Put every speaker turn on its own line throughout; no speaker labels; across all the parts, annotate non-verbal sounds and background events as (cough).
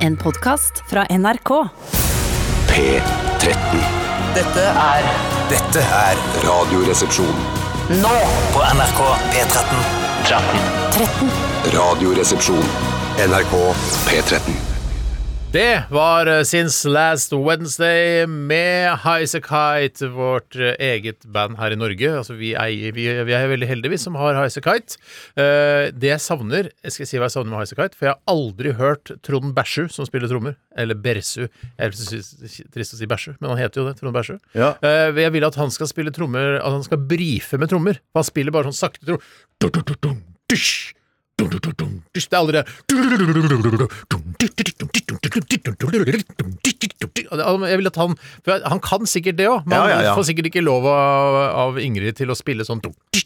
En podkast fra NRK.
P13.
Dette er
Dette er Radioresepsjon.
nå på NRK P13.
Radioresepsjon. NRK P13.
Det var eh, Since Last Wednesday med Highasakite, vårt eh, eget band her i Norge. Altså, vi, eier, vi, vi er veldig heldige, vi som har Highasakite. Eh, det jeg savner jeg Skal si hva jeg savner med Highasakite? For jeg har aldri hørt Trond Bæsju som spiller trommer. Eller Bersu. Jeg synes det er trist å si Bæsju, men han heter jo det. Trond Bæsju.
Ja.
Eh, jeg vil at han skal spille trommer At han skal brife med trommer. For han spiller bare sånn sakte trommer. Dun-dun-dun-dun, dysj. Dun-dun-dun-dun, dysj. Det er aldri det Og det- Jeg vil at han For han kan sikkert det òg, men
Ja, ja, ja.
han får sikkert ikke lov av, av Ingrid til å spille sånn
Det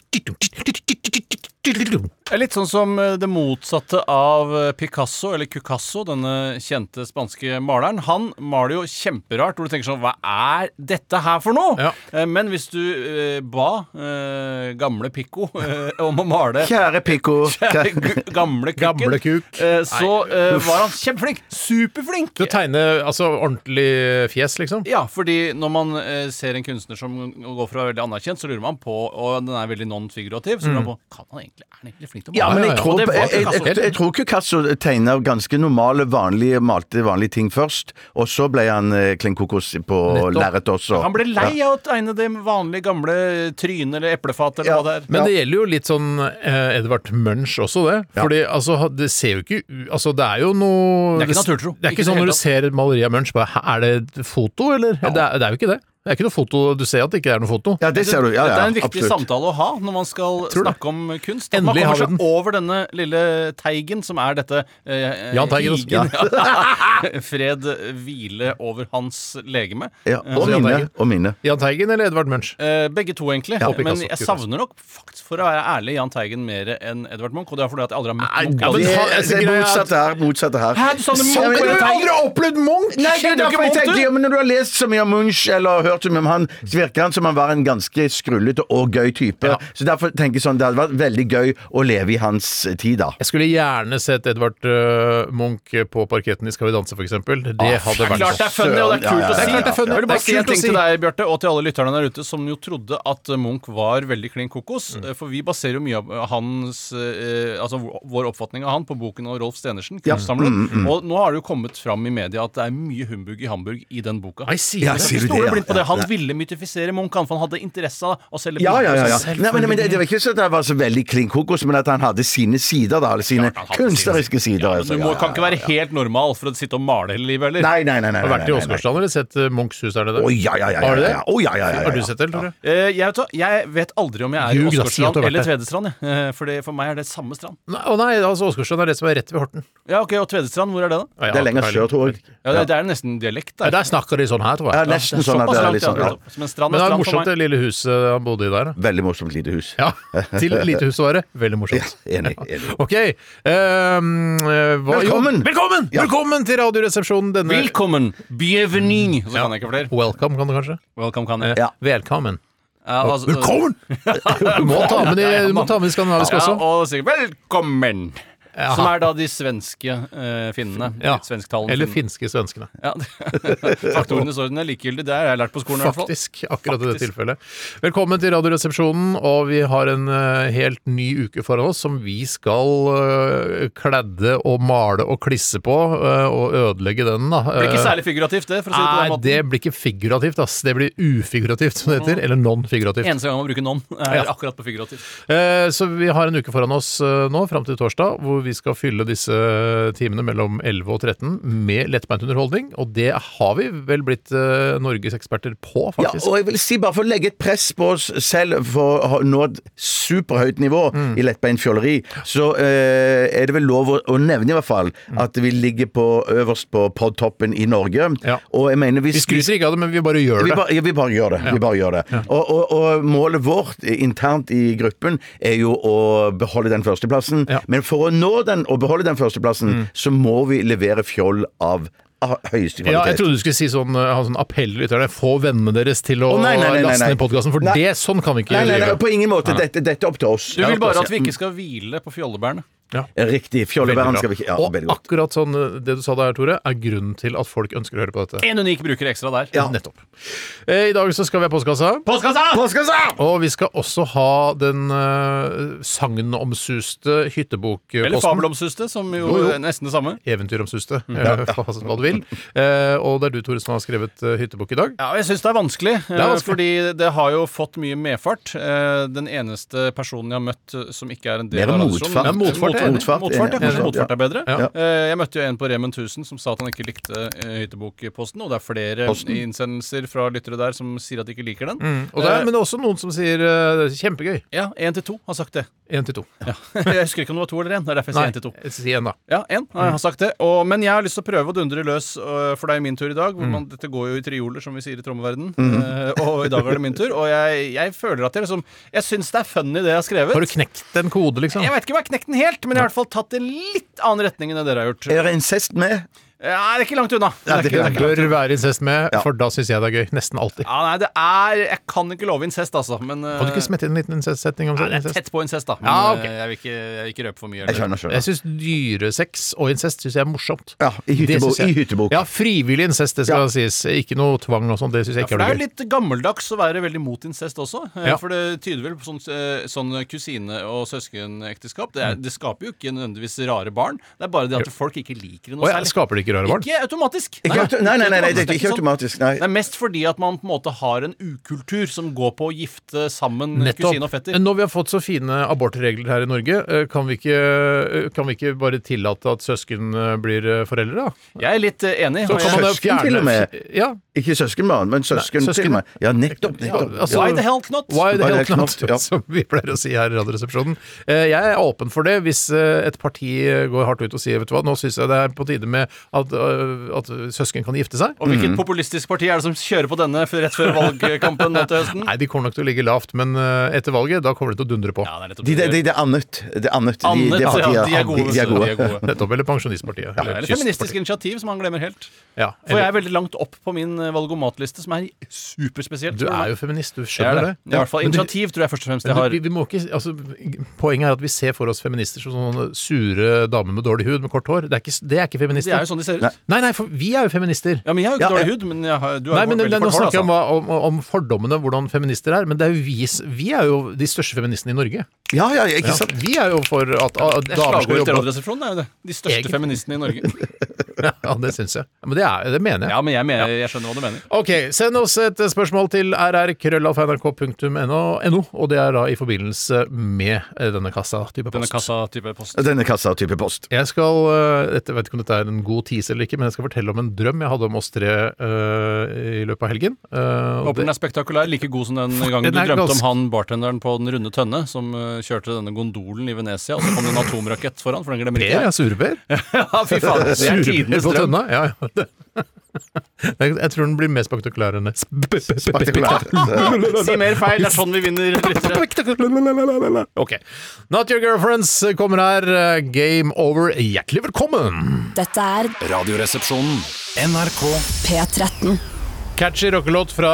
er Litt sånn som eh, det motsatte av eh, Picasso, eller Cucasso, denne kjente spanske maleren. Han maler jo kjemperart, hvor du tenker sånn Hva er dette her for noe?!
Ja.
Eh, Men hvis du eh, ba eh, gamle Pico (laughs) eh, om å male
Kjære Pico.
(laughs) g- gamle kukken,
Gamle kuk.
eh, så eh, var han kjempeflink! Superflink!
Til å tegne altså, ordentlig fjes, liksom.
Ja, fordi når man eh, ser en kunstner som går for å være veldig anerkjent, så lurer man på Og den er veldig non-figurativ, så lurer man på Kan han egentlig, er han egentlig flink til å male?
Mm.
Ja, ja,
Ja, men jeg
ja.
tror,
Og
jeg,
det var
jeg,
Picasso.
jeg, jeg tror Picasso tegner ganske normale, vanlige, malte vanlige ting først. Og så ble han eh, klin kokos på lerret også.
Han ble lei av å tegne det vanlige gamle trynet eller eplefat eller
Ja,
hva det er.
Men det gjelder jo litt sånn eh, Edvard Munch også, det. Fordi altså, ha- det ser jo ikke u- Altså, det er jo noe
Det er ikke naturtro.
Det er
Ikke
ikke
i det
sånn
hele
når du
tatt.
ser et maleri av Munch, bare "Hæ, er det et foto, eller? Det, er, det er jo ikke det. Det er ikke noe foto Du ser at det ikke er noe foto.
Ja, det ser du. Ja,
Dette
ja,
er en viktig
absolutt.
samtale å ha når man skal
tror det.
snakke om kunst. At
Endelig
man
har vi
kommer
den.
seg over denne lille teigen som er dette eh,
Jahn Teigen altså. også.
higen. (laughs) Fred hvile over hans legeme.
Ja, og
Altså,
mine.
Jan Eggum.
Og mine.
Jahn Teigen eller Edvard Munch?
Eh, begge to, egentlig.
Ja, og
men
Picasso,
jeg
Picasso.
savner nok, faktisk, for å være ærlig, Jahn Teigen mer enn Edvard Munch. Og det er fordi at jeg aldri har møtt
ja,
Munch.
men
Det
han-
er
altså,
det er
greia er at-
motsatte her. Motsatte her.
Hæ, du sa det
Så-
motsatte
Men du har
her.
aldri
opplevd Munch!
Nei, det er derfor
Kjenner du ikke
jeg
Munch,
tenkte,
du?
ja, men Når du har lest så mye om Munch eller hørt så mye om han, så virker han som han var en ganske skrullete og gøy type.
Ja.
Så derfor tenker jeg sånn, det hadde vært veldig gøy å leve i hans eh, tid, da.
Jeg skulle gjerne sett Edvard eh, Munch på parketten i Skal vi danse, for eksempel. Det
Ah,
hadde vært
Klart det er funny, og det er
Ja,
kult
ja,
å
ja, ja, ja.
si.
Det er klart det er
funny.
Jeg vil
Det
bare
er
si en
kult å
ting
si.
til deg, Bjarte, og til alle lytterne der ute som jo trodde at Munch var veldig klin kokos.
Mm.
For vi baserer jo mye av hans eh, Altså vår oppfatning av han på boken av Rolf Stenersen, kunstsamler.
Mm,
Og nå har det jo kommet fram i media at det er mye humbug i Hamburg i den boka.
Nei, sier
Ja,
du det?
sier du det,
Stoler
ja.
blindt på det. Han
Ja.
ville mytifisere Munch, han, for han hadde interesse av å selge
Ja, ja, ja.
Altså,
ja.
Selvfølgelig.
Nei, men, men det, det var ikke sånn at han var så veldig klin kokos, men at han hadde sine sider, da. Eller sine
han hadde
kunstneriske sider.
Ja, men
altså,
du
ja,
må,
ja,
kan ikke
ja,
være
ja.
helt normal for å sitte og male hele livet, eller?
Nei, nei, nei. nei,
Har du vært i
nei, nei, nei.
Åsgårdstrand eller sett eh, Munchs hus der nede?
Å, ja, ja, ja,
Har du
ja,
det?
ja. Å, ja, ja, ja, ja.
Har du sett det, eller?
Eh, jeg, vet, hva, jeg vet aldri om jeg er i
Ljug, da, si at du har
Åsgårdstrand
vært
eller
der.
Tvedestrand. jeg. Eh, For, det, for meg er det samme strand.
Nei, Å nei, altså Åsgårdstrand er det som er rett ved Horten.
Ja, ok, Og Tvedestrand, hvor er det, da?
Nei, jeg har
Det er lenger
ikke
sør,
peiling.
tror jeg.
Ja, det, det er nesten dialekt
Nei,
der.
Der snakker de sånn her, tror jeg.
Ja, nesten sånn at
Såpass
det er
langt,
litt sånn
ja,
ja.
nettopp. Men strand
Men det
er
er
strand for
morsomt eh,
meg.
det lille huset han bodde i der. da.
Veldig morsomt lite hus.
Ja, til lite hus å være. Veldig
Ja,
morsomt.
(laughs) enig. enig.
Ok. ehm, eh, hva,
Velkommen!
Jo, velkommen!
Ja.
Velkommen til Radioresepsjonen denne
Velkommen! Bienvenue! Så kan jeg ikke flere.
Welcome, kan du kanskje?
Welcome, kan jeg.
Ja.
Velkommen.
Ja, altså- (laughs)
Du må ta med de, du må ta med de skandinaviske
Ja,
også.
og sikkert velkommen!
Jaha.
Som er da de svenske eh, finnene.
Ja.
Svensktalende
Eller
finnene.
finske svenskene.
Ja. (laughs) Faktorenes orden er likegyldig. Det har jeg lært på skolen. i hvert fall.
Faktisk, akkurat i det
Faktisk.
tilfellet. Velkommen til Radioresepsjonen, og vi har en eh, helt ny uke foran oss som vi skal eh, kledde og male og klisse på, eh, og ødelegge den, da.
Det blir ikke
Eh,
særlig figurativt, det. for å si det på den
Nei,
måten.
det blir ikke figurativt, ass. Det blir ufigurativt, som det heter.
Mm.
Eller non-figurativt.
Eneste gang man bruker non, er
Ja.
akkurat på figurativt.
Eh, Så vi har en uke foran oss eh, nå, fram til torsdag, hvor vi skal fylle disse eh, timene mellom 11 og 13 med lettbeint underholdning. Og det har vi vel blitt eh, Norges eksperter på,
Ja,
faktisk.
og jeg vil si, bare for å legge et press på oss selv for å ha- nå et superhøyt nivå i lettbeint fjolleri, så eh, er det vel lov å, å nevne i hvert fall at vi ligger på, øverst på podtoppen i Norge.
Ja.
Og jeg mener hvis
Vi skryter ikke av det, men vi bare gjør
vi
det.
bare, ja, vi bare gjør det. Vi bare gjør det. Og, og, og målet vårt eh, internt i gruppen er jo å beholde den førsteplassen.
Ja. Mm.
Men for å nå den og beholde den førsteplassen, så må vi levere fjoll av av høyeste kvalitet.
Ja, jeg trodde du skulle si sånn, eh, ha sånn appell til lytterne. Få vennene deres til å
Å, nei, nei, nei, nei,
laste
nei.
ned podkasten, for
Nei.
det sånn kan vi ikke
Nei, nei, nei,
drive.
på ingen måte. Dette, dette er opp til oss.
Du vil
Ja,
bare
opp
at
til
vi
oss,
ikke skal hvile på fjollebærene.
Ja.
Riktig. Fjollebæren skal vi ikke Ja,
og
veldig godt.
akkurat sånn eh, det du sa der, Tore, er grunnen til at folk ønsker å høre på dette.
En unik bruker ekstra der.
Ja.
Nettopp. Eh, I dag så skal vi ha postkassa.
Postkassa!
Postkassa!
Og vi skal også ha den uh, sagnomsuste hyttebokposten.
Eller Mm. fabelomsuste, som jo,
Jo, jo.
er nesten det samme.
Eventyromsuste. Ja. Hva du vil. Eh, og det er du, Tore, som har skrevet eh, hyttebok i dag.
Ja, og jeg syns det er vanskelig, det
er vanskelig.
fordi det har jo fått mye medfart. Eh, Den eneste personen jeg har møtt eh, som ikke er en del
Mer
av
motfart.
redaksjonen
Ja, motfart,
Motfart,
motfart,
motfart, ja.
enig,
Kanskje
motfart,
motfart er bedre.
Ja.
Eh, Jeg møtte jo en på Remen 1000 som sa at han ikke likte eh, hyttebokposten, og det er flere
Posten.
innsendelser fra lyttere der som sier at de ikke liker den.
Mm. Og det er,
Eh,
men det er også noen som sier eh, det er kjempegøy.
ja, én til to har sagt det. (laughs)
Én til to.
Ja. Jeg husker ikke om det var to eller én. Det er derfor jeg
Nei,
sier én til to.
si en, da.
Ja, én har jeg sagt det. Og, men jeg har lyst til å prøve å dundre løs, øh, for det er jo min tur i dag.
Mm.
Hvor man, dette går jo i trioler, som vi sier i trommeverdenen. Eh, og i dag er det min tur. Og jeg, jeg føler at jeg liksom Jeg syns det er funny, det jeg har skrevet.
Har du knekt en kode, liksom?
jeg vet ikke om jeg har knekt den helt, men jeg har i hvert fall tatt en litt annen retning enn det dere har gjort.
Er det incest med?
Ja, det er ikke langt unna. Det
Ja,
er
det
ikke,
er
det er ikke langt.
Bør være incest med,
Ja.
for da syns jeg det er gøy. Nesten alltid.
Ja, nei, det er Jeg kan ikke love incest, altså. Men øh,
Kan du ikke smette inn en liten incest-setning om sånn
nei, det er
incest?
tett på incest, da. Men
Ja, ok.
øh, jeg, vil ikke, jeg vil ikke røpe for mye.
Jeg
heller.
skjønner, skjønner.
Jeg syns dyresex og incest synes jeg er morsomt.
Ja, i
Det
hyttebok.
synes jeg-
I hyttebok.
Ja, frivillig incest, det skal sies. Ikke noe tvang og sånn. Det syns jeg ikke
For det er
er noe
jo
gøy.
litt gammeldags å være veldig mot incest også. eh,
Ja.
For det tyder vel på sånn, eh, sånn kusine- og søskenekteskap. Det,
Mm.
er, det skaper jo ikke nødvendigvis rare barn. Det er bare det at folk ikke liker det noe
Å ja,
særlig.
skaper det ikke rare barn?
Ikke automatisk.
Ikke auto- nei, nei, nei, nei, det er
sånn.
ikke automatisk. Nei.
Det er mest fordi at man på en måte har en ukultur som går på å gifte sammen kusine og fetter.
Når vi har fått så fine abortregler her i Norge, eh, kan vi ikke, eh, kan vi ikke bare tillate at søsken eh, blir eh, foreldre, da?
Jeg er litt eh, enig.
Så
og
kan man
jeg-
jo
søsken til og med.
Ja.
Ikke søskenbarn, men søsken,
Nei, søsken.
til og med. Ja, nettopp. nettopp.
Ja, altså-
Why the hell not?
Why the
Why the
hell
hell
not?
not, ja.
Som vi pleier å si her i Radioresepsjonen. Eh, Jeg er åpen for det hvis eh, et parti eh, går hardt ut og sier vet du hva, nå syns jeg det er på tide med at, eh, at søsken kan gifte seg.
Og
Mm.
hvilket populistisk parti er det som kjører på denne f- rett før valgkampen nå til høsten?
Nei, de kommer nok til å ligge lavt, men eh, etter valget, da kommer de til å dundre på.
Ja, det er nettopp
De, de,
det.
de, de er annet. Det er annet. De,
Annet,
de, er
ja,
partier-
de er gode.
De er
De er
gode.
gode.
Nettopp. Eller Pensjonistpartiet.
Eller
Kystpartiet.
Feministisk initiativ, som han glemmer helt.
Ja,
For jeg
eller,
er veldig langt opp på min eh, valgomatliste, som er superspesielt.
du er jo feminist, du
Jeg er
skjønner
det.
det.
I hvert fall
Men du-
initiativ tror jeg først og fremst jeg
Men
har.
du, vi, vi må ikke, altså, poenget er at vi ser for oss feminister som sånne sure damer med dårlig hud, med kort hår. Det er ikke, det er ikke
Det
feminister.
er jo sånn de ser ut.
Nei, nei, for vi er jo feminister.
Ja, men jeg har jo
Ja,
ikke
ja.
dårlig hud, men jeg har, du
Nei,
har
men
veldig
det, Nå
kort hår,
snakker jeg om,
altså.
hva- om, om fordommene, hvordan feminister er. Men det er jo vi, s- vi er jo de største feministene i Norge.
Ja, ja, ikke sant?
Vi er jo for at, at
Det er
damer skal
slagordet til
jobbe.
Radioresepsjonen, er jo det. De største
Egentlig.
feministene i Norge.
(laughs)
(laughs)
Ja, det syns jeg. Ja, Men det, er, det mener jeg.
Ja, men jeg, mener, jeg skjønner hva du mener.
Ok, Send oss et spørsmål til rrkrøllalfa.nrk.no, NO, og det er da i forbindelse med eh, denne kassa. type
Denne
post.
kassa-type post.
Denne kassa av type post.
Jeg skal, eh, dette, vet ikke om dette er en god tease eller ikke, men jeg skal fortelle om en drøm jeg hadde om oss tre eh, i løpet av helgen. Eh, og
Håper den
det-
er spektakulær, like god som den gangen
Den
du
er
drømte om
ganske-
han bartenderen på Den runde tønne, som eh, kjørte denne gondolen i Venezia, og så kom det en atomrakett foran, for den glemmer
Per,
ikke
ja,
jeg.
surper.
(laughs) Ja, fy faen. Det er tidenes
på
drøm.
tønna. Ja, ja. (laughs) Det- Jeg, jeg tror den blir mer spektakulær enn det.
(laughs)
Spektakulært.
Si mer feil, det er sånn vi vinner lyttere.
Spektakulær. Ok. Not Your Girlfriends kommer her. Game over. Hjertelig velkommen!
Dette er
Radioresepsjonen.
P13.
Catchy rockelåt fra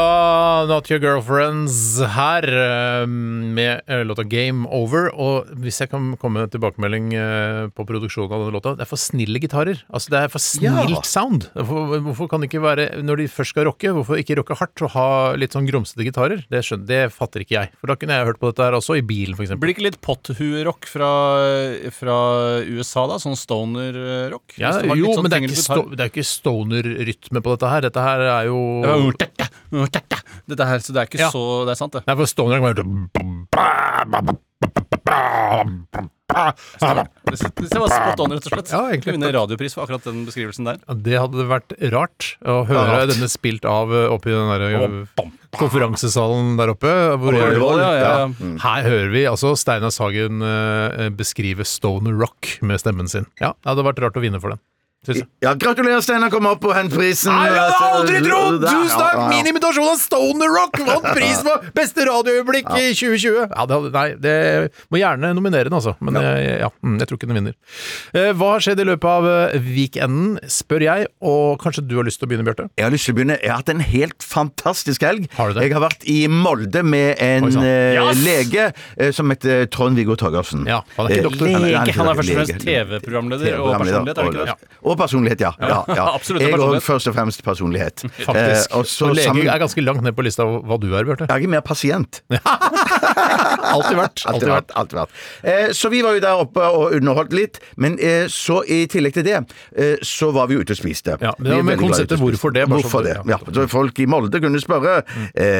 Not Your Girlfriends her, eh, med eh, låta Game Over. Og hvis jeg kan komme med tilbakemelding eh, på produksjonen av denne låta Det er for snille gitarer. Altså, det er for snilt
Ja.
sound. Hvorfor, hvorfor kan det ikke være Når de først skal rocke, hvorfor ikke rocke hardt og ha litt sånn grumsete gitarer? Det, skjønner, det fatter ikke jeg. For da kunne jeg hørt på dette her også, i bilen f.eks.
Blir det ikke litt potthuerock fra, fra USA, da? Sånn stoner-rock?
Ja,
Hvis det var litt
jo,
sånn
men det er
tyngre
ikke,
gitar.
sto- det er ikke stoner-rytme på dette her. Dette her er jo
Det var jo tette, tette. Dette her, så det er ikke
Ja.
så Det er sant, det.
Nei, for stoner kan være
Det det var spot on, rett og slett.
Ja, egentlig.
Skal vinne radiopris for akkurat den beskrivelsen der.
Ja, Det hadde vært rart å høre
Ja, rart.
denne spilt av eh, oppe i den der eh, konferansesalen der oppe. Hvor
Ja,
jeg,
ja, ja.
her hører vi altså Steinar Sagen eh, beskrive stoner rock med stemmen sin. Ja, Det hadde vært rart å vinne for den. Tusen.
Ja, gratulerer, Steinar. Kom opp og hent prisen.
Nei, jeg
altså,
hadde aldri trodd!
Ja,
Tusen takk!
ja, ja.
Min imitasjon av Stoner Rock vant prisen for beste radioøyeblikk i 2020! Ja, det, hadde- nei, det må gjerne nominere den, altså. Men jeg, ja, mm, jeg tror ikke den vinner. Eh, Hva har skjedd i løpet av eh, weekenden, spør jeg, og kanskje du har lyst til å begynne, Bjarte?
Jeg har lyst til å begynne. Jeg har hatt en helt fantastisk helg.
Har du det?
Jeg har vært i Molde med en
Oi, sann.
sånn.
eh,
Yes!
lege eh, som heter Trond-Viggo Torgersen.
Ja, han er ikke
Eh,
doktor.
nei, nei,
Lege. Han er
ikke
først og
lege.
fremst TV-programleder og personlighet, er det ikke det?
Og, og personlighet,
(laughs)
ja. ja, ja.
Absolutt,
Jeg òg
personlighet.
først og fremst personlighet.
Faktisk.
Eh, og så
og lege
sammen-
er ganske langt ned på lista av hva du er, Bjarte.
Jeg er ikke mer pasient.
Alltid vært.
Alltid
Alltid vært.
vært. Alltid vært. Eh, så vi var jo der oppe og underholdt litt. Men eh, så i tillegg til det, eh, så var vi ute og spiste.
Ja,
Vi er
men
veldig glad i
konseptet
ute og spise.
hvorfor det, bare så-
Hvorfor det?
ja. Mm.
Ja. Så folk i Molde kunne spørre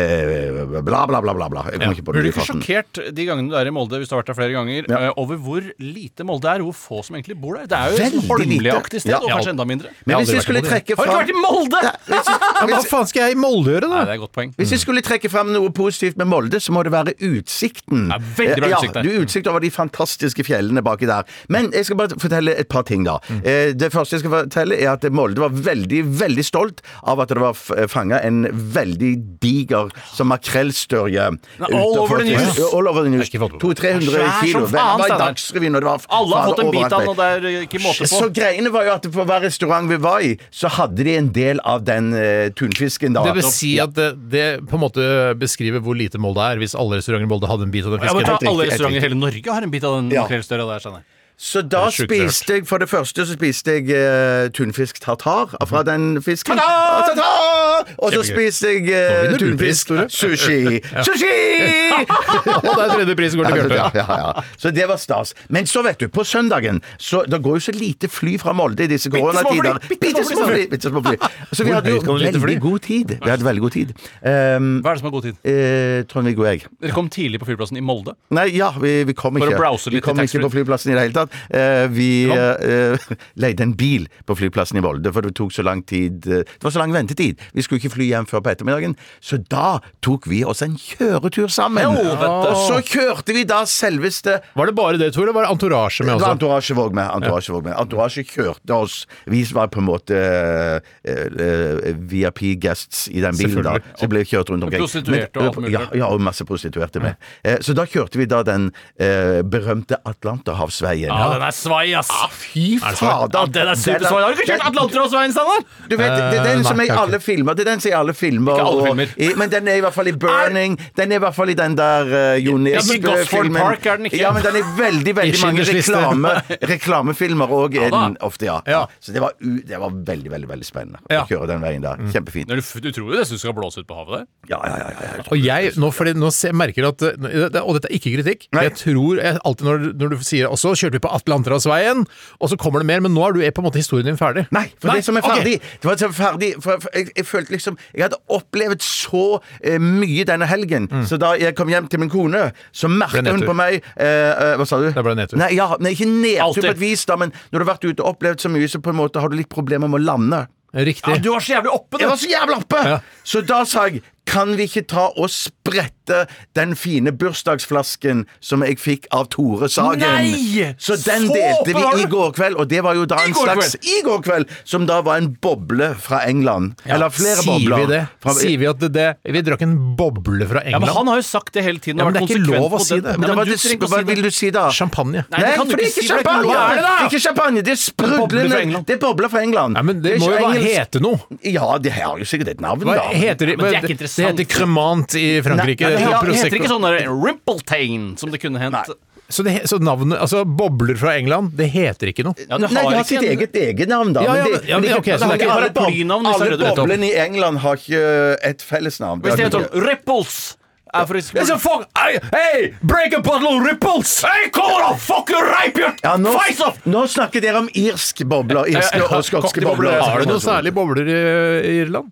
eh, bla, bla, bla, bla, bla. Jeg kom ikke på
Blir
det
du
i
ikke
farten.
sjokkert de gangene du er i Molde, hvis du har vært der flere ganger,
Ja.
eh, over hvor lite Molde er? Hvor få som egentlig bor der? Det er jo
Veldig
et holmliaktig sted,
lite. Ja.
og
Ja.
kanskje enda mindre.
Men
Jeg har
hvis
aldri
jeg skulle
vært i Molde,
trekke
Har du ikke
fram
vært i Molde?!
Hvis-
Ja, men hva
hvis-
faen skal jeg i Molde gjøre,
Nei,
da?
det er et godt poeng.
Hvis jeg skulle trekke fram noe positivt med Molde, så må det være utsikten.
Ja, veldig bra
Eh,
utsikt
Ja,
der.
du har utsikt over de fantastiske fjellene baki der. Men jeg skal bare fortelle et par ting, da.
Mm.
Eh, Det første jeg skal fortelle, er at Molde var veldig, veldig stolt av at det var fanga en veldig diger som makrellstørje.
all over the news.
Ja, All over the news.
Jeg har ikke fått med
200-300
Svær
kilo.
som
Det
faen,
var i
Steinar.
Dagsrevyen, og det var
Alle har
fader,
fått en bit av
overalt.
den, og det er eh, ikke måte på.
Så greiene var jo at på hver restaurant vi var i, så hadde de en del av den eh, tunfisken. da.
Det vil si at det, det på en måte beskriver hvor lite Molde er, hvis alle restauranter i Molde hadde en bit av den
Ja, men
fisken.
ta
Helt riktig,
Alle
helt
restauranter i
riktig.
hele Norge har en bit av den
Ja.
makrellstørja der. Steinar.
Så da
er sjukt rart.
spiste jeg for det første så spiste jeg eh, tunfisk tartar fra den fisken.
Tartar!
Tartar! Og så
Mhm. Kjempegøy.
spiste jeg
Nå
eh,
vinner du pris,
tunfisk
Tore. (laughs)
sushi. Sushi!
Og der tredje prisen går til
Ja,
Bjarte.
ja, ja, ja. Så det var stas. Men så, vet du, på søndagen så, Det går jo så lite fly fra Molde i disse koronatider.
fly, bittesmå
Bitte små
fly.
fly! bittesmå
(laughs)
fly. Så vi
Hvor
hadde jo
høyt kan du lytte fly?
veldig god tid. Vi hadde veldig god tid. Ehm,
Hva er det som er god tid?
eh, Trond-Viggo og jeg.
Dere kom tidlig på flyplassen i Molde.
Nei, ja, vi, vi kom
For å
ikke. vi
browse litt i
kom ikke
taxfree.
på flyplassen i det hele tatt. Eh, vi eh, eh, (laughs) leide en bil på flyplassen i Volde, for det tok så lang tid eh, Det var så lang ventetid. Vi skulle ikke fly hjem før på ettermiddagen, så da tok vi oss en kjøretur sammen. og så kjørte vi da selveste
Var det bare det, Tor, eller var det antorasje med
det var
altså.
også?
Antorasje Våg med. Antorasje Våg med. Antorasje kjørte oss. Vi var på en måte eh, eh, VIP guests i den bilen, da.
Selvfølgelig.
Så ble vi kjørt rundt omkring. eh,
Prostituerte og alt mulig.
Ja, ja, og masse prostituerte med. Eh, så da kjørte vi da den eh, berømte Atlanterhavsveien.
Ja, den er svai, ass!
Fy fader!
Ja, den er supersvai. Har du ikke kjørt Atlanterhavsveien, Steinar?
Du vet, det er den
Eh,
som
nei,
er i
jeg har
alle filmer. Det er den som er i alle filmer.
Ikke alle
og-
filmer.
I, men den er i hvert fall i Burning. Den er i hvert fall i den der uh, Jo
men Gosford
Nesbø-filmen.
Park er den ikke.
Ja, men den er i veldig, veldig
I
mange
Schindlers liste.
reklame, reklamefilmer òg. er
da.
den ofte, ja.
Ja.
Så det var, u, det var veldig, veldig veldig spennende
Ja.
å kjøre den veien der. Kjempefint.
Du, du tror jo nesten du skal blåse ut på havet der.
Ja, ja, ja, ja, ja.
Og jeg, nå, fordi, nå ser, merker jeg at eh, det- Og dette er ikke kritikk.
Nei.
Jeg tror jeg, alltid når, når du sier Og så kjørte vi på Atlanterhavsveien, og så kommer det mer, men nå er du er på en måte historien din ferdig.
Nei, for det som er
ok.
ferdig Det var det som er ferdig for, for jeg, jeg følte liksom Jeg hadde opplevd så eh, mye denne helgen, så da jeg kom hjem til min kone, så merket
Mm. Ble
hun
nedtur.
på meg eh, eh, Hva sa du?
Det ble nedtur.
Nei, ja, nei ikke nedtur
Alltid.
på et vis, da, men når du har vært ute og opplevd så mye, så på en måte har du litt problemer med å lande.
Riktig.
du var så jævlig oppe,
Jeg var så jævla oppe!
Ja.
Så da sa jeg kan vi ikke ta og sprette den fine bursdagsflasken som jeg fikk av Tore Sagen?
Nei!
Så den
Så
delte
oppe var
vi i
du!
går kveld, og det var jo da
I
en
går
slags I går kveld! Som da var en boble fra England. Eller flere
Sier
bobler.
vi det?
Fra,
Sier vi at det, det Vi drakk en boble fra
Ja, men
England.
Han har jo sagt det hele tiden. og
Ja, men det er
vært
ikke
konsekvent
lov å
på
si det.
men
Nei,
da var
men du
det,
trenger
hva
ikke å si
vil du
det.
si da?
Champagne.
Nei, det kan du
for det er
ikke
ikke
si, for det er ikke
champagne!
lov. Hva er det da?
Det er ikke champagne, det er
Bobler fra
sprudlende
England.
Det er bobler fra England.
Nei, men det,
er
må
ikke
jo bare
engelsk-
hete noe.
Ja, det har jo sikkert et navn,
Hva
da.
heter det?
men det er ikke
det,
interessant.
heter cremant i Frankrike.
Nei,
heter
nei, ja,
Ja, det heter
Prosecco.
ikke sånn der Rimpeltain, som det kunne
Nei.
hent.
Så, det, he- så navnet Altså, bobler fra England, det heter ikke noe.
Ja, det
Nei, de har
ikke
sitt
en-
eget eget navn, da.
Ja, ja,
det-
men- ja, men
det-
ok, så det er
alle
ikke
bare et
bob-
blynavn, disse
Alle
røde nettopp.
boblene i England har ikke eh, et fellesnavn.
Hvis det heter sånn Ripples er for eksempel-
fuck, hey, break a bottle of ripples!
Hey, come on, fuck you, rape you!
Ja, nå,
Face off!
nå snakker dere om irsk bobler. Irske og skotske
sånn-
Cocktailbobler.
bobler.
Har du noen særlige bobler i eh, Irland?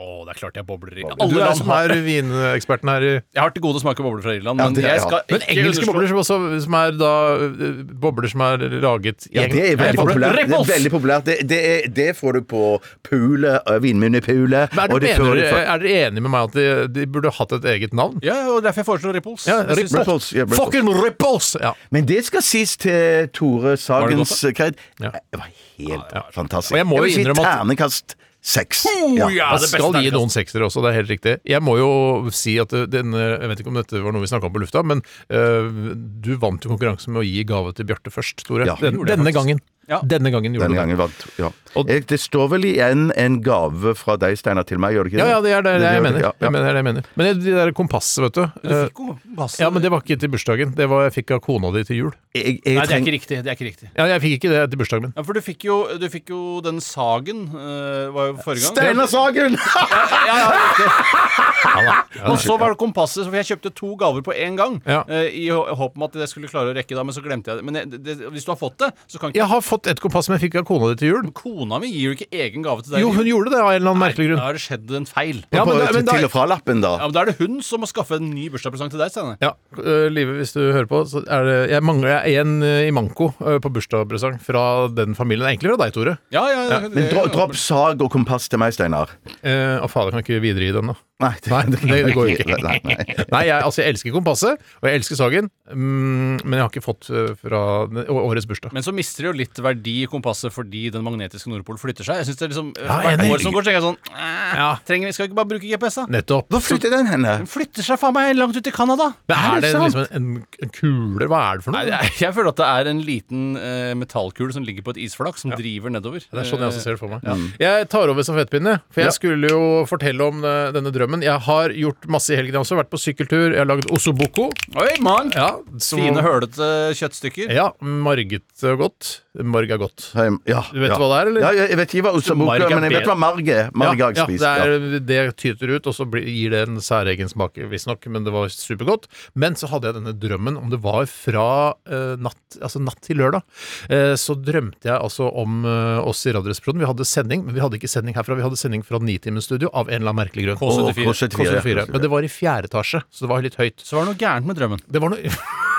Å, det er klart jeg bobler i
Du
alle
er
land.
som er vineksperten her. (laughs) i-
Jeg har til gode å smake bobler fra Irland, men
det er-
jeg
ja.
skal
Men
ikke
engelske
underslå-
bobler som, også, som er da eh, bobler som er laget i
Ja, det er
England.
veldig
Nei, bobler-
populært. Det,
sånn-
er
Ripples!
veldig populært. Det, det, er, det får du på pulet, øh, Vinmunnipoolet.
Men er, du
og
mener, eh?
det får du fra-
er dere enig med meg at de, de burde hatt et eget navn?
Ja, og derfor jeg foreslår Ripples.
Ja,
Jeg synes-
Ripples.
Ripples, ja, Ripples.
Fucking Ripples! Ja.
Men det skal sies til Tore Sagens eh,
Var
kred.
sånn? Ja.
Det var helt fantastisk.
Og jeg må jo
vil si
innrømme at-
ternekast seks.
Oh, ja,
Jeg
det beste
skal gi
er-
noen seksere også, det er helt riktig. Jeg må jo si at eh, denne Jeg vet ikke om dette var noe vi snakka om på lufta, men eh, du vant jo konkurransen med å gi gave til Bjarte først, Tore.
Ja,
Den,
gjorde jeg
denne
faktisk.
gangen.
Ja.
Denne gangen gjorde
Denne
du det.
gangen vant ja.
Og-
Jeg- Det står vel igjen en gave fra deg, Steinar, til meg, gjør det ikke
Ja, ja, det er det, det, jeg
gjør
mener.
ja, ja.
Jeg mener, det er det jeg mener. Men det- de der kompasset, vet du.
Du
eh,
fikk jo bass-
Ja, men det var ikke til bursdagen. Det var jeg fikk av kona di til jul.
Jeg, jeg
Nei, det er
treng-
ikke riktig. Det er ikke riktig.
Ja, jeg fikk ikke det til bursdagen min.
Ja, for du fikk jo, du fikk jo den sagen eh, var jo forrige gang.
Steinar Sagen!
Ja, ja, riktig.
Ja, da.
Og så var det kompasset, så jeg kjøpte to gaver på én gang.
Ja.
eh, I hå- håp om at jeg skulle klare å rekke det, men så glemte jeg det. Men jeg, det, hvis du har fått det, så kan ikke
Jeg har fått et kompass som jeg fikk av kona di til jul.
Kona mi gir jo ikke egen gave til deg.
Jo, hun gjorde det av en eller annen merkelig grunn.
Da har det skjedd en feil.
Ja,
(laughs)
men
På
da- men da-
til og fra-lappen, da.
Ja, men Da er det hun som må skaffe en ny bursdagspresang til deg, Steinar.
Ja, øh, Live, hvis du hører på, så er det Jeg mangler jeg er en øh, i manko øh, på bursdagspresang fra den familien. Egentlig fra deg, Tore.
Ja, ja, ja,
Men
det-
dro, dropp sag og kompass til meg, Steinar.
Eh, og fader, kan ikke videre i den, da.
Nei, (laughs)
Nei, det, det går jo ikke.
Nei, nei.
Nei, jeg, altså, jeg elsker kompasset, og jeg elsker sagen, mm, men jeg har ikke fått øh, fra den- å- årets bursdag.
Men så mister det jo litt verdi i kompasset fordi den magnetiske Nordpol flytter seg. Jeg synes det er liksom
Ja,
Hvert
enig.
år som går, så tenker jeg sånn "Æ,
Ja.
trenger vi, Skal vi ikke bare bruke GPS, da?
Nettopp.
Hvor flytter den henne?
Den flytter seg faen meg langt ut i Canada.
Men er det
sant?
liksom en, en kule? Hva er det for noe?
Nei, det er- jeg føler at det er en liten eh, metallkule som ligger på et isflak, som driver nedover.
Det er sånn jeg også ser det for meg. Jeg tar over stafettpinnen, jeg. for jeg
Ja.
skulle jo fortelle om eh, denne drømmen. Jeg har gjort masse i helgen jeg har også. Vært på sykkeltur, jeg har lagd osoboko.
Eh, Oi, mann!
Ja, som-
Fine, hølete kjøttstykker.
Ja, marget og godt. Marg er godt.
Har jeg- Ja,
Du vet
ja.
hva det er, eller?
Ja, jeg- jeg vet ikke hva Ostaboka
Marg
er,
er
men jeg vet
bedre.
hva marg er. Marg har jeg
ja,
spist.
det,
ja.
er, det tyter ut, og så blir, gir det en særegen smak, visstnok, men det var supergodt. Men så hadde jeg denne drømmen, om det var fra eh, natt, altså natt til lørdag, eh, så drømte jeg altså om eh, oss i Radioresepsjonen. Vi hadde sending, men vi hadde ikke sending herfra, vi hadde sending fra Nitimen studio av en eller annen merkelig grunn.
Å,
K74.
ja.
K74, Men det var i fjerde etasje, så det var litt høyt.
Så var det noe gærent med drømmen.
Det var noe (laughs)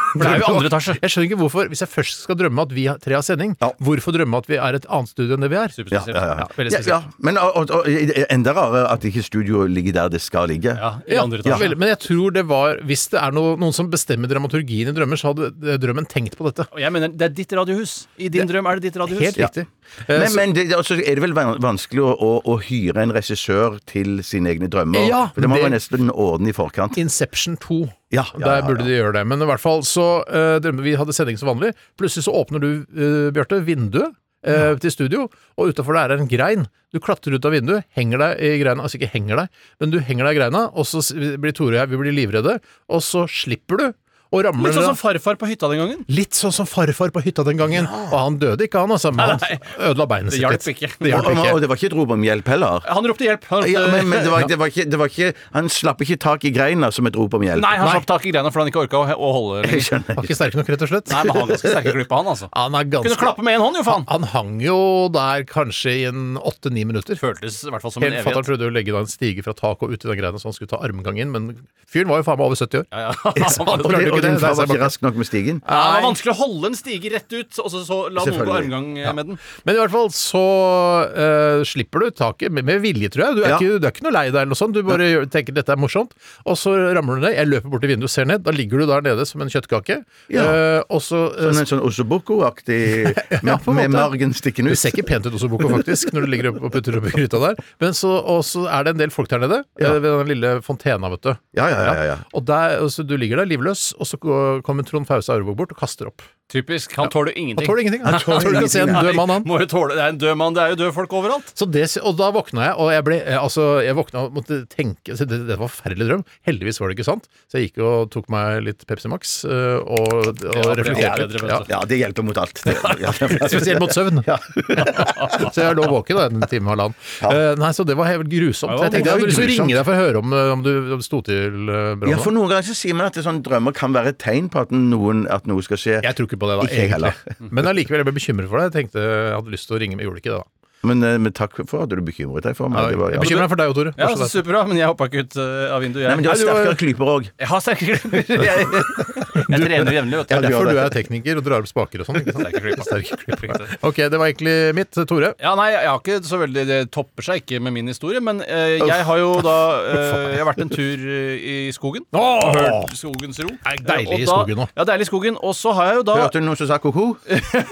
For det er jo i andre etasje.
Jeg skjønner ikke hvorfor, hvis jeg først skal drømme at vi har- tre har sending, hvorfor drømme at vi er et annet studio enn det vi er?
Ja, ja, ja.
veldig
ja,
spesielt.
ja. Men og, og, og, enda rarere at ikke studioet ligger der det skal ligge.
Ja, i
Ja,
andre etasje.
vel, men jeg tror det var Hvis det er noe, noen som bestemmer dramaturgien i drømmer, så hadde eh, drømmen tenkt på dette.
Og jeg mener, det er ditt radiohus. I din drøm er det ditt radiohus.
Helt riktig. Eh,
Men,
så-
men det, altså, er det vel van- vanskelig å, å, å hyre en regissør til sine egne drømmer?
Ja,
For det må
det-
man nesten ordne i forkant.
Inception 2.
Ja, ja,
Der
ja,
burde de gjøre det. Men i hvert fall så eh, drømmer vi hadde sending som vanlig. Plutselig så åpner du, eh, Bjarte, vinduet. eh, Til studio, og utafor der er en grein. Du klatrer ut av vinduet, henger deg i greina Altså ikke henger deg, men du henger deg i greina, og så s- blir Tore og jeg vi blir livredde, og så slipper du, og ramler
Litt sånn
ned-
som farfar på hytta den gangen.
Litt sånn som farfar på hytta den gangen. Og han døde ikke, han, altså. Men han ødela beinet
Det
sitt
hjalp
litt.
ikke.
Det hjalp
og, og, og
ikke.
det var ikke et rop om hjelp heller.
Han ropte hjelp. Han ropte,
Ja, men, men det var, det var ikke, det var ikke, han slapp ikke tak i greina som et rop om hjelp.
Nei, han slapp tak i greina fordi han ikke orka å, å
(laughs)
holde
Jeg
det lenger.
skjønner.
Var ikke sterk nok, rett og slett.
Nei, men han har ganske sterke klyper, han, altså.
Han er
Kunne
ganske
klappe med én hånd, jo, faen.
Han hang jo der kanskje i en åtte-ni minutter.
Føltes i hvert fall som en
Helt fatter'n
evighet.
prøvde å legge da en stige fra taket og ut i den greina, så han skulle ta armgang inn, men fyren var jo faen meg over 70 år.
Ja, (laughs) ja.
Og,
klarte
det,
ikke det.
og din
Der
far
ser jeg
var ikke
bare-
rask nok med stigen.
Ja, det var vanskelig å holde en stige rett ut, og så, så la noen gå
Selvfølgelig.
armgang eh, med den.
Men i hvert fall så eh, slipper du taket, med, med vilje, tror jeg. Du er,
Ja.
ikke, du er ikke noe lei deg eller noe sånt, du bare gjør- tenker dette er morsomt. Og så ramler du ned. Jeg løper bort til vinduet og ser ned. Da ligger du der nede som en kjøttkake.
Ja.
Eh, og så eh,
Sånn, en sånn
(laughs)
Osoboko-aktig, med,
på en
med
måte.
margen stikkende
Det
ut.
ser ikke pent ut også, Boko, faktisk, når du ligger opp og putter opp i gryta der. Men så, og så er det en del folk der nede,
Ja.
eh, ved den lille fontena, vet du.
Ja, ja, ja, ja, ja.
Og der, og så du ligger der livløs, og så går- kommer Trond Fause Aurvåg bort og kaster opp.
Typisk. Han tåler jo
Han
ingenting.
tåler ingenting. Han tåler ikke å se en
Nei,
død mann, han.
Må jo tåle, det er en død mann. Det er jo døde folk overalt.
Så det, og da våkna jeg, og jeg ble eh, Altså, jeg våkna og måtte tenke så det, det var en forferdelig drøm. Heldigvis var det ikke sant. Så jeg gikk og tok meg litt Pepsi Max eh, og, og
Ja, for det er
reflekterte.
bedre, vet
Ja.
du.
Ja, det hjelper mot alt. Det, ja.
Spesielt mot søvn. så jeg lå våken da en time og halvannen. Eh, nei, så det var helt grusomt.
Ja,
Jeg tenkte jeg hadde
det
lyst til å
var grusomt.
ringe deg for å høre om, eh, om du om det sto til eh, bra.
Ja,
nå.
for noen ganger så sier man at det er sånn drømmer kan være et tegn på at, noen, at noe skal skje.
Jeg tror ikke på det, da.
Ikke jeg
egentlig. Men allikevel, jeg ble bekymret for deg. Jeg tenkte jeg hadde lyst til å ringe, men jeg gjorde ikke det, da.
Men, eh, men takk for at du bekymret deg for meg. Det var,
Jeg
ja.
bekymrer meg for deg òg, Tore.
Ja,
Bare så det er sagt.
Superbra, men jeg hoppa ikke ut eh, av vinduet.
Nei, men du har
Jeg-
sterkere klyper òg.
Jeg har sterke
(laughs)
klipper. Jeg, jeg trener jevnlig, vet
Det er
du
du.
har
derfor du
det.
er tekniker og drar opp spaker og sånn. ikke sant?
Sterke klipper.
OK, det var egentlig mitt. Tore?
Ja, nei, jeg har ikke så veldig Det topper seg ikke med min historie, men eh, jeg har jo da
(laughs)
eh, Jeg har vært en tur eh, i skogen.
Åh!
Hørt skogens ro.
Det er deilig
Eh, og
i
da-
skogen nå.
Ja, deilig i skogen. Og så har jeg jo da
Hørte du noen som sa ko-ko?
(laughs)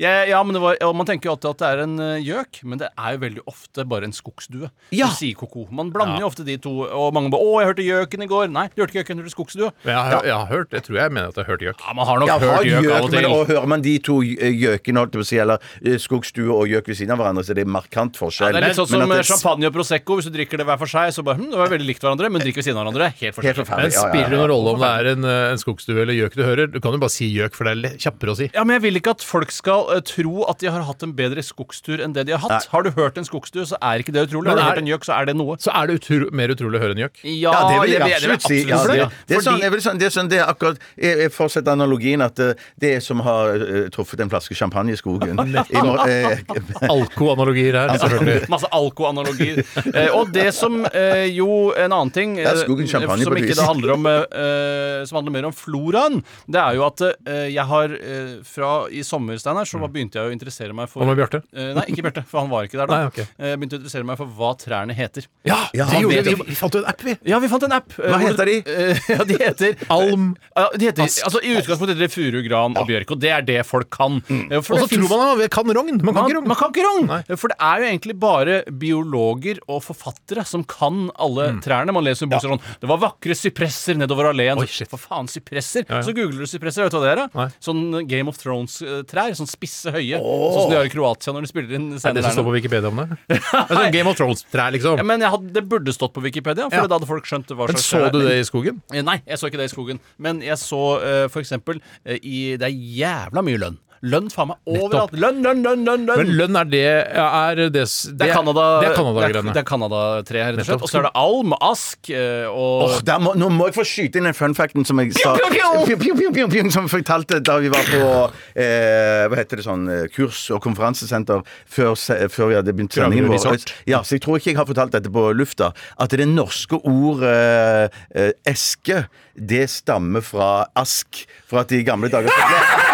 ja, ja, men det var, ja, Man tenker jo alltid at det er en eh, gjøk, men det er jo veldig ofte bare en skogsdue.
Ja.
Du sier ko-ko. Man blander jo ofte de to, og mange bare 'Å, jeg hørte gjøken i går'. Nei, du hørte ikke gjøken, du hørte skogsdue.
Men Jeg har, jeg har hørt, jeg tror jeg mener at jeg har hørt gjøk.
Ja, Man har nok
Ja, har
hørt gjøk, av
gjøk,
og til.
men og hører man de to eh, gjøkene, holdt jeg på å si, eller eh, skogstue og gjøk ved siden av hverandre, så det er markant forskjell.
Det er litt sånn
Men
som
at det-
champagne og prosecco. Hvis du drikker det hver for seg, så bare hm, det var veldig likt hverandre, men drikker ved siden av hverandre. Helt
Helt
forskjellig.
forferdelig.
Men
ja, ja,
spiller det
ja.
noen rolle om det er en, eh, en skogsdue eller gjøk du hører? Du kan jo bare si gjøk, for det er le- kjappere å si.
Ja, men Jeg vil ikke at folk skal eh, tro at de har hatt en bedre skogstur enn det de har hatt. Har du hørt en skogstur, så er ikke det utrolig.
Men
Har du
er-
hørt en gjøk, så er det noe.
Så er det utro mer utrolig å høre en gjøk.
Ja,
Ja, det vil
jeg
jeg
vil
absolutt si. Ja,
absolutt
det,
si.
det, er sånn,
Fordi-
jeg vil sånn, det er sånn, det er akkurat Jeg, jeg fortsetter analogien at eh, det er som har eh, truffet en flaske champagne i
(laughs)
skogen. I mor- eh, (laughs)
Alko-analogier her,
Altså,
selvfølgelig.
Masse alkoanalogier. (laughs) Eh, og det som eh, jo En annen ting eh,
Det er skogen champagne
som
på et
ikke
vis.
det handler om eh, eh, Som handler mer om floraen, det er jo at eh, jeg har eh, fra i sommer, Steinar, så begynte jeg å interessere meg for
Hva med Bjarte?
Eh, nei, ikke Bjarte, for han var ikke der da.
Nei, ok.
Eh, begynte å interessere meg for hva trærne heter.
Ja, det
han
gjorde
vet
vi.
jo-
Vi fant jo en app, vi.
Ja, vi fant en app. eh,
Hva heter de?
(laughs) ja, de heter
Alm.
ja, de heter, altså, I utgangspunktet heter det furu, gran og bjørk, og det er det folk kan.
Mm.
Eh, for
Og så
det finnes-
tror man man kan rogn. Man kan ikke
man,
rogn.
man kan ikke rogn!
Nei.
For det er jo egentlig bare biologer og forfattere som kan alle
Mm.
trærne. Man leser en bok sånn 'Det var vakre sypresser nedover alleen'.
Oi,
så,
shit.
for faen, sypresser!
ja.
Så googler du sypresser, vet du hva det er? da?
Nei.
Sånn Game of Thrones-trær. Sånn spisse høye. Sånn som de har i Kroatia når de spiller inn
Er
scener
det som
der.
står
nå.
på Wikipedia om det? det er sånn Game of Thrones-trær,
Ja,
liksom.
men jeg hadde, det burde stått på Wikipedia, for
Ja.
da hadde folk skjønt hva
Men
slags
så
trær
du
det er.
det i skogen?
Eh, Nei, jeg så ikke det i skogen. Men jeg så eh, for eksempel eh, i Det er jævla mye lønn. Lønn faen meg overalt. Lønn, lønn, lønn, lønn! lønn.
Men lønn er det ja, er det, s-
det er Canada,
Det er
det
Canada-greiene.
er Canada-tre, rett og slett.
Nettopp.
Og så er det alm, ask eh, og
Åh, der må, nå må jeg få skyte inn den funfacten som jeg sa
Pju, pju, pju!
Pju, pju, pju, pju, pju, Som jeg fortalte da vi var på eh, Hva heter det sånn eh, kurs- og konferansesenter før, se- før vi hadde begynt sendingen
Kragerø
vår.
Resort.
Ja, så jeg tror ikke jeg har fortalt dette på lufta. At det norske ordet eh, eske, det stammer fra ask. For at i gamle dager så ble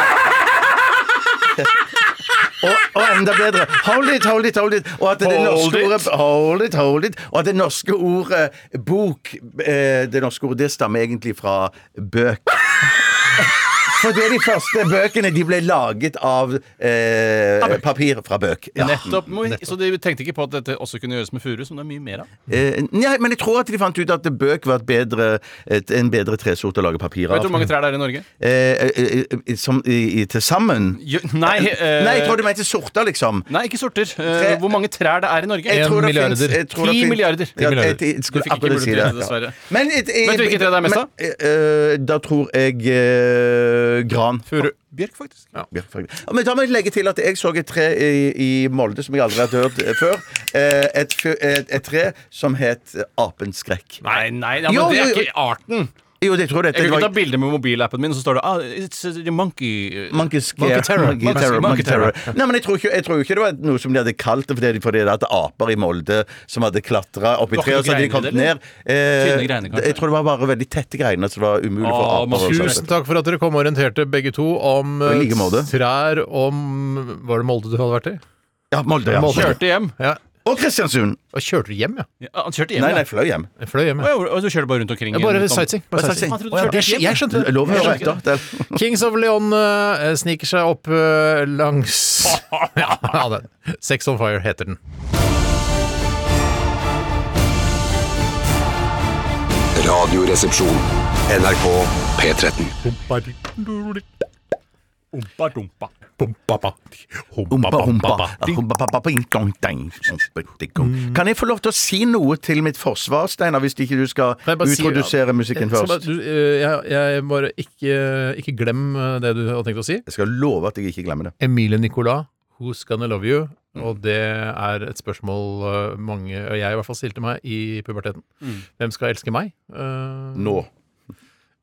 og, og enda bedre Hold it, hold it, hold it. Og at det
Hold
norske
it.
ordet Hold it, hold it. Og at det norske ordet bok eh, Det norske ordet det stammer egentlig fra bøk. For det er de første bøkene de ble laget av eh, papir fra bøk. Ja.
Nettopp. Men- Så de tenkte ikke på at dette også kunne gjøres med furu, som det er mye mer av.
Eh, nei, men jeg tror at de fant ut at bøk var et bedre, et, en bedre tresort å lage papir
Vet
av.
du hvor mange trær det er i Norge?
Eh, eh, eh, som i, i, til sammen?
(laughs) nei, eh,
Nei, jeg tror du mente sorter, liksom.
nei, ikke sorter. Eh, hvor mange trær det er i Norge?
Jeg
En
tror det
milliarder.
finnes- jeg tror det
Ti
finnes-
milliarder. Ti
Ja,
milliarder.
jeg- jeg skulle
Du fikk ikke
akkurat si
mulighet
det.
til det, dessverre.
Men, et- jeg-
Vet du hvilket tre det er mest av?
men, eh, Da tror jeg eh, gran.
Furu.
Bjørk, faktisk.
Ja, faktisk. Men da må jeg legge til at jeg så et tre i, i Molde som jeg aldri har hørt eh, før. Eh, Et, fø- et, et tre som het eh, apens skrekk.
Nei, nei, ja, men
Jo,
det er
jo, jo.
ikke arten.
Jo, det tror jeg.
Jeg
Det
kan ikke
var
ta bilde med mobilappen min, og så står det ah, It's a monkey
Monkey Scare.
Monkey Terror.
Monkey Terror.
Monkey
Monkey
Terror.
Terror. Nei, men jeg tror, ikke, jeg tror ikke det var noe som de hadde kalt det fordi, fordi det hadde aper i Molde som hadde klatra oppi
Var
treet, og
ikke
så hadde de
greiner
kommet
i det,
ned. Eh,
Tynne greiner, kanskje?
jeg tror det var bare veldig tette greiner, så det var umulig for
Å,
aper. å
men
skjønne.
Tusen takk for at dere kom og orienterte begge to om
I
eh,
like måte.
trær om Var det Molde du hadde vært i?
Ja, Molde, ja.
Molde.
Kjørte hjem.
Ja.
Og Kristiansund.
Og kjørte du hjem, ja?
Ja, han kjørte hjem.
Nei,
ja.
nei, fløy hjem.
Jeg fløy hjem,
Å,
ja.
ja, og du kjørte bare rundt omkring?
Jeg Bare
rundt om-
sightseeing. Bare
Bare
sightseeing.
sightseeing.
Å, ja, det skj- Jeg skjønte det.
Lov å høre
Jeg skjønte
etter. Det er-
Kings of Leon eh, sniker seg opp eh, langs (laughs) ja, ja, den. Sex on Fire heter den.
Radioresepsjon. NRK P13.
Ompa, dumpa.
Humpa, humpa. Humpa, pappa, ding, dong, ding. Humpa, ding, dong. Kan jeg få lov til å si noe til mitt forsvar, Steinar, hvis ikke du skal
Kan jeg bare si-
utrodusere musikken
Jeg skal bare-
først?
du, eh, jeg, jeg bare ikke, ikke glem eh, det du hadde tenkt å si.
Jeg skal love at jeg ikke glemmer det.
Emilie Nicolas, Who's Gonna Love You? Og det er et spørsmål eh, mange, og jeg i hvert fall, stilte meg i puberteten. Hvem skal elske meg? Eh,
Mm. Nå.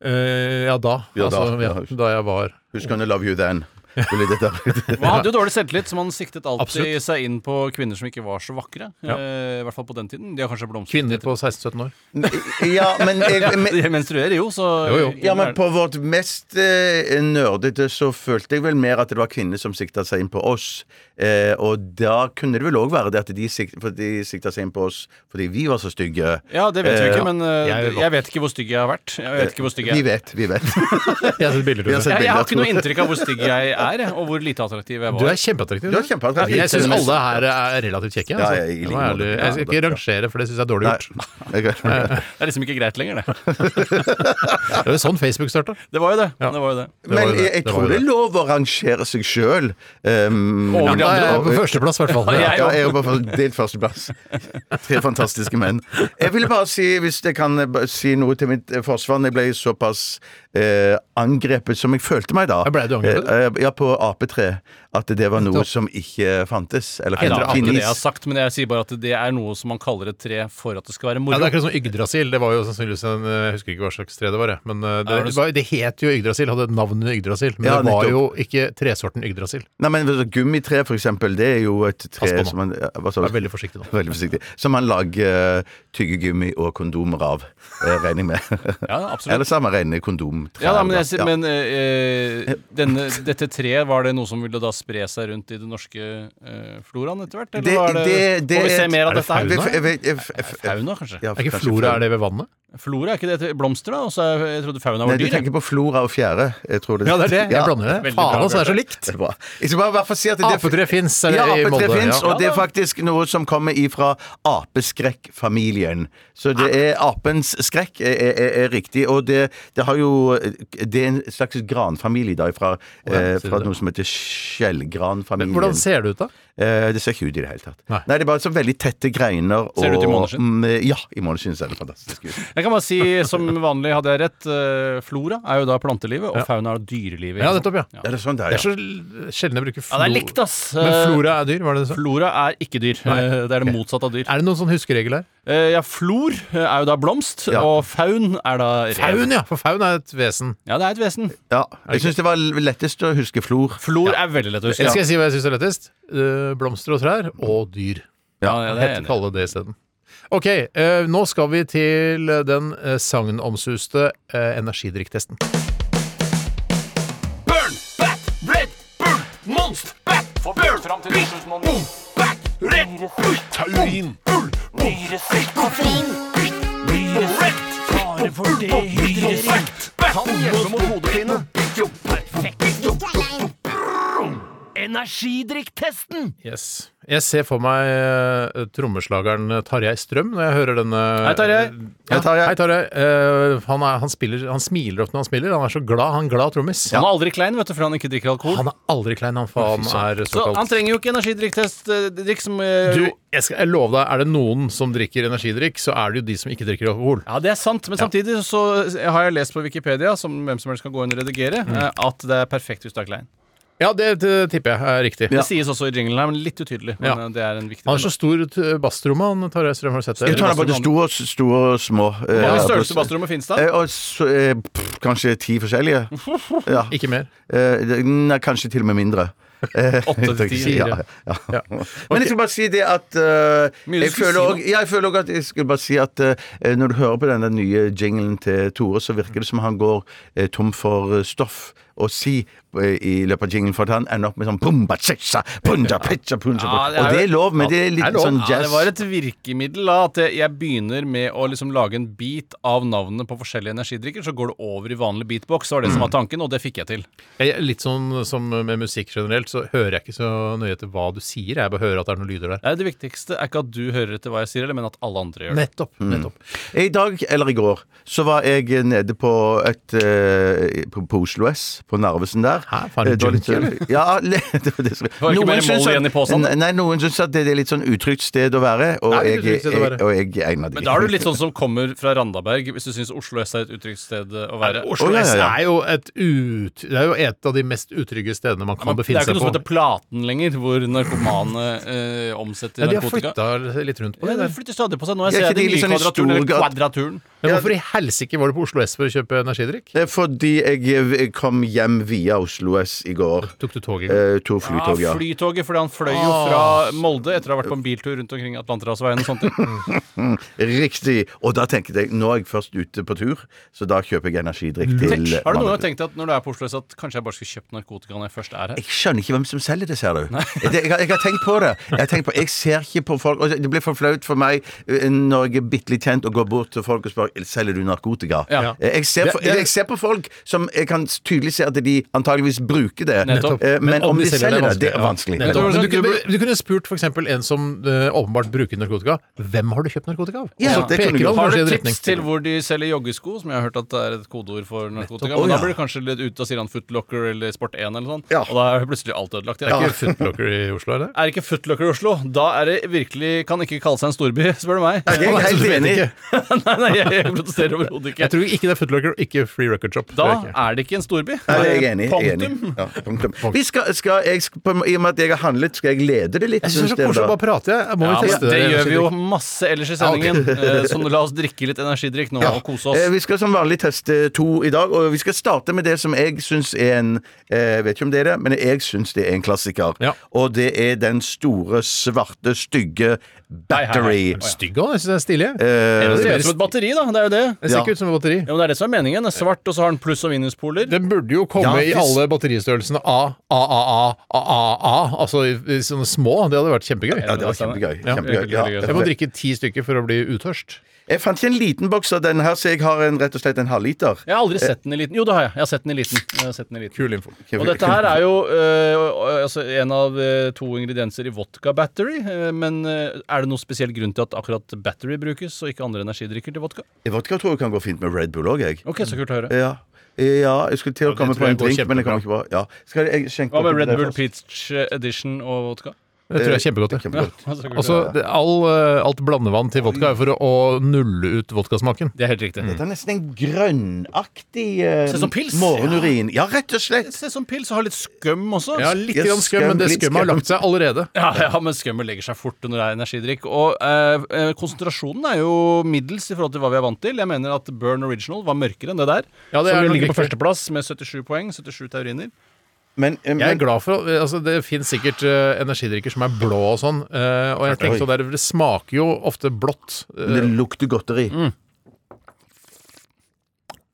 eh, ja, da.
Ja, da.
altså, ja, da jeg var
Who's gonna love you then? Skulle dette
Men Han hadde jo dårlig selvtillit, så man siktet alltid
Absolutt.
seg inn på kvinner som ikke var så vakre. eh, I hvert fall på den tiden. De har kanskje blomstret.
Kvinner på 16-17 år.
Ja, men,
ja,
jeg, men
De menstruerer jo, så
Jo, jo.
ja, men på vårt mest eh, nerdete så følte jeg vel mer at det var kvinner som sikta seg inn på oss. Eh, og da kunne det vel òg være det at de, sikt, for de sikta seg inn på oss fordi vi var så stygge.
Ja, det vet vi ikke, men eh,
Jeg er jo
jeg vet ikke hvor stygg jeg har vært. Jeg vet ikke hvor stygg jeg
Vi
er.
vet, vi
(laughs)
vet.
Jeg har sett bilder
Vi har
av
sett
det.
Jeg, jeg
bilder,
har ikke noe
tror jeg.
inntrykk av hvor stygg jeg er, og hvor lite attraktiv jeg
Du
var.
er kjeempeattraktiv.
Du er kjempeattraktiv.
Jeg syns alle her er relativt kjekke.
Ja,
Altså.
jeg- jeg
Jeg,
liker
må ærlig-
det.
jeg skal
Ja,
ikke
det-
rangere, for det syns jeg er dårlig
Nei.
gjort.
Jeg-
Det er liksom ikke greit lenger, det.
Det var jo sånn Facebook starta.
Det var jo det.
Ja.
det, var jo det.
Det var
Men
jo det.
jeg,
Det
jeg
var jo
tror det er
det.
lov å rangere seg eh, sjøl.
Over de
Da er jeg
andre.
på førsteplass, i hvert fall.
Ja,
Ja.
jeg-
Ja, jeg er på delt førsteplass. Tre fantastiske menn. Jeg ville bare si, hvis jeg kan eh, bare si noe til mitt eh, forsvar når Jeg ble såpass eh, angrepet som jeg følte meg da.
Ja, ble du angrepet?
Eh, eh, ja, på Ap3. At det var noe som ikke fantes. Eller
Nei, det er ikke det jeg har
finnes.
sagt, men jeg sier bare at det er noe som man kaller et tre for at det skal være
Ja,
moro.
det er akkurat som Yggdrasil. Det var jo sannsynligvis en eh, Jeg husker ikke hva slags tre det var, jeg. Men eh, det,
Ja, det-
det, var, det het jo Yggdrasil, hadde navnet Yggdrasil. Men
Ja,
det var
nettopp.
jo ikke tresorten Yggdrasil.
Nei, men altså, Gummitre, for eksempel, det er jo et tre
Pass på nå.
som man ja, hva sa du?
Vær veldig forsiktig nå.
Veldig forsiktig. Som man lager eh, tyggegummi og kondomer av, eh, regner jeg med.
Ja, absolutt.
Eller så har man rene kondomtrær.
Ja, da, men,
da.
jeg,
Ja.
sier- men eh, eh,
(laughs)
denne, dette treet, var det noe som ville da spre seg rundt i den norske eh, floraen etter hvert? Eller
Det-
var det,
det- det
Får vi
er
se
et-
mer
Er
av
det
dette her?
fauna?
Jeg vet- jeg- jeg-
Fauna, kanskje?
ja,
Er ikke
kanskje
flora er det ved vannet?
Flora, er ikke det et blomster, da? Og så er- jeg trodde fauna
Nei,
var
du
dyr.
tenker på flora og fjære. Jeg tror det.
Ja, det er det.
Ja.
Jeg blander det.
Veldig bra,
Faen altså, det er så likt!
Det er bra. Jeg skal bare i hvert fall si at det
Apetre fins i
Ja, apetre
Molde.
fins,
ja.
og det er faktisk noe som kommer ifra apeskrekkfamilien. Så det er apens skrekk er, er, er, er riktig, og det, det har jo Det er en slags granfamilie da, fra, eh,
sier du
fra
det?
noe som heter skjellgranfamilien.
Hvordan ser det ut, da?
Eh, det ser ikke ut i det hele tatt. Nei,
Nei.
det er bare så veldig tette greiner.
Ser det ut i
og-
måneskinn?
Mm, ja, i måneskinn ser det fantastisk ut.
Jeg kan bare si,
(laughs)
som vanlig hadde jeg rett, eh, flora er jo da plantelivet, og fauna er dyrelivet.
Ja, nettopp, ja.
Ja, det er sånn det er,
Det er
ja.
så l- sjelden jeg bruker
Ja,
flo...
det er likt, altså. ass. Eh,
Men flora er dyr, var det det du sa?
Flora er ikke dyr. Eh, Det er det motsatte av dyr.
Er det noen sånn huskeregel her?
Eh, Ja, flor er jo da blomst,
Ja.
og faun er da rev.
Faun, ja! For faun er et vesen.
Ja, det er et vesen.
ja. Jeg syns det var lettest å huske flor.
Flor er veldig lett å huske.
Jeg skal si hva jeg syns er lettest. Eh, Blomster og trær og dyr.
Ja, ja, det er jeg
Het-
enig i.
Kalle det isteden. Ok, eh, nå skal vi til den eh, sagnomsuste eh, energidrikktesten.
Burn, bat, red, burn, monster, bat, burn, fram til 2009. Boom, bat, red, burn, taurin, bull, nyresekk, koffein, nyrett, fare for dehydrering, kan hjelpe mot hodepine. Energidrikktesten!
Yes. Jeg ser for meg eh, trommeslageren Tarjei Strøm når jeg hører denne
Hei, Tarjei.
Ja,
Hei, Tarjei.
hei, Tarjei. Eh, han, er, han, spiller, han smiler ofte når han spiller. Han er så glad. Han er glad trommis.
Han er aldri klein, vet du, for han ikke drikker alkohol.
Han er aldri klein, han, for han er
Så
såkalt
han trenger jo ikke energidrikktest. eh, Drikk som eh,
Du, jeg, skal, jeg lover deg, er det noen som drikker energidrikk, så er det jo de som ikke drikker alkohol.
Ja, det er sant, men samtidig så eh, har jeg lest på Wikipedia, som hvem som helst kan gå inn og redigere,
Mm.
eh, at det er perfekt hvis du er klein.
Ja, det, det tipper jeg er riktig.
Det sies også i jinglen her, men litt utydelig. Men
Ja.
eh, det er en viktig
Han er så stor t- basstromme, han Tarjei Strøm, har du sett det?
Jeg tror det er både store og, store og små. eh,
Hvor mange
ja,
størrelser
på-
bassrommet finnes det?
Eh, og så, eh, pff, kanskje ti forskjellige. Ja.
Ikke mer.
Eh, det- nei, kanskje til og med mindre. Eh,
Åtte til
jeg
ti.
si, ja,
fire.
ja. (laughs) Men jeg skal bare si det at eh,
Mye du
jeg,
skulle
føler
si
også, ja, jeg føler også at jeg skulle bare si at eh, når du hører på denne nye jinglen til Tore, så virker det som han går eh, tom for eh, stoff å si eh, i løpet av jinglen, for at han ender opp med sånn pumba, tjeksa, punja, pitcha, punja,
Ja, det er
Og det er
jo-
lov, men det er litt
det er lov.
sånn
Ja,
jazz.
det var et virkemiddel da, at jeg begynner med å liksom lage en bit av navnene på forskjellige energidrikker, så går det over i vanlig beatbox, var
Mm.
det som var tanken, og det fikk jeg til.
Jeg, litt sånn som med musikk generelt, så hører jeg ikke så nøye etter hva du sier. Jeg bare hører at det er noen lyder der.
Nei, Det viktigste er ikke at du hører etter hva jeg sier, eller, men at alle andre
Mm.
gjør det.
Nettopp. nettopp.
I dag, eller i går, så var jeg nede på et eh, på, på Oslo S, på Narvesen der.
Hæ? Faen,
Eh, det var
junkie,
litt-
eller?
Ja, (laughs) le- det var det som
var ikke
Noen
mer Molly
syns at-
igjen i posen?
Nei, Nei, noen syns at det er litt sånn utrygt sted å være, og
Nei, det er
jeg,
et utrygt sted å være.
jeg, og jeg er en av de.
Men da er du litt sånn som kommer fra Randaberg, hvis du syns Oslo S er et utrygt sted å være.
Oslo
Å, ja, ja,
S
ja.
er jo et ut... Det er jo et av de mest utrygge stedene man kan
det er
befinne
jo ikke
seg
noe som
på.
heter Platen lenger, hvor narkomane eh,
Ja,
omsetter
de har
narkotika.
flytta litt rundt på
Ja,
det.
de
Der.
flytter stadig på seg. Nå
Ja,
jeg ser
ikke
jeg den
de
nye
liksom i
kvadraturen. eller
Storgat-
kvadraturen.
Men hvorfor i helsike var du på Oslo S for å kjøpe energidrikk?
Eh, Fordi jeg eh, kom hjem via Oslo S i går.
Tok du toget? i går?
Eh, to flytog, ja.
Ja, Ah, flytoget, fordi han fløy jo fra Molde etter å ha vært på en biltur rundt omkring Atlanterhavsveien og sånt.
Riktig. Og da tenkte jeg nå er jeg først ute på tur, så da kjøper jeg energidrikk til
Tenk, Har du noen gang
mannen.
tenkt at når du er på Oslo S at kanskje jeg bare skal kjøpe narkotika når jeg først er her?
Jeg skjønner ikke hvem som selger det, ser du. Det, jeg, har- jeg har tenkt på det. Jeg, har tenkt på, jeg ser ikke på folk og Det blir for flaut for meg eh, når jeg er bitte litt kjent og går bort til folk og spør selger du narkotika. Eh,
Ja.
Jeg, ser for,
Det- det-
jeg ser på folk som jeg kan tydelig se at de antageligvis bruker det,
Nettopp.
Eh, men, om de selger det, det er
ja.
vanskelig.
Nettopp.
Det var
Men du,
sånn-
kunne, du kunne spurt f.eks. en som eh, åpenbart bruker narkotika. Hvem har du kjøpt narkotika av? Og
Ja,
så
det kunne
peker
du.
han
Har
Har
kanskje i
du
en
tips
retning.
til hvor de selger joggesko, som jeg har hørt at det er et kodeord for narkotika?
Å, ja.
Men da blir det kanskje litt ut, da sier han Footlocker eller Sport 1 eller sånn,
Ja.
og da er plutselig alt ødelagt.
Det
Ja.
er ikke footblocker i Oslo, er det?
Er ikke Footlocker i Oslo, da er det virkelig Kan ikke kalle seg en storby, (laughs) spør du meg.
(laughs) Jeg er
Nei, så du
helt
vet
enig.
ikke.
(laughs) nei, nei, jeg, jeg protesterer overhodet ikke.
Jeg tror ikke det er footlocker og ikke free record shop.
Da
Det er ikke.
er det ikke en storby.
Nei, det er jeg enig i. Jeg er enig.
Punktum.
Ja, punktum. Vi skal, skal jeg, på, I og med at jeg har handlet, skal jeg lede det litt.
Jeg synes det
synes
er så
dere
koselig
da?
å bare prate. Jeg må
Ja,
jo
men
teste
det gjør vi jo
energidrikk.
masse ellers i sendingen, (laughs) eh, så nå la oss drikke litt energidrikk nå og kose
Eh,
oss.
Vi skal som vanlig teste to i dag, og vi skal starte med det som jeg syns er en eh, Vet ikke om det er det, men jeg syns det er en klassiker.
Ja.
Og det er den store, svarte, stygge Battery.
Stygg òg, jeg synes det er
Eh,
stilig.
Det
det
ser ut
ser
som et batteri, da. Det er jo det.
Det ser
Ja.
ikke ut som et batteri.
Ja, men det er det som er meningen. Det er svart, og så har den pluss- og minuspoler.
Den burde jo komme
Ja,
i
hvis-
alle batteristørrelsene A, A, A, A, A, A, A. Altså i, i sånne små. Det hadde vært kjempegøy.
Ja, det var kjempegøy.
Ja.
kjempegøy. Ja.
Veldig gøy.
Jeg må drikke ti stykker for å bli utørst.
Jeg fant ikke en liten boks av den her, så jeg har en, rett og slett en halvliter.
Jeg har aldri sett den i liten. Jo, det har jeg. Jeg har sett den i liten. Jeg har sett den i liten.
Kul info.
Og dette her er jo øh, altså en av øh, to ingredienser i vodka battery. øh, men øh, er det noen spesiell grunn til at akkurat battery brukes, og ikke andre energidrikker til vodka?
Vodka tror jeg kan gå fint med Red Bull òg, jeg.
Ok, så kult å høre.
Ja. ja, jeg skulle til å
det
komme
tror jeg
på en
går
drink, men
kjempebra.
jeg kommer ikke på ja. Skal jeg skjenke
Hva med
opp
Red
det
Bull
først?
Peach eh, Edition og vodka? (laughs)
Det tror jeg er kjempegodt. det.
Kjempegodt.
Ja, så kult å
Altså,
høre.
det, all, eh, alt blandevann til vodka er for å, å nulle ut vodkasmaken.
det er helt riktig.
Det er nesten en grønnaktig eh,
Ser ut som pils.
morgenurin. Ja, rett og slett.
Se som pils, og har litt skum også.
Ja, litt
Yes,
grann skum, men det
litt
skummet har
skum.
lagt seg allerede.
Ja, ja, men skummet legger seg fort når det er energidrikk. Og eh, eh, konsentrasjonen er jo middels i forhold til hva vi er vant til. Jeg mener at Burn Original var mørkere enn det der.
Ja, det er
som
nok
ligger på
riktig.
førsteplass med 77 poeng. 77 tauriner.
Men, eh,
Jeg er
men
glad for altså Det fins sikkert eh, energidrikker som er blå og sånn, eh, og jeg tenkte sånn der, det smaker jo ofte blått. eh,
det lukter godteri.
Mm.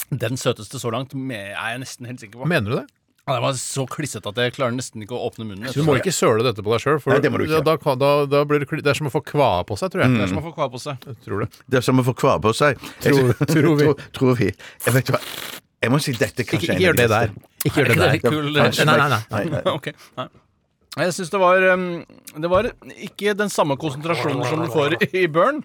Den søteste så langt med, er jeg nesten helt sikker på.
Mener du det?
Ja, den var så klissete at jeg klarer nesten ikke å åpne munnen.
Du må ikke søle dette på deg sjøl, for
Nei, det må du ikke. Mm.
da- Da, kan- da, da blir det, kli- det er som å få kvae på seg, tror jeg.
Det er som å få kvar på seg.
Mm. Jeg
(laughs)
tror det.
Det er som å få kvar på seg.
Tror- tror vi.
tror, tror vi. Jeg vet hva Jeg må si dette
Ikke,
kanskje
ikke gjør det der. Ikke gjør det
Er
der.
ikke det litt kul-
Nei, nei, nei.
Ok, nei. Jeg syns det var um, Det var ikke den samme konsentrasjonen som du får i Burn.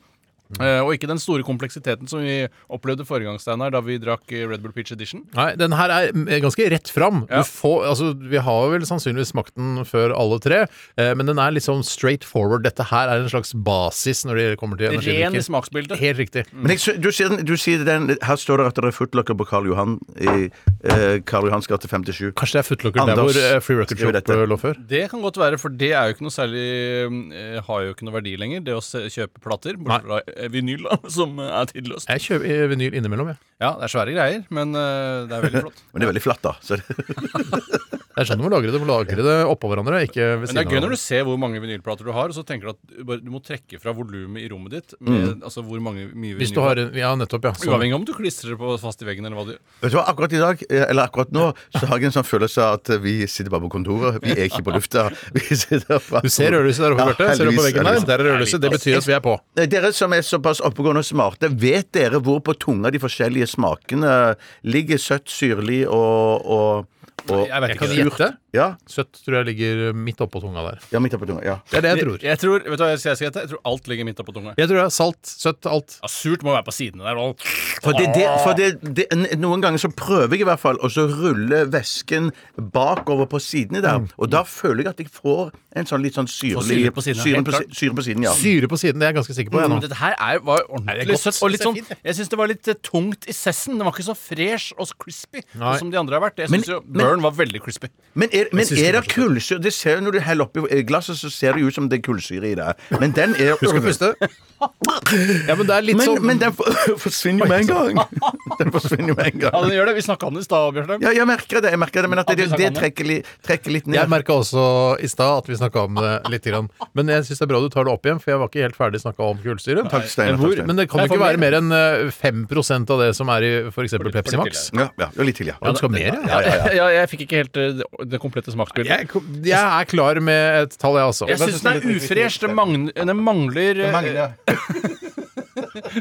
eh, Og ikke den store kompleksiteten som vi opplevde forrige gang, Steinar, da vi drakk eh, Red Bull Peach Edition.
Nei, den her er mm, ganske rett fram.
Ja.
Du får, altså, vi har vel sannsynligvis smakt den før alle tre, eh, men den er litt sånn straight forward. Dette her er en slags basis når det kommer til
Ren i
energidrikker.
smaksbildet.
Helt riktig.
Men jeg, sy- du, sier, den- du sier den Her står det at det er footlocker på Karl Johan i eh, Karl Johans gate 57.
Kanskje det er footlocker der
Anders,
hvor eh, Free Record Shop
skriver dette.
eh, lå før?
Det kan godt være, for det er jo ikke noe særlig eh, Har jo ikke noe verdi lenger, det å se, kjøpe plater. Bortsett fra eh, vinyl, da, (laughs) som eh, er tidløst.
Jeg kjøper eh, vinyl innimellom, jeg.
Ja, det er svære greier, men eh, det er veldig flott.
Men det er veldig flatt, da. Så det,
Det er sånn du må lagre det. Du må lagre det oppå hverandre, ikke ved
(laughs) Men det
siden
er
av
gøy når
hverandre.
du ser hvor mange vinylplater du har, og så tenker du at du, bare, du må trekke fra volumet i rommet ditt.
Mm.
Med, Altså hvor mange, mye
Hvis du har en, Ja, nettopp, ja. Så,
Uavhengig om du klistrer det på fast i veggen eller hva du gjør.
vet du hva, akkurat i dag, eh, eller akkurat nå, så har jeg en sånn følelse av at vi sitter bare på kontoret. Vi er ikke på lufta. (laughs) Vi sitter bare
du ser rødlyset der oppe,
Ja,
Bjarte. Ser du på
heldigvis, sånn.
veggen der?
heldigvis.
Der er rødlyset. Det betyr at vi er på.
Nei, Dere som er såpass oppegående og smarte, vet dere hvor på tunga de forskjellige smakene ligger? Søtt, syrlig og, og, og
Jeg vet ikke
surt?
hva det er.
Ja,
Søtt tror jeg ligger eh, midt oppå tunga der.
ja, midt oppå tunga. Ja.
Det er det jeg tror.
Jeg tror, vet du hva jeg skal hete? Jeg tror alt ligger midt oppå tunga.
Jeg tror det er salt, søtt, alt.
Ja, surt må være på sidene der. Og...
For, det, det, for det, det, n- noen ganger så prøver jeg i hvert fall å så rulle væsken bakover på sidene
Mm.
der. Og da føler jeg at jeg får en sånn litt sånn
Får
syrlig
syre på siden, ja,
syre
helt
på,
klart.
si- syre på siden, ja.
Syre på siden, det er jeg ganske sikker på. Jeg,
Men
nå.
dette her er, var
det er
ordentlig
godt.
søtt. Og litt
Det er
sånn,
fint, det.
jeg syns det var litt eh, tungt i sessen. Den var ikke så fresh og så crispy
Nei.
sånn som de andre har vært. Jeg
Men-
syns jo
men-
Burn var veldig crispy.
Men er, men
synes det
er det
var så søtt.
kullsyre? Det ser, jo når du heller oppi glasset, så ser det jo ut som det er kullsyre i det. Men den er
Husk å puste. Ja, men det er litt
Men,
sånn
(laughs)
(laughs)
men den for- forsvinner jo med en gang. Den forsvinner jo med en
Ja,
gang.
den gjør det. Vi snakka om det i stad, Bjørnheim.
Ja, jeg merker det, jeg merker det men at det,
At vi
det
snakker om
trekker, li, trekker litt
Jeg
ned.
merka også i stad at vi snakka om det litt. Grann. Men jeg syns det er bra du tar det opp igjen, for jeg var ikke helt ferdig snakka om kullsyre.
Takk, Steinar.
Hvor-
Takk, Steinar.
Men det kan
Jeg
jo ikke
får
være mer enn eh, 5 av det som er i f.eks. Pepsi Max.
Ja, ja, og litt til, ja.
Ja, du skal ha mer, ja.
Ja, jeg fikk ikke helt eh, det- det komplette smaksbildet.
Jeg, jeg er klar med et tall, jeg altså. også.
Jeg syns den er ufresh. Den mangler, den mangler, eh,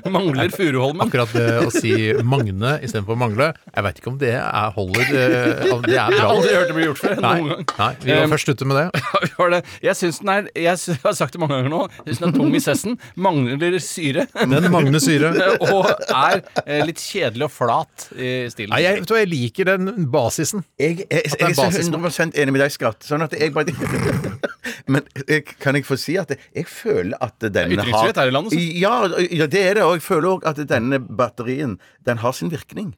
mangler Furuholmen.
Akkurat det å si Magne istedenfor Mangle. Jeg veit ikke om det er holder eh, om Det er
Jeg har
bra.
aldri hørt det bli gjort før.
Nei,
Noen gang. (laughs)
nei, vi
Eh,
må først slutte med det.
Ja, vi har det. Jeg syns den er jeg, sy- jeg har sagt det mange ganger nå. Jeg syns den er tung i cessen, mangler syre (laughs)
Den Magne (laughs) Syre.
og er eh, litt kjedelig og flat i stilen.
Nei, jeg, vet du hva, jeg liker den basisen.
Jeg, jeg, jeg,
er
er så
basis, da.
100 enig med deg, Skatt. Sånn at jeg bare (laughs) Men jeg, kan jeg få si at jeg føler at denne har
Ytringsfrihet her i landet, så.
Ja, ja, det er det. Og jeg føler òg at denne batterien, den har sin virkning.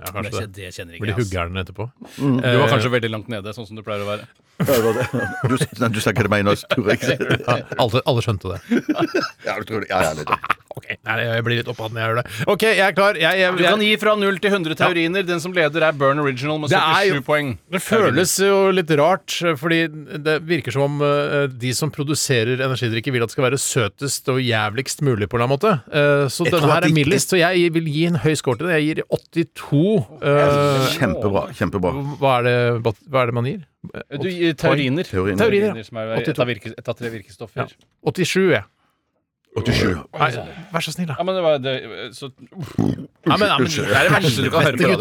Ja, kanskje det.
kjenner altså.
Blir huggeren etterpå.
Du var kanskje veldig langt nede, sånn som Eh, du pleier å være.
Du, nei, du snakker til meg nå, tror jeg ikke.
Ja, alle, alle skjønte det.
Ja, du tror det. Ja, ja, litt.
Ok, Nei, jeg blir litt opphatt når jeg gjør det. OK, jeg er klar. Jeg, jeg,
Du kan
jeg,
gi fra 0 til 100 teoriner. Den som leder, er Burn Original med
Det er jo-
77 poeng.
det føles jo litt rart, fordi det virker som om eh, de som produserer energidrikker, vil at det skal være søtest og jævligst mulig, på en eller annen måte. Eh, Så
Jeg
denne
tror at
her er
de-
mildest, så jeg vil gi en høy score til det. Jeg gir 82. eh,
Kjempebra. Kjempebra.
Hva er, det, hva er det man gir?
Du, gir teoriner.
Teorien.
Teoriner, ja.
Som er et av, virke, et av tre virkestoffer.
Ja. 87, jeg.
87.
Nei, vær så snill, da.
Ja, men det var det, så,
Nei, men, nei, men, det er det verste du kan høre på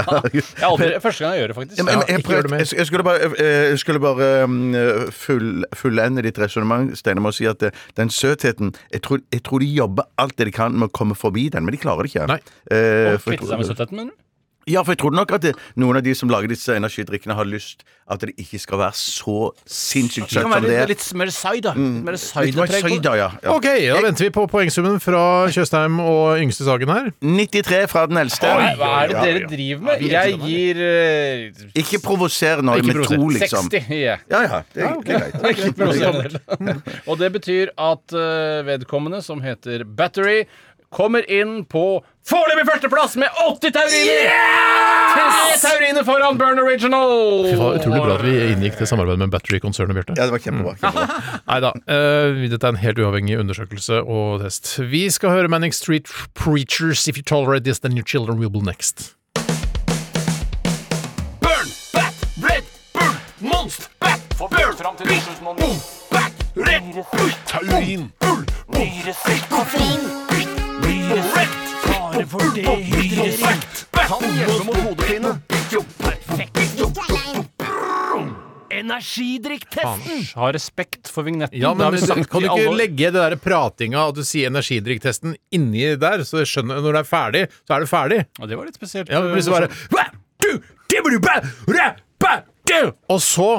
radio.
jeg aldri, Første gang jeg gjør det, faktisk.
Ja, men,
Ja,
jeg, jeg,
ikke gjør det mer.
jeg, jeg skulle bare, eh, jeg skulle bare mm, full, fullende ditt resonnement, Steinar, med å si at eh, den søtheten jeg tror, jeg tror de jobber alt det de kan med å komme forbi den, men de klarer det ikke.
Nei.
Eh,
Og
for jeg
Kvitte seg med
tror-
søtheten, mener du?
ja, for jeg tror nok at det, noen av de som lager disse energidrikkene, har lyst at det ikke skal være så sinnssykt
Det
søtt
kan
som det
være
er.
litt mer saida.
Mm.
Litt
Litt
mer
mer
saida-preg på det.
søyda, ja. ja.
Ok, da venter vi på poengsummen fra Tjøstheim og yngste Sagen her.
93 fra den eldste.
Nei, Hva er det
Ja, ja.
dere driver med? Jeg gir eh,
Ikke provoser nå
Ikke
med to,
provoser. Ah,
liksom.
60. Ja.
Ja, ja. Det, er- det er greit.
Og det (laughs) betyr at eh, vedkommende, som heter Battery, kommer inn på foreløpig førsteplass med 80 tauriner! Tre tauriner foran Burn Original!
Fy faen, utrolig bra at vi inngikk til samarbeid med Battery-konsernet, Bjarte.
Ja, det var
(laughs)
kjempebra. kjempebra.
Nei da. eh, dette er en helt uavhengig undersøkelse og test. Vi skal høre Manning Street Preachers. If you tolerate this, then your children will be next.
Burn, bat, red, burn, monst, bat, for burn fram til 2000 Boom, bat, red, ut, taurin, bull, nyresekk, koffein, ut, nyrett, bare for det nyrett, kan hjelpe mot hodepine. Energidrikktesten!
Ha respekt for vignetten.
Ja,
Det har
men
vi
Kan
sagt
du
i alle
ikke
år.
legge det der pratinga at du sier energidrikktesten inni der, så jeg skjønner når det er ferdig, så er det ferdig?
Ja, Det var litt spesielt. eh, sånn.
Ja, men plutselig bare "Hva? Du, det blir du bæ- ræ- bæ- du!" Og så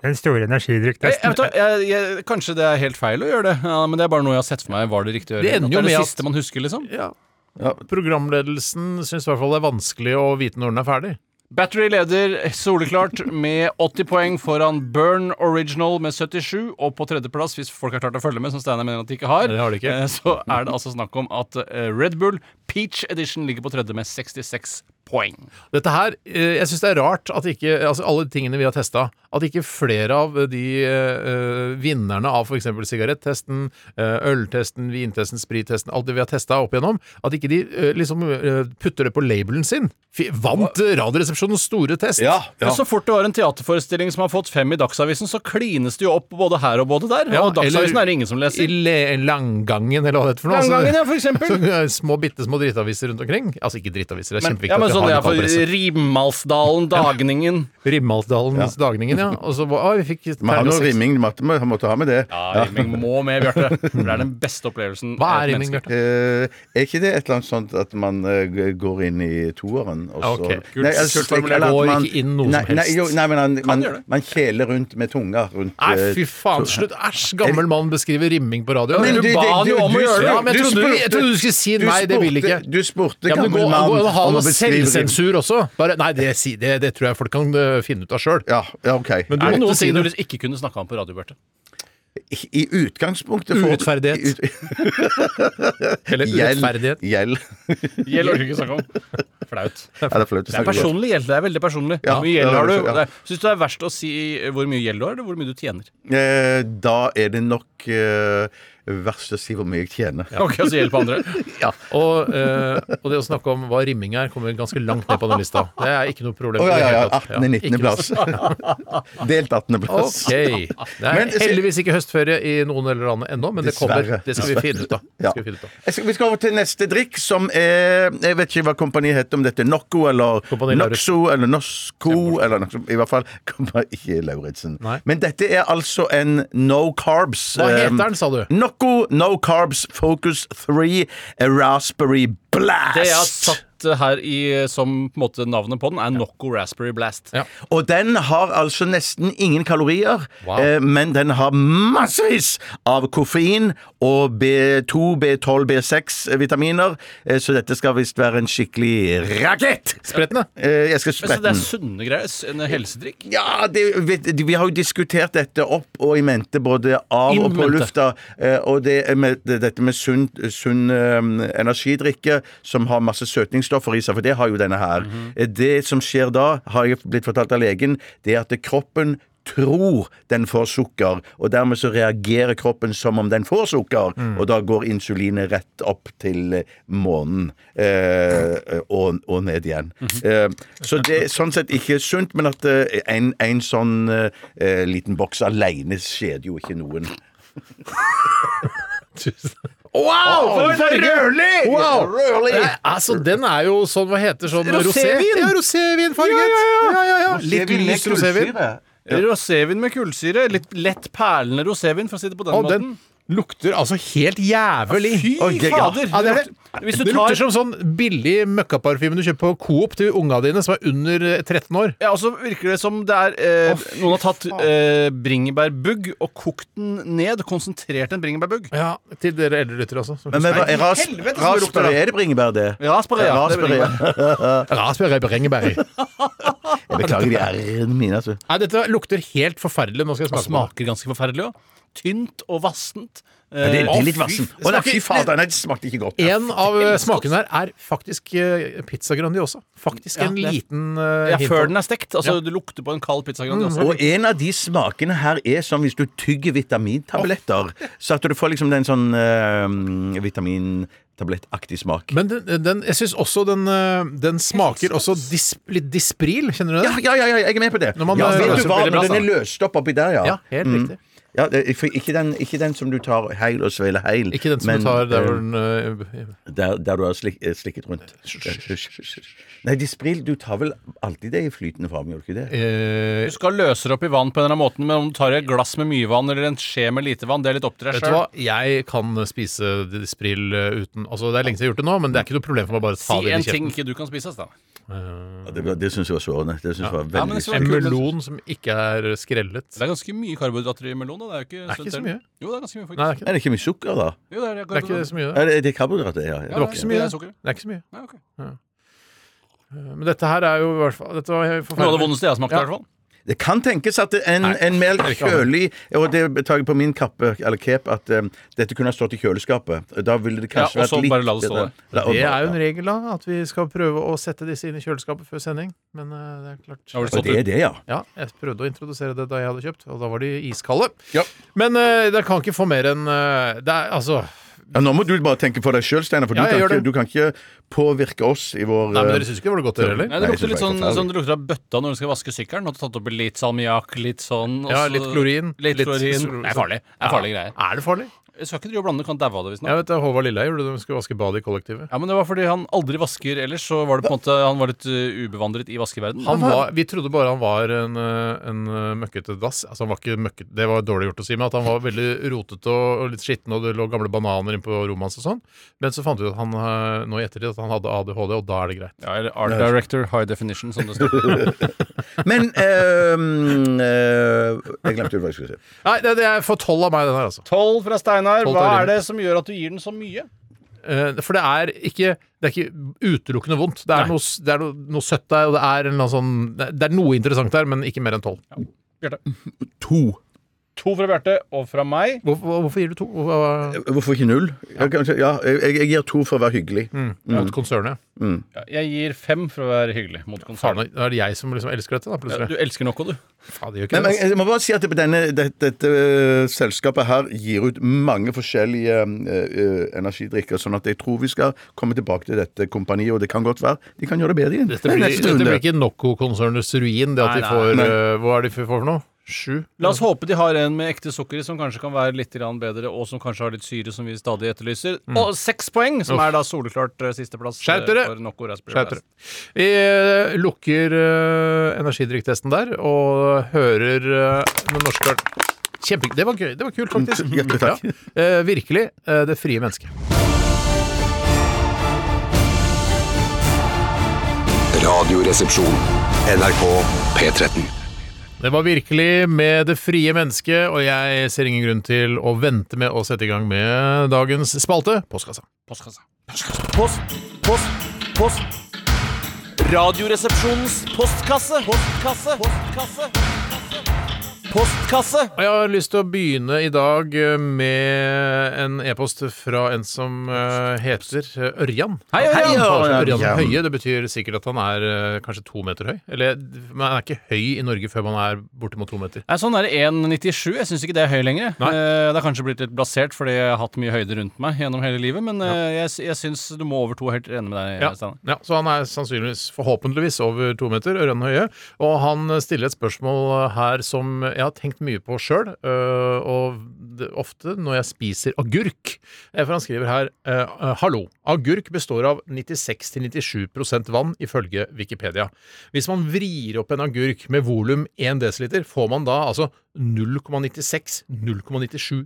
Eh,
Den store
Jeg, jeg
energidrikktesten.
Eh, vet, da, jeg, jeg, kanskje det er helt feil å gjøre det, ja, men det er bare noe jeg har sett for meg var det riktige å gjøre.
Det ender jo
At det
med
er
at-
det siste man husker, liksom.
Programledelsen syns i hvert fall det er vanskelig å vite når den er ferdig.
Battery leder soleklart med 80 poeng foran Burn Original med 77, og på tredjeplass, hvis folk har klart å følge med, som Steinar mener at de ikke har,
Nei, det har de ikke.
eh, så er det altså snakk om at eh, Red Bull Peach Edition ligger på tredje med 66 poeng.
Dette her, eh, Jeg syns det er rart at ikke altså alle tingene vi har testa, at ikke flere av de eh, vinnerne av f.eks. sigarettesten, eh, øltesten, vintesten, sprittesten, alt det vi har testa opp igjennom, at ikke de eh, liksom eh, putter det på labelen sin. Fy- Vant eh, Radioresepsjonens store test!
Ja, ja.
Men så fort det var en teaterforestilling som har fått fem i Dagsavisen, så klines det jo opp både her og både der.
Ja,
og Dagsavisen
eller-
er det ingen som
I
leser.
le- Langgangen, eller hva det heter for noe. altså.
Langgangen, (laughs) ja, for
(laughs)
eksempel.
Så, eh, små, bitte små drittaviser rundt omkring. Altså ikke drittaviser, det er
Men,
kjempeviktig
ja,
at
men
vi
sånn
har
er for
lokalpresse.
Rimmalsdalen, Dagningen
Rimmalsdalens Dagningen, ja. Og så var- å, vi fikk
Man har noe
36.
rimming, matte, må- måtte ha med det.
Ja, rimming må med, Bjarte. For Det er den beste opplevelsen.
Hva
et
er
menneske-
rimming, Bjarte?
Eh, er ikke det et eller annet sånt at man eh, g- går inn i toeren, og så
Ok, kult.
Nei, altså, eller så-
Formulert.
eller at
Går
man-
ikke inn noe som
nei, Nei,
helst.
jo, nei, men man, man,
gjøre det.
man kjeler rundt med tunga rundt
Nei,
eh,
fy faen, slutt. Æsj, gammel mann beskriver rimming på radio.
Men
du
det-
ba
det-
han jo
du-
om å
du
gjøre det!
spør-
Ja, men jeg
du
trodde, jeg
spurte-
trodde du skulle si
du
nei, det vil
spurte-
ikke.
Du spurte
Ja, men gå,
gammel
gå,
mann
ha
å
noe
beskrive rim.
selvsensur også. Bare, nei, det, si- det, det tror jeg folk kan øh, finne ut av sjøl.
Ja, ja, ok.
Men du
Er det
måtte
noen
si
ting du
det.
ikke kunne snakka om på radio, Bjarte?
i utgangspunktet for-
Urettferdighet.
i ut- (laughs)
Eller
Gjeld-
urettferdighet.
Gjeld.
Gjeld orker vi ikke snakke om. Flaut.
Ja, det er flaut å
Det er
snakke om.
personlig gjeld. Det er veldig personlig.
Ja,
Hvor mye gjeld
det er
har du?
veldig så- ja.
Det er- Syns du det er verst å si hvor mye gjeld du har, eller hvor mye du tjener?
Eh, Da er det nok eh, verst å si hvor mye jeg tjener.
Ok, altså gjeld på (laughs) andre.
Og, eh, og det å snakke om hva rimming er, kommer ganske langt ned på den lista. Det er ikke noe problem.
Å
i
ja,
det
ja, ja.
hele tatt.
18.
ikke
19.
noe-
plass. (laughs) Delt 18. plass.
(laughs) Ok. Det er
Men-
heldigvis ikke høstferie i noen deler av landet ennå, men det kommer.
Dessverre.
Det skal vi finne ut av. Det
Ja.
skal vi finne ut av.
Jeg skal, vi skal over til neste drikk, som er Jeg vet ikke hva kompaniet heter, om dette er Nocco eller
Kompani Lauritzen.
Noxo eller Nosco eller noe sånt. I hvert fall (laughs) Kompani- ikke Lauritzen.
Nei.
Men dette er altså en no carbs.
Hva
eh,
heter den, sa du?
Nocco No Carbs Focus 3 Raspberry Blast.
Det jeg har
altså
satt her i, som på en måte navnet på den, er Nocco Raspberry Blast.
Ja.
Og den har altså nesten ingen kalorier,
Wow.
eh, men den har massevis av koffein og B2, B12, B6-vitaminer, eh, så dette skal visst være en skikkelig rakett!
Sprettene.
Eh, jeg skal
Men Så
sprette
det er
den.
sunne greier. s- En helsedrikk.
Ja, det, vi, vi har jo diskutert dette opp og i mente, både av
In
og på
mente.
lufta. eh, Og det er med, det, dette med sunn, sunn eh, energidrikke som har masse søtningsstoffer i seg, for det har jo denne her. Eh, Det som skjer da, har jeg blitt fortalt av legen, det er at kroppen tror den får sukker, og dermed så reagerer kroppen som om den får sukker, og da går insulinet rett opp til eh, månen eh, og, og ned igjen. eh, så det er sånn sett ikke sunt, men at eh, en, en sånn eh, eh, liten boks alene skjeder jo ikke noen. Wow! For rødlig! Wow!
Nei, altså, den er jo sånn, hva heter sånn
Rosévin.
Ja, rosévinfarget! Ja, ja, ja. Litt lys rosévin.
Rosévin med kullsyre. Litt lett perlende rosévin, for å si det på den
Og
måten.
den lukter altså helt jævlig.
Fy
Ok, ja.
fader!
Ja, det, er, det.
Hvis du
det
tar
lukter som sånn billig møkkaparfyme du kjøper på Coop til unga dine som er under eh, 13 år.
Ja, og så virker det som det er eh, Noen har tatt eh, bringebærbugg og kokt den ned. Konsentrert en bringebærbugg.
Ja, Til dere eldre lyttere også.
Men, men,
Nei,
ras,
helvete, så
ras,
lukter det.
er det bringebær, det?
Raspberry, ja. Det er
Raspberry.
bringebær.
Raspberry bringebær.
Jeg beklager de r-ene mine, altså.
Nei, dette lukter helt forferdelig. Nå skal jeg smake. på
Det
det.
smaker ganske forferdelig òg. Tynt og vassent.
Det, det
Eh,
er litt vassen. Å nei,
smaker-
fy fader, nei, det smakte ikke godt.
En av eh, smakene her er faktisk eh, pizza grandiosa. Faktisk en
Ja, det-
liten eh,
ja,
hint
før
om-
den er stekt. Altså,
Ja. Mm.
Du lukter på en kald pizza grandiosa.
Og en av de smakene her er som hvis du tygger vitamintabletter. Så at du får liksom den sånn eh, vitamintablettaktig smak.
Men den, den, jeg syns også den, eh, den smaker også dis, litt dispril. Kjenner du det?
Ja, ja, ja, ja, jeg er med på det.
Når man,
ja,
eh,
vet
løser
du hva,
veldig bra,
Når den er
da.
løst opp oppi der, ja.
Ja, helt
Mm.
riktig.
Ja, det- for ikke, den, ikke den som du tar heil og sveler heil.
Ikke den som
men,
du tar der
eh,
hvor den eh,
Der, der du har slik, eh, slikket rundt. Nei, Dispril, du tar vel alltid det i flytende form, gjør du ikke det?
eh,
Du skal løse det opp i vann på en eller annen måte, men om du tar et glass med mye vann eller en skje med lite vann, det er litt opp til deg
Vet du
sjøl.
hva, jeg kan spise Dispril eh, uten Altså, Det er lenge siden jeg har gjort det nå, men det er ikke noe problem for meg å bare ta
Si
det inn
en
i
ting
kjeften.
ikke du kan spise. Stein.
Ja, Det, var- det syns jeg var sårende. Det synes jeg var
Ja,
veldig
men det skal
sårende.
En
Kul, men-
melon som ikke er skrellet.
Det er ganske mye karbohydrater i melon. Da. Det er jo ikke,
Det er ikke
sunt,
så
eller?
mye.
Jo, det er ganske mye, faktisk.
Nei, det er ikke det.
Er det ikke mye sukker, da?
Jo,
Det
det er,
er ikke så mye.
Er det, er det karbohydrater? Ja,
Det
ja.
var ikke så
det
mye.
er sukker.
Det er ikke så mye.
Ja, ok.
Men dette her er jo i hvert fall Dette var helt
Noe av det
forferdelig.
vondeste jeg har smakt.
Ja.
i hvert fall
Det kan tenkes at det- en, en mer kjølig Og det tar jeg på min kappe, eller cape, at eh, dette kunne ha stått i kjøleskapet. Da ville det kanskje
Ja, og
vært
så
litt
bare la det stå der.
La- og-
Det er jo en regel, da, at vi skal prøve å sette disse inn i kjøleskapet før sending. Men eh, det er klart
Da var
Og
det stått
det er det, ja.
Ja, jeg prøvde å introdusere det da jeg hadde kjøpt, og da var de iskalde.
Ja.
Men uh, det kan ikke få mer enn eh, Det er altså
ja. Nå må du bare tenke for deg sjøl, Steinar, for
Ja,
du,
jeg
kan
gjør
ikke,
det.
du kan ikke påvirke oss i vår
Nei, men
eh,
Dere syns ikke det var noe godt, dere heller?
Nei, det
Nei,
lukter
det
litt
var
sånn,
helt forferdelig.
sånn det lukter av bøtta når du skal vaske sykkelen. Og du har tatt oppi litt salmiakk, litt sånn. og
Ja,
så-
litt klorin.
Litt klorin. Det er farlig. Det er farlige
Ja.
greier.
Er det farlig?
Jeg skal ikke drive og blande, du kan daue av det hvis noe.
Jeg vet det, Håvard Lilleheie gjorde det da de skulle vaske badet i kollektivet.
Ja, men det var fordi han aldri vasker ellers, så var det på en måte Han var litt uh, ubevandret i vaskeverden.
Han var, vi trodde bare han var en, eh, en eh, møkkete dass. Altså, han var ikke møkkete, det var dårlig gjort å si, men at han var veldig rotete og, og litt skitten, og det lå gamle bananer inne på rommet hans og sånn. Men så fant vi ut at han eh, nå i ettertid at han hadde ADHD, og da er det greit.
Ja, eller Art Director High Definition, som det står.
Men ehm, eh, Jeg glemte hva jeg skulle si.
Nei, det, det er for tolv av meg, den her, altså.
(laughs) Tolv fra Steinar.
Tolv
Hva
tolv.
er det som gjør at du gir den så mye?
Eh, For det er ikke, det er ikke utelukkende vondt. Det er, noe, s- det er noe, noe søtt der, og det er, en eller annen sånn, det det er noe interessant der, men ikke mer enn tolv.
To.
to fra Bjarte og fra meg.
Hvorfor, hvorfor gir du to? Hvorfor,
Hvorfor ikke null? Ja, kanskje, ja, jeg, jeg gir to for å være hyggelig.
Mm.
Mm.
Mot konsernet.
Ja, Jeg gir fem for å være hyggelig mot
Faen,
konsernet.
da er det jeg som liksom elsker dette, da,
Ja,
plutselig.
du elsker noe, du.
Faen, det altså. gjør
Nei,
ikke
men
det.
jeg må bare si at det på denne, dette, dette øh, selskapet her gir ut mange forskjellige øh, øh, energidrikker, sånn at jeg tror vi skal komme tilbake til dette kompaniet, og det kan godt være de kan gjøre det bedre igjen.
Dette blir,
Det er neste
dette blir
runde.
ikke Nocco-konsernets ruin, det at
Nei,
de
nei,
får
nei.
eh, Hva er det de får for noe? Sju?
La oss håpe de har en med ekte sukker i, som kanskje kan være litt grann bedre, og som kanskje har litt syre, som vi stadig etterlyser. Og seks poeng, som er da soleklart eh, sisteplass eh,
Skjerp dere!
for Nocco Raspberry
Skjerp dere.
Blast.
Vi eh, lukker eh, energidrikktesten der og hører eh, den norske Kjempe, det, var gøy, det var kult,
(laughs)
faktisk.
Hjertelig takk.
Eh, virkelig. eh, det frie mennesket.
Radioresepsjon. NRK P13.
Det var virkelig med det frie mennesket, og jeg ser ingen grunn til å vente med å sette i gang med dagens spalte, Postkassa.
Postkassa.
Post, post, post. Radioresepsjonens postkasse. Postkasse. Postkasse. Postkasse.
Og jeg har lyst til å begynne i dag eh, med en e-post fra en som eh, heter eh, Ørjan.
Hei, Ørjan!
Ørjan,
Ørjan.
Høie. Det betyr sikkert at han er eh, kanskje to meter høy. Eller man er ikke høy i Norge før man er bortimot to meter.
Nei, sånn er det 1,97. Jeg syns ikke det er høy lenger.
Nei.
Eh, Det har kanskje blitt litt blasert fordi jeg har hatt mye høyde rundt meg gjennom hele livet, men eh, jeg, s- jeg syns du må over to. Helt enig med deg,
Ja.
eh, Steinar.
ja, Så han er sannsynligvis, forhåpentligvis, over to meter, Ørjan Høie. Og han stiller et spørsmål her som jeg har tenkt mye på sjøl, og det, ofte når jeg spiser agurk. Eh, For han skriver her eh, eh, Hallo. Agurk består av 96-97 vann, ifølge Wikipedia. Hvis man vrir opp en agurk med volum 1 dl, får man da altså 0,96-0,97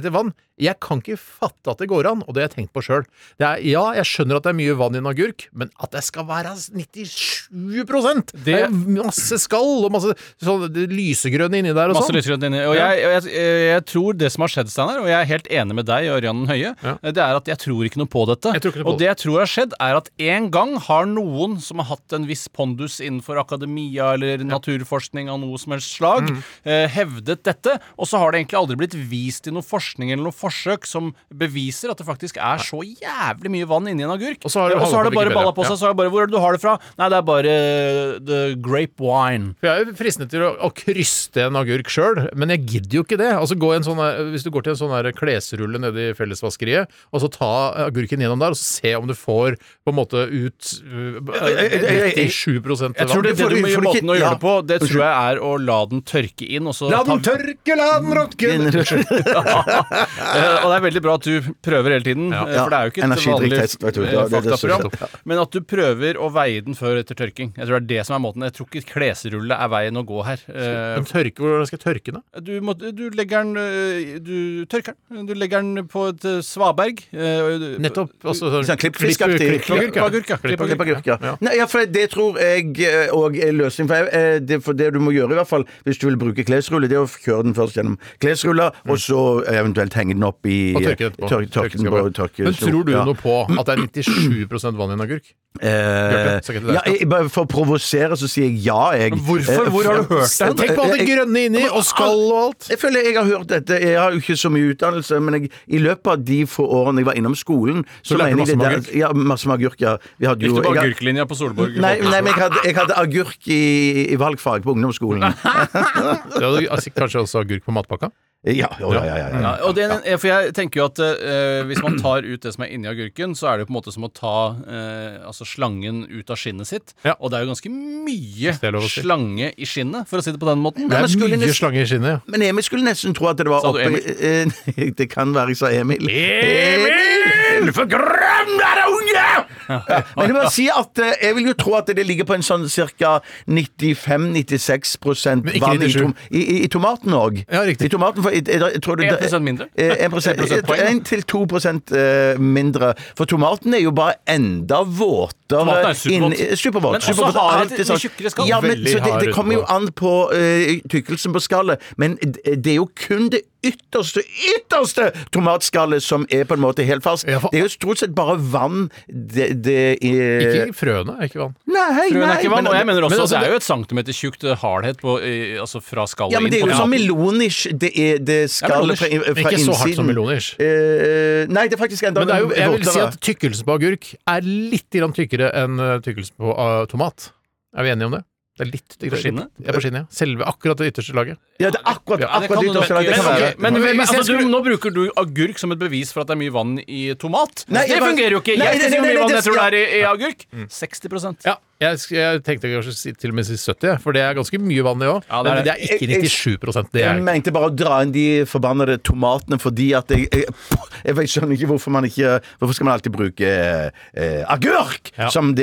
dl vann. Jeg kan ikke fatte at det går an, og det har jeg tenkt på sjøl. Ja, jeg skjønner at det er mye vann i en agurk, men at det skal være 97 Det er masse skall og masse sånn det lysegrønne inni der og
Masse
sånn.
lysrødt inni. Og, jeg, og jeg, eh, jeg tror det som har skjedd, Steinar, og jeg er helt enig med deg, Ørjan Høie,
Ja.
eh, det er at jeg tror ikke noe på dette.
Jeg tror ikke noe på
og det jeg tror har skjedd, er at en gang har noen som har hatt en viss pondus innenfor akademia eller naturforskning av noe som helst slag,
Mm.
eh, hevdet dette, og så har det egentlig aldri blitt vist i noe forskning eller noe forsøk som beviser at det faktisk er så jævlig mye vann inni en agurk.
Og så har det havnet på
bare
Wikipedia.
balla på seg.
Ja.
Så har det bare, Hvor er det du har det fra? Nei, det er bare eh, the grape wine.
For Jeg er jo fristende til å, å kryste en agurk sjøl, men jeg gidder jo ikke det. Altså gå i en sånn, der- Hvis du går til en sånn der klesrulle nede i fellesvaskeriet, og så ta agurken gjennom der, og så se om du får på en måte ut uh,
jeg- jeg- jeg-
97 vann.
Jeg tror det,
får du-
det du
får
må gjøre
du ikke-
måten å
ja.
gjøre det på, det tror jeg er å la den tørke inn, og så ta- (laughs)
tørke, la den råtke!
Eh, Og det er veldig bra at du prøver hele tiden, eh, for det er jo ikke et vanlig
Energidrikktest, vet du.
eh,
Ja, det er det som-
faktaprogram, men at du prøver å veie den før etter tørking. Jeg tror det er det som er måten. Jeg tror ikke klesrulle er veien å gå her. Eh,
Tørke, hvordan skal jeg tørke den? da?
Du, må, du legger den eh, Du tørker den. Du legger den på et eh, svaberg. eh,
Nettopp. Altså,
Sånn klippfiskaktig.
klippagurk, ja.
Klippagurk, ja.
Klippagurk.
Ok, på agurk, ja.
Ja.
Nei, ja, for det tror jeg òg er løsning. For, jeg, eh, det, for det du må gjøre, i hvert fall hvis du vil bruke klesrulle, det er å kjøre den først gjennom klesruller, og så eventuelt henge den opp i
Mm. Og tørke etterpå.
tørke- tørke den på tørke-
Men tror du
ja.
noe på at det er 97 vann i en agurk?
Eh,
Bjarte, så ikke det der.
ja, jeg, bare for å provosere så sier jeg ja, jeg.
Hvorfor?
Eh,
Hvor har du
for-
hørt det?
Tenk på alt det Eh, grønne inni, og skall og alt.
Jeg føler jeg har hørt dette. Jeg har jo ikke så mye utdannelse, men jeg, i løpet av de få årene jeg var innom skolen
lærte du
Så, mener jeg
masse om
det der- Ja, masse om agurk, ja. Vi hadde jo
Gikk du på
jeg har-
agurklinja på Solborg?
Nei, nei, men jeg hadde, jeg hadde agurk i, i valgfag på ungdomsskolen.
Det hadde altså, kanskje også agurk på matpakka?
Ja, jo, ja, ja, ja, ja.
Mm. Ja, og det, er- for jeg tenker jo at eh, hvis man tar ut det som er inni agurken, så er det jo på en måte som å ta eh, altså slangen ut av skinnet sitt.
Ja.
Og det er jo ganske mye
det er lov å si.
slange i skinnet, for å si det på den måten.
Det
men
er
skulle
mye
nesten-
slange i skinnet.
Men Emil skulle nesten tro at det var
Sa du
oppe (laughs) eh, nei, Det kan være jeg sa Emil. Emil! For grønn er det unge! Ja, men jeg må si at eh, jeg vil jo tro at det ligger på en sånn ca. 95-96 prosent
Men ikke
vann i,
97.
tom, i, i, i tomaten òg.
Ja, riktig.
I tomaten, for jeg, jeg, jeg tror det-
1% mindre?
Eh, 1%,
1% poeng, da.
1-2 prosent, eh, mindre. For tomaten er jo bare enda våtere.
Tomaten er supervåt.
inni- eh, supervåt.
Men også
supervåt,
har
alt
et
er sånn.
tjukkere skall.
Ja, men,
Veldig
så det,
hard
det kommer jo
utenpå.
an på eh, tykkelsen på skallet, men d- det er jo kun det ytterste, ytterste tomatskallet som er på en måte helt fast.
Ja, for-
Det er jo stort sett bare vann det, det er
Ikke frøene, er ikke vann.
Nei,
Frøen er
nei,
ikke vann,
men-
og jeg mener også
men
at
altså,
det er jo et centimeter tjukt eh, hardhet på, eh, altså fra skallet
Ja, men det er
inn
jo
på
sånn
kanten.
melonish. Det er det skallet eh, fra, fra
melonish.
innsiden.
Ikke så hardt som melonish.
Eh, nei, det er faktisk enda
Men det er jo, jeg vil si
våtere.
at tykkelsen på agurk er litt grann tykkere enn eh, tykkelsen på eh, tomat. Er vi enige om det? Det er litt tykkere.
skinnet?
Ja, på skinnet, ja. Selve akkurat det ytterste laget.
Ja, det er akkurat,
Ja,
Det
akkurat
kan
ditt
du
årslag. Det
nok-
kan
men,
være.
ok, men,
Men hvis
altså,
jeg skulle-
du, nå bruker du agurk som et bevis for at det er mye vann i tomat.
Nei,
det
jeg bare-
fungerer jo ikke!
Nei, nei,
Jeg skal si hvor
nei,
mye
nei,
vann
det
jeg tror det
skal-
er i, i agurk. 60
Ja, jeg, sk- jeg tenkte kanskje si- til og med si 70, for det er ganske mye vann i òg.
Ja, det er
men det
det.
er ikke
Jeg- jeg-
97 det er
Jeg
det ikke.
mente bare å dra inn de forbannede tomatene fordi at jeg Jeg, jeg, vet- skjønner ikke hvorfor man ikke Hvorfor skal man alltid bruke eh, agurk
Ja.
som det,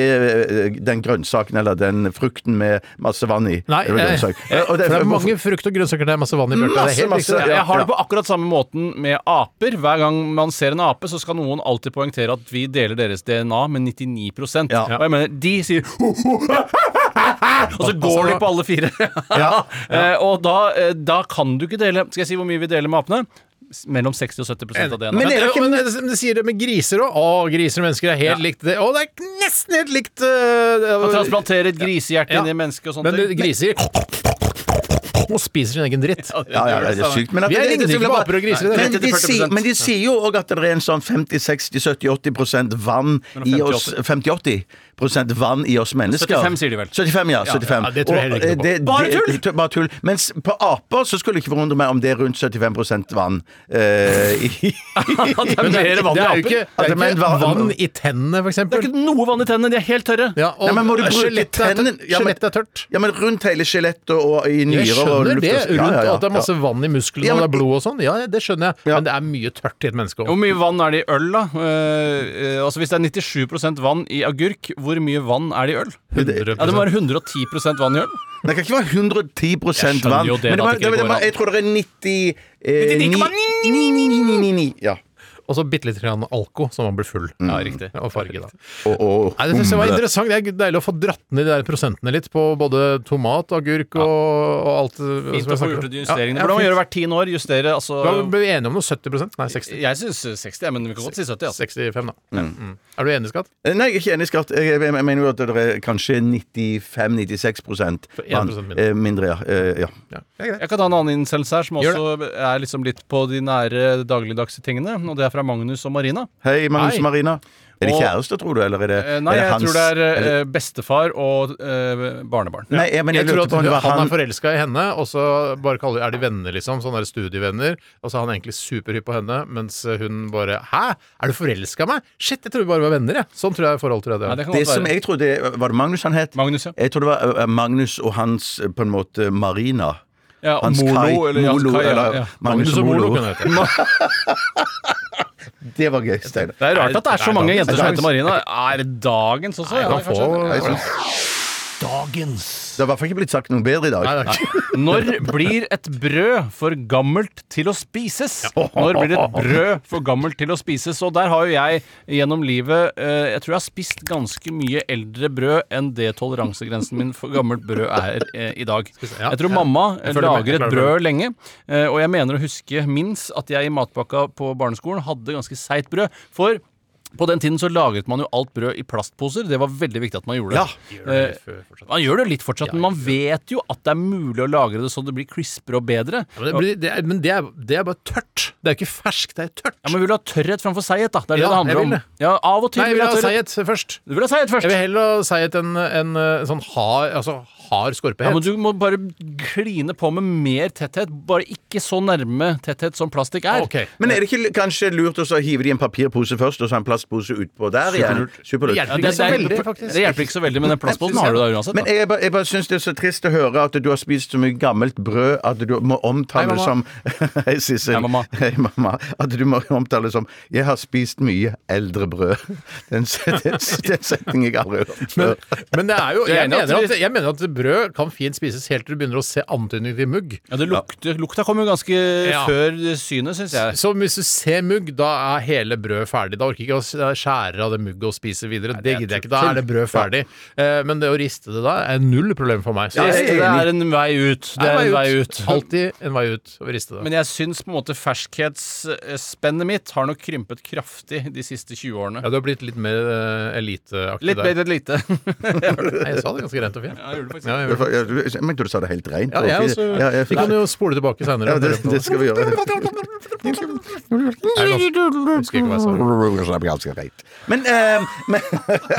eh, den grønnsaken eller den frukten med masse vann i?
Nei,
Eller
eh,
grønnsak. Eh,
for
og
det er
hvorfor-
mange frukt og grønnsaker det er masse vann i bjørka. Det er
Masse,
helt
masse.
riktig.
Ja,
Jeg har det
ja.
på akkurat samme måten med aper. Hver gang man ser en ape, så skal noen alltid poengtere at vi deler deres DNA med 99
Ja.
Og jeg mener, de sier (laughs) Og så går
altså.
de på alle fire. (laughs) Eh, Og da, eh, da kan du ikke dele Skal jeg si hvor mye vi deler med apene? S- Mellom 60 og 70 av DNA.
Men,
Men er det ikke-
men, det- men det sier det med griser òg. Å, griser og mennesker er helt likt. Det. Å, det er nesten helt likt
Å
uh,
transplantere et grisehjerte inn i mennesket og sånne
Men det-
ting.
griser Og spiser sin egen dritt.
Ja, ja, det er sykt. Men at
Vi er
det-
ligner
det- det-
ikke på aper og griser, det er
Men de,
30-40%.
sier, men de sier jo òg at det er en sånn 50-60-70-80 vann i oss 50-80 prosent vann i oss mennesker.
75 sier de vel.
75, ja. 75.
ja, det tror jeg heller ikke
Og,
noe på.
eh, det-
Bare
det-
tull!
t- Bare tull. Mens på aper så skulle det ikke forundre meg om det er rundt 75 vann. eh, i,
Det er mer vann
Det
i
er jo
aper.
ikke, det er jo
Altså, Men
ikke
hva-
vann i tennene, for
Det
eksempel.
er ikke noe vann i tennene. De er helt tørre.
Ja, og
Nei, men må du bruke
skjelettet er tørt.
tennene? Ja, men-
Skjelettet er tørt.
ja, men rundt hele skjelettet og i nyrer
Jeg
og
skjønner
luft-
det, rundt
Ja, ja, ja.
at det er masse vann i musklene
Ja,
og det
men-
er blod og sånn. Ja, det skjønner jeg.
Ja.
Men det er mye tørt i et menneske
Hvor
òg.
mye vann er det i øl, da? Eh, eh, altså Hvis det er 97 vann i agurk, hvor mye vann er det i øl? Ja, Det må være 110 vann i øl.
Det kan ikke være 110
Jeg skjønner
vann.
jo det,
men
da,
var-
at det
var-
ikke går an.
jeg tror det er 90 eh, 99,999. Ja.
Og så bitte litt grann alko, så man blir full.
Mm.
Ja, riktig. Og farge, da.
Og, og,
Nei, det synes jeg var
humle.
interessant. Det er deilig å få dratt ned de der prosentene litt på både tomat, agurk og, og alt. eh,
Fint
som jeg
å få
snakker om.
gjort de
Ja, ja,
justeringene. Hvordan man
fint.
gjør det hvert tiende år? Justere, altså
Da ble vi enige om noe 70 Nei, 60.
Jeg syns 60, ja, men vi kan godt si 70. Altså.
65, da. Mm. Er du enig, Skatt?
Eh, Nei, jeg er ikke enig i skatt. Jeg, jeg, jeg mener jo at det er kanskje 95-96 prosent
en prosent mindre.
Eh, mindre, ja. Eh, ja.
Ja, det er greit.
Jeg kan ta en annen innsendelse her, som
Gjør
også er liksom litt på de nære dagligdagse tingene. Og det er fra Magnus og Marina.
Hei, Magnus
Hei.
og Marina. Er de
Og-
kjærester, tror du? Eller er det,
Eh, Nei,
er det
jeg
hans
tror det er
eller-
eh, bestefar og eh, barnebarn.
Nei, jeg, men jeg,
Jeg tror
lurte
at
på om
hun,
det var
han er
han.
forelska i henne, og så bare kaller, er de venner, liksom. Sånne der studievenner. Og så er han egentlig superhypp på henne, mens hun bare Hæ, er du forelska i meg? Shit, jeg trodde vi bare var venner, jeg. Sånn tror jeg forhold til det
Nei,
er.
det kan
Det
godt
som
være.
jeg trodde Var det Magnus han het?
Magnus, ja.
Jeg tror det var eh, Magnus og hans eh, på en måte Marina.
ja og
Hans Kai.
Molo, eller Jan
Molo,
Kai. Ja,
eller-
ja.
Magnus og Molo. (laughs) Det var gøy, Steinar.
Det er rart at det er så mange jenter som
dagens.
heter Marina. Er det dagens også? Ja,
Kan få,
kanskje.
Jeg synes- Det har i hvert fall ikke blitt sagt noe bedre i dag.
Nei, det er ikke.
Når blir et brød for gammelt til å spises? Når blir et brød for gammelt til å spises? Og der har jo jeg gjennom livet eh, Jeg tror jeg har spist ganske mye eldre brød enn det toleransegrensen min for gammelt brød er eh, i dag.
ja.
Jeg tror mamma eh,
Jeg føler meg- jeg
lager et
klarer
brød lenge, eh, og jeg mener å huske minst at jeg i matpakka på barneskolen hadde ganske seigt brød. For på den tiden så lagret man jo alt brød i plastposer. Det var veldig viktig at man gjorde det. Eh, man gjør det litt fortsatt, men man vet jo at det er mulig å lagre det så det blir crispere og bedre.
Men, det, blir, det, er, men det, er, det er bare tørt. Det er ikke ferskt, det er tørt.
Ja, men vil du ha tørrhet framfor seighet, da? Det er det
Ja,
det handler
jeg
om.
vil det.
Ja, av og til
Nei, jeg vil ha
tørrhet.
seighet først.
Du vil ha seighet
Jeg
først.
vil heller ha seighet enn enn, eh, sånn hard, altså, hard
Ja,
skorpehet.
men du må bare kline på med mer tetthet. Bare ikke så nærme tetthet som plastikk er.
Ok.
Men er det ikke kanskje lurt også å hive de i en papirpose først, og så en plastpose utpå der igjen? Superlurt.
Hjelper
Ja, det,
Ikke så
det,
veldig,
det,
faktisk.
det hjelper ikke så veldig, men den plastposen har du da uansett.
Men
Da.
jeg, bare- jeg bare syns det er så trist å høre at du har spist så mye gammelt brød at du må omtale
Hei,
det som (laughs) Hei, Sissel.
Hei, mamma.
Hei, mamma. At du må omtale det som 'Jeg har spist mye eldre brød'. (laughs) Den, den, den setningen jeg aldri har hørt før.
Men det er jo,
er
jeg,
enig
mener
at
at, jeg mener at brød kan fint spises helt til du begynner å se antydning til mugg.
Ja, det lukter, Lukta kom jo ganske
Ja.
før synet, syns jeg.
Så hvis du ser mugg, da er hele brødet ferdig. Da orker jeg ikke å s- skjære av det mugget og spise videre. det gidder jeg ikke. Da er det brød ferdig. Eh, Men det å riste det da er null problem for meg. Så
Ja,
jeg-
jeg er
det
enig.
er en vei ut. Det er en vei ut.
Alltid en vei ut å riste det.
Men jeg syns på en måte ferskhetsspennet mitt har nok krympet kraftig de siste 20 årene.
Ja, du har blitt litt mer eh, eliteaktig
Litt
der.
bedre enn lite.
Nei, Jeg sa det ganske rent og fint.
Ja, jeg gjorde det faktisk.
Ja, jeg gjorde det.
Jeg mente du sa det helt reint.
Ja, jeg også.
Ja, jeg-
Vi kan jo spole tilbake
Ja,
seinere.
det, det skal vi gjøre. Men, eh, men,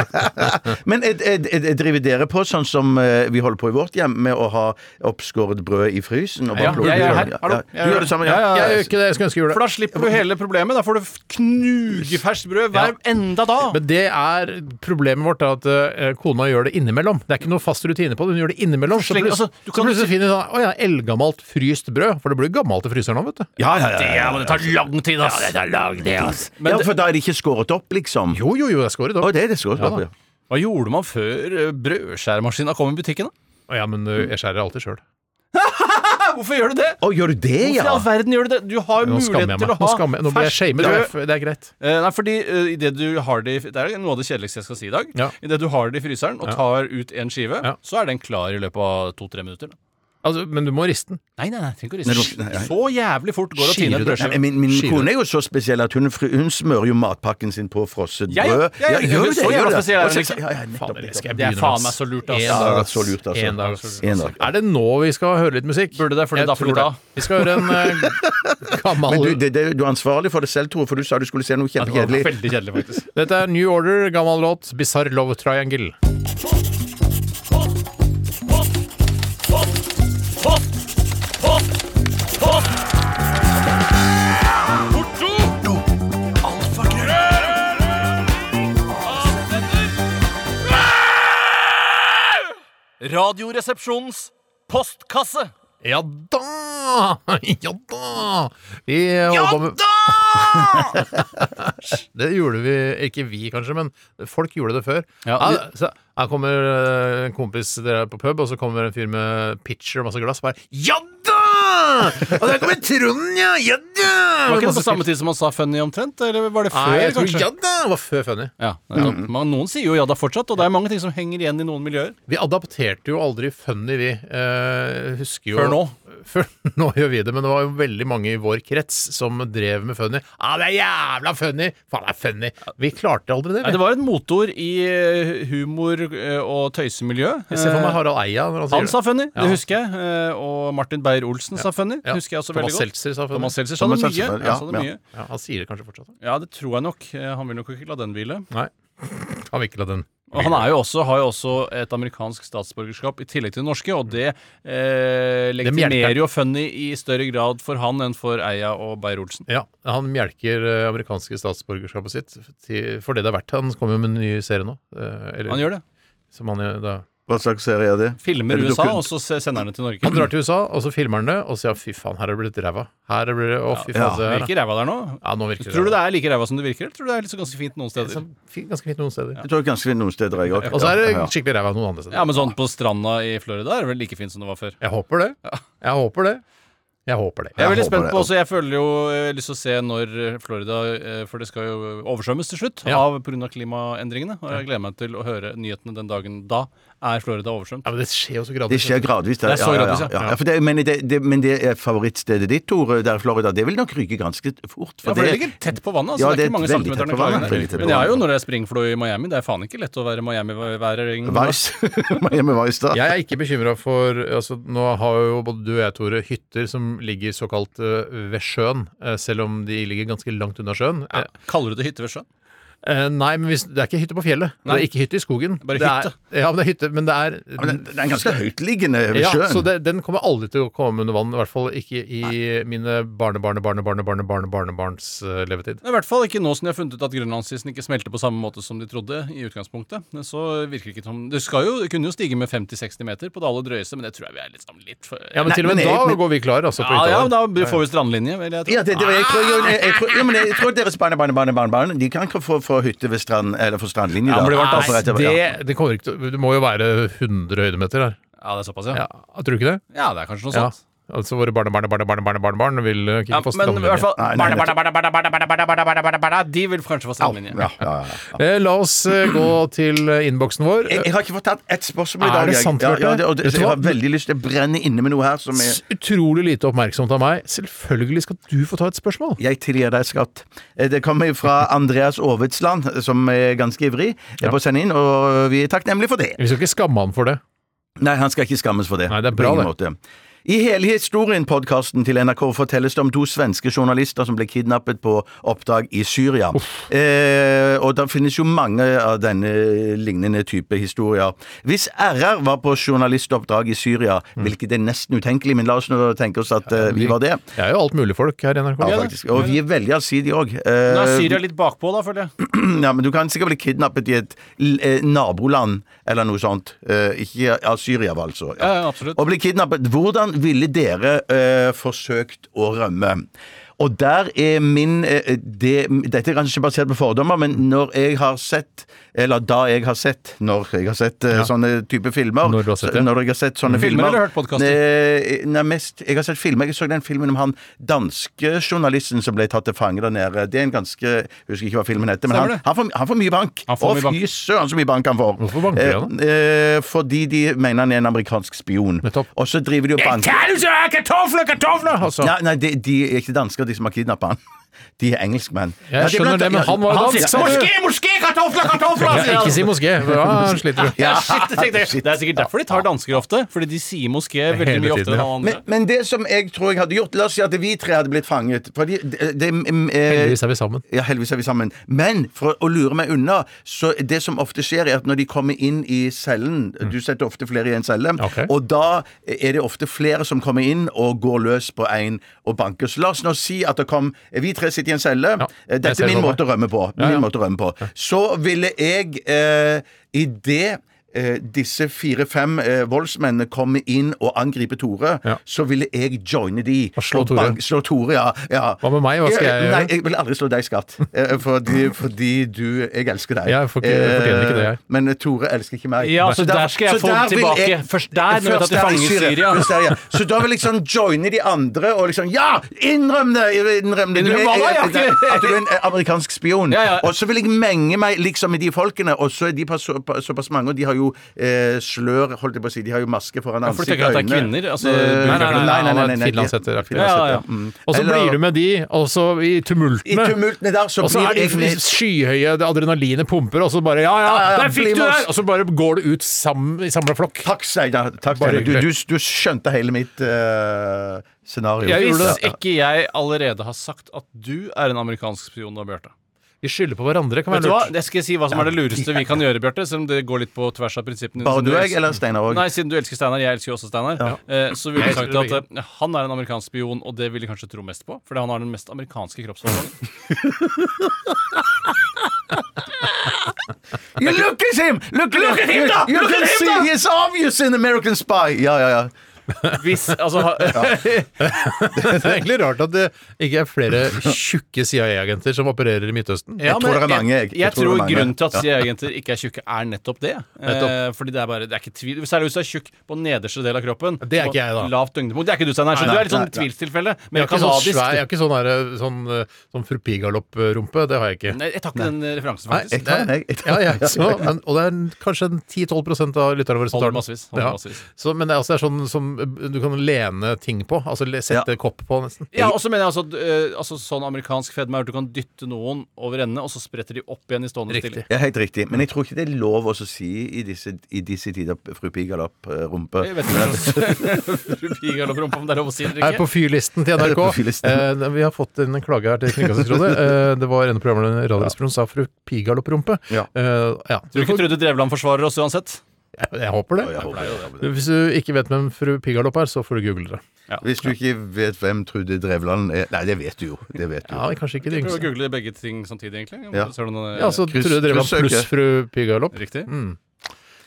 (laughs) men eh, eh, eh, driver dere på sånn som eh, vi holder på i vårt hjem, med å ha oppskåret brød i frysen? Og bare
Ja,
plukke
jeg er
det?
her.
Ja,
Hallo.
ja. Du
Jeg er her.
gjør det samme?
Ja, ja,
Jeg gjør ikke det. Jeg skulle ønske jeg gjorde det.
(laughs) For da slipper du hele problemet. Da får du knugeferskt brød hver enda da.
Men det er problemet vårt, er at eh, kona gjør det innimellom. Det er ikke noe fast rutine på det. Hun gjør det innimellom. Så,
Sleng-
plutselig-
altså, du
så
kan-
plutselig finner hun sånn Å ja, eldgammelt fryst brød. For det blir gammelt i fryseren nå, vet du.
Ja, ja, ja,
Ja,
ja.
men det tar lang tid, ass. Ja, det tar lang tid, ass. Men
ja,
det,
for da er det ikke skåret opp, liksom?
Jo, jo, jo, jeg scorer da.
Å, det er det skåret opp,
Ja, da.
ja.
hva gjorde man før eh, brødskjæremaskina kom i butikken? da?
Å ja, men eh, jeg skjærer alltid sjøl.
Hæ, Hvorfor gjør du det?
Å, gjør du det,
Hvorfor i
ja?
all verden gjør du det? Du har jo
Nå skammer jeg
mulighet til
meg.
å
Nå,
ha
skammer jeg. Nå blir jeg shamed.
brød.
Det er- Det er greit.
Eh, nei, fordi eh, i det du har det i Det er noe av det kjedeligste jeg skal si i dag.
Ja.
I det du har det i fryseren og tar ut en skive,
Ja.
så er den klar i løpet av to-tre minutter. Da.
Altså, men du må riste den.
Nei, nei, nei, trenger ikke å
Nei,
riste.
nei, nei.
Så jævlig fort går det å tine
Skirer du-
et
Nei,
brødskive.
min min
Skiver.
kone er jo så spesiell at hun, fry- hun smører jo matpakken sin på frosset
Ja, ja,
brød.
ja, ja, ja,
gjør du
så
det? Gjør
jævla
du det?
spesiell er hun
Ja,
ikke.
ja, ja, nettopp,
det
nettopp.
skal jeg
Det er
begynne med,
faen meg
ass.
så lurt, ass.
En
Ja,
dag,
så lurt, altså.
En dag, ass.
En dag.
Er det nå vi skal høre litt musikk?
Burde det, fordi
Jeg
da får
tror
vi ta.
det. Vi skal høre en
(laughs)
eh, gammel
Men du, det, det, du er ansvarlig for det selv, Tore, for du sa du skulle se noe
Ja, det var
kjempekjedelig.
veldig kjedelig, faktisk.
(laughs) Dette er New Order, gammel låt, Bizarre Love Triangle.
Radioresepsjonens postkasse.
Ja da! (laughs) Ja da! Vi ja da! (laughs) det gjorde vi Ikke vi, kanskje, men folk gjorde det før.
Ja,
så her kommer eh, en kompis dere er på pub, og så kommer en fyr med pitcher og masse glass. Bare, ja da! Og der kommer Trond, ja! Ja da!
Var ikke det på
Masse
samme tid som man sa funny omtrent? Eller var det
Nei,
før,
jeg tror Mm.
kanskje?
ja da var før Funny.
Ja, nettopp. Men Noen sier jo ja da fortsatt, og det er mange ting som henger igjen i noen miljøer.
Vi adapterte jo aldri Funny, vi. Eh, husker jo
Før nå.
(laughs) Før nå gjør vi det, men det var jo veldig mange i vår krets som drev med Funny. Ja, ah, det er jævla funny! Faen, det er funny! Vi klarte aldri det.
Nei,
vi.
det var et motor i eh, humor- eh, og tøysemiljø.
Jeg ser for meg Harald Eia når han sier
Eh, Han sa funny,
Ja.
det husker jeg. eh, Og Martin Beyer-Olsen sa funny.
Ja.
husker jeg også
Thomas
veldig godt.
Seltzer sa funny.
Thomas Seltzer sa det
Thomas
mye.
Seltzer,
Ja, sa
ja,
det
ja.
mye.
Ja, han sier det kanskje fortsatt.
ja, det tror jeg nok. Eh, Han vil nok ikke la den hvile.
Nei. Han vil ikke la den
Og han er jo også, har jo også et amerikansk statsborgerskap i tillegg til det norske, og det eh,
hjelper.
legitimerer jo funny i større grad for han enn for Eia og Beyer-Olsen.
Ja, Han mjelker eh, amerikanske statsborgerskapet sitt til, for det det er verdt. Han kommer jo med en ny serie nå. eh, Eller,
Han gjør det.
Som han, gjør da.
Hva slags serie er det?
Filmer
Er det
USA,
dokument-
og så se- sender han det til Norge.
han drar til USA, og så filmer han det, og sier fy faen, her er det blitt ræva. Her er (clears throat) det blitt, å, fy faen,
Ja,
se her, da.
Virker ræva der nå?
Ja, nå virker
Tror du
ræva.
det er like ræva som det virker, eller tror du det er litt så ganske fint noen steder?
Sånn fi- Ganske fint noen steder.
Jeg tror ganske fint noen steder, jeg òg.
Og så er det skikkelig ræva noen andre steder.
Ja, men sånn på stranda i Florida er det vel like fint som det var før.
Jeg håper det. Jeg håper det. Jeg håper det.
Jeg er veldig
håper
spent
det,
på
ja.
også, jeg føler jo jeg har lyst til å se når eh, Florida eh, For det skal jo oversvømmes til slutt
Ja.
av pga. klimaendringene. Og jeg gleder meg til å høre nyhetene den dagen da er Florida oversvømt.
Ja, men det skjer jo så gradvis.
Det skjer gradvis.
Det er så gradvis,
ja.
ja.
ja. for det, men, det, det, men det er favorittstedet ditt, Tore, der i Florida. Det vil nok ryke ganske fort.
Ja, for det ligger tett på vannet. altså
Ja,
det er
det er
ikke mange
veldig
centimeter
tett på vannet, veldig tett på
Men jeg er jo
vannet.
når det er springflo i Miami. Det er faen ikke lett å være Miami-værer. Ingmar.
Vice. (laughs) Miami Vice, da.
Jeg er ikke bekymra for altså, Nå har jo både du og jeg, Tore, hytter som ligger såkalt eh, ved sjøen, eh, selv om de ligger ganske langt unna sjøen. Eh,
Kaller du det hytte ved sjøen?
eh, nei, men hvis, det er ikke hytte på fjellet. Det
Nei.
er ikke hytte i skogen.
Bare
det
hytte.
Er, ja, men det er hytte, men det er
Men den, den er ganske høytliggende ved
ja,
sjøen.
så det, Den kommer aldri til å komme under vann, i hvert fall ikke i mine barne-barne-barne-barne-barne-barnebarns eh, levetid.
Nei, I hvert fall ikke nå som de har funnet ut at grønlandsisen ikke smelter på samme måte som de trodde i utgangspunktet. Så virker det ikke som Det skal jo, det kunne jo stige med 50-60 meter på det aller drøyeste, men det tror jeg vi er litt, sånn litt for
Ja, men
Nei,
til og med
men jeg-
da
men-
går vi klar, altså. På
Ja,
hytta
ja,
der.
men da får vi strandlinje, vil jeg tro.
Ja, det, det, jeg, tror, jeg, jeg, tror, ja, men jeg tror deres barne, barne, barne, barne, barne de kan ikke få, få hytte ved strand, eller få strandlinje.
Ja, men det var
da.
tass-
For at det var- ja.
Det, det kommer ikke til å Det må jo være 100 høydemeter her.
Ja, det er såpass,
Ja,
ja.
tror du ikke det?
Ja, det er kanskje noe
Ja.
sånt.
Altså våre barnebarn, barnebarn, barnebarn vil eh, ikke
Ja,
få
men i hvert fall
Nei, nei,
barna,
nettopp.
barna, barna, barna, barna, barna, barna, barna, barna, barna, barna, De vil kanskje få strømlinje.
Ja, ja, ja.
Eh, La oss eh, gå til eh, innboksen vår.
Jeg, jeg har ikke fått tatt ett spørsmål i
Er
dag.
det
jeg.
sant,
ja,
Bjarte?
ja, det, og det,
Vet du
jeg har
hva?
veldig lyst til å brenne inne med noe her som er
Eh, S- Utrolig lite oppmerksomt av meg. Selvfølgelig skal du få ta et spørsmål.
Jeg tilgir deg, skatt. Eh, Det kommer fra Andreas Aavitsland, som er ganske ivrig eh, på å sende inn, og vi er takknemlige for det.
Vi skal ikke skamme han for det.
Nei, han skal ikke skammes for det.
Nei, det er
På
bra,
ingen Måte. I hele historien-podkasten til NRK fortelles det om to svenske journalister som ble kidnappet på oppdrag i Syria. Eh, og det finnes jo mange av denne lignende type historier. Hvis RR var på journalistoppdrag i Syria,
Mm.
hvilket er nesten utenkelig, men la oss nå tenke oss at eh, vi var det.
Jeg er jo alt mulig folk her i NRK.
Ja, faktisk. Og vi er veldig allsidige Eh, òg.
Nå er Syria litt bakpå, da, føler jeg.
Ja, men du kan sikkert bli kidnappet i et l- eh, naboland eller noe sånt. Eh, ikke av Syria, vel, altså.
Ja, ja, absolutt.
Og bli kidnappet. Hvordan ville dere eh, forsøkt å rømme? Og der er min eh, det, Dette er kanskje basert på fordommer, men når jeg har sett Eller da jeg har sett Når jeg har sett eh, sånne type filmer
Når du har sett det.
Når jeg har sett sånne
Mm. Filmer
filmer
eller hørt podcaster?
Eh, nei, mest Jeg har sett filmer. Jeg så den filmen om han danske journalisten som ble tatt til fange der nede. Det er en ganske Jeg husker ikke hva filmen heter, men han,
Stemmer det.
han, får, han får mye bank.
Han får
Å,
mye bank.
fy søren så mye bank han får.
Hvorfor banker de han,
Eh, eh, fordi de mener han er en amerikansk spion.
Nettopp.
Og så driver de og banker
Altså,
Nei, nei de, de er ikke dansker, de som har kidnappa han. (laughs) De er engelskmenn.
jeg skjønner det, men han var jo dansk. sa du.
moské, kartofler, kartofler!
Ja, ikke si moské. Ja,
(laughs)
sliter du.
Ja, shit, det tenkte jeg. Det er sikkert derfor de tar dansker ofte. Fordi de sier moské veldig
Hele
mye
tiden,
oftere enn
ja.
alle andre.
men, men det som jeg tror jeg hadde gjort La oss si at vi tre hadde blitt fanget. Fordi det, det, eh,
Heldigvis er vi sammen.
Ja, heldigvis er vi sammen. Men for å lure meg unna, så det som ofte skjer, er at når de kommer inn i cellen Du setter ofte flere i en celle.
Mm. Ok.
Og da er det ofte flere som kommer inn og går løs på en og banker. Så la oss nå si at det kom Vi tre sitter i en celle.
Ja,
Eh,
jeg
Dette
ser
er min
for meg.
måte å rømme på. Min
ja.
måte å rømme på. Så ville jeg eh, i det eh, disse fire-fem eh, voldsmennene kommer inn og angriper Tore,
Ja.
så ville jeg joine de.
Og slå Tore.
bank- slå Tore, ja. ja.
Hva med meg? Hva skal jeg
Eh, Nei,
gjøre?
jeg vil aldri slå deg, skatt. Eh, Fordi, fordi du Jeg elsker deg.
Jeg får ikke- jeg fortjener ikke det, jeg.
Eh, Men Tore elsker ikke meg.
Ja, så der skal jeg
så
få den
der vil
tilbake. Først der, når jeg tar til
der i
fange i Syria.
Først der, ja. Så da vil jeg liksom joine de andre og liksom Ja! Innrøm det! Innrøm det! Du
Innrøm hva da? Jeg har ikke-
at du er en eh, amerikansk spion.
Ja, ja.
Og så vil jeg menge meg liksom med de folkene, og så er de på så, på, såpass mange, og de har jo eh, slør Holdt jeg på å si, de har jo maske foran
for du
ansiktet
tenker at det er
øynene.
kvinner? Altså,
Eh,
du-
nei, nei, nei, nei, nei, nei, nei,
Finlandshetter er
Ja, ja,
finlandshetter.
ja.
Og så
Mm. Eller-
blir du med de, også i
I
tumultene.
tumultene der så
Og så er
blir jeg
de
med.
skyhøye, det adrenalinet pumper, og så bare Ja, ja,
Ja, ja, ja,
der fikk
bli
du
med oss.
der! Og så bare går det ut sammen, i samla flokk.
Takk, Steinar. Takk,
Bare
Steinar. Du, du,
hyggelig.
du skjønte hele mitt eh, scenario.
Jeg gjorde
Hvis
det.
ikke jeg allerede har sagt at du er en amerikansk spion, da, Bjarte.
Vi skylder på hverandre, kan
Vet
være
du hva?
lurt.
Jeg skal si hva som er det lureste vi kan gjøre, Bjarte. Selv om det går litt på tvers av prinsippene.
Bare
Siden
du og jeg,
elsker-
eller Steinar òg?
Nei, siden du elsker Steinar, jeg elsker jo også Steinar, eh, så ville
Jeg
jeg sagt
elsker
at eh, han er en amerikansk spion, og det vil de kanskje tro mest på, fordi han har den mest amerikanske kroppsfasongen.
You look at him! Look at, him, da! You, can see he's obvious in American Spy! Ja, ja, ja.
(laughs) Hvis, altså, ha, (laughs)
Det er egentlig rart at det ikke er flere tjukke CIA-agenter som opererer i Midtøsten.
Ja,
tror
men
det er mange, jeg.
Jeg,
Jeg
jeg
tror det
tror
er mange.
grunnen til at CIA-agenter ikke er tjukke, er nettopp det. Eh,
Nettopp.
fordi det er bare, det er ikke tvil Særlig hvis du er tjukk på nederste del av kroppen.
Det er ikke jeg, da.
Og Lavt døgnpunkt. Det er ikke du, Steinar. Så
Nei,
du er litt
nei,
sånn
nei.
tvilstilfelle. Men
Jeg har
jeg
ikke sånn
kanadisk.
svær, jeg har ikke sånn, derre- sånn, eh, sånn fru Pigalopp-rumpe. Det har jeg ikke.
Nei, jeg tar ikke den referansen, faktisk.
jeg tar den,
det
jeg.
er- (laughs) Ja, ja, så, men, og det er en- kanskje en 10-12 av lytterne våre som tar
Holder
den.
massevis, holder
Ja.
massevis.
Så, men det er, altså, det er sånn som eh, du kan lene ting på. Altså le- sette
Ja.
kopp på, nesten.
Ja, og så mener jeg altså, at, eh, altså Sånn amerikansk fedme er at du kan dytte noen over ende, og så spretter de opp igjen i stående
Riktig.
stilling.
ja. Helt riktig. Men jeg tror ikke det er lov å si i disse, i disse tider, fru eh, Pigalopp-rumpe.
Jeg vet ikke Fru Pigalopp-rumpa, om det er lov å si det
Er
eller
på
ikke.
fyrlisten til NRK.
Er på fyrlisten.
Eh, vi har fått en klage her til
(laughs)
Kringkastingsrådet. Eh, det var en av programmene i Radioresepsjonen som sa 'fru Pigalopp-rumpe'.
Ja.
Eh, ja.
Tror du ikke Trude Drevland forsvarer oss uansett?
jeg, jeg håper det.
Jeg håper det.
Hvis du ikke vet hvem fru Pigalopp er, så får du google det.
Hvis du ikke vet hvem Trude Drevland er Nei, det vet du jo. Det vet du.
Ja, kanskje ikke de
Prøv å
yngste.
google begge ting samtidig, egentlig.
Ja.
Ser du noen, eh,
Ja, altså- så
Kryss-
Trude Drevland
kryssøke.
pluss fru Pigalopp.
Riktig.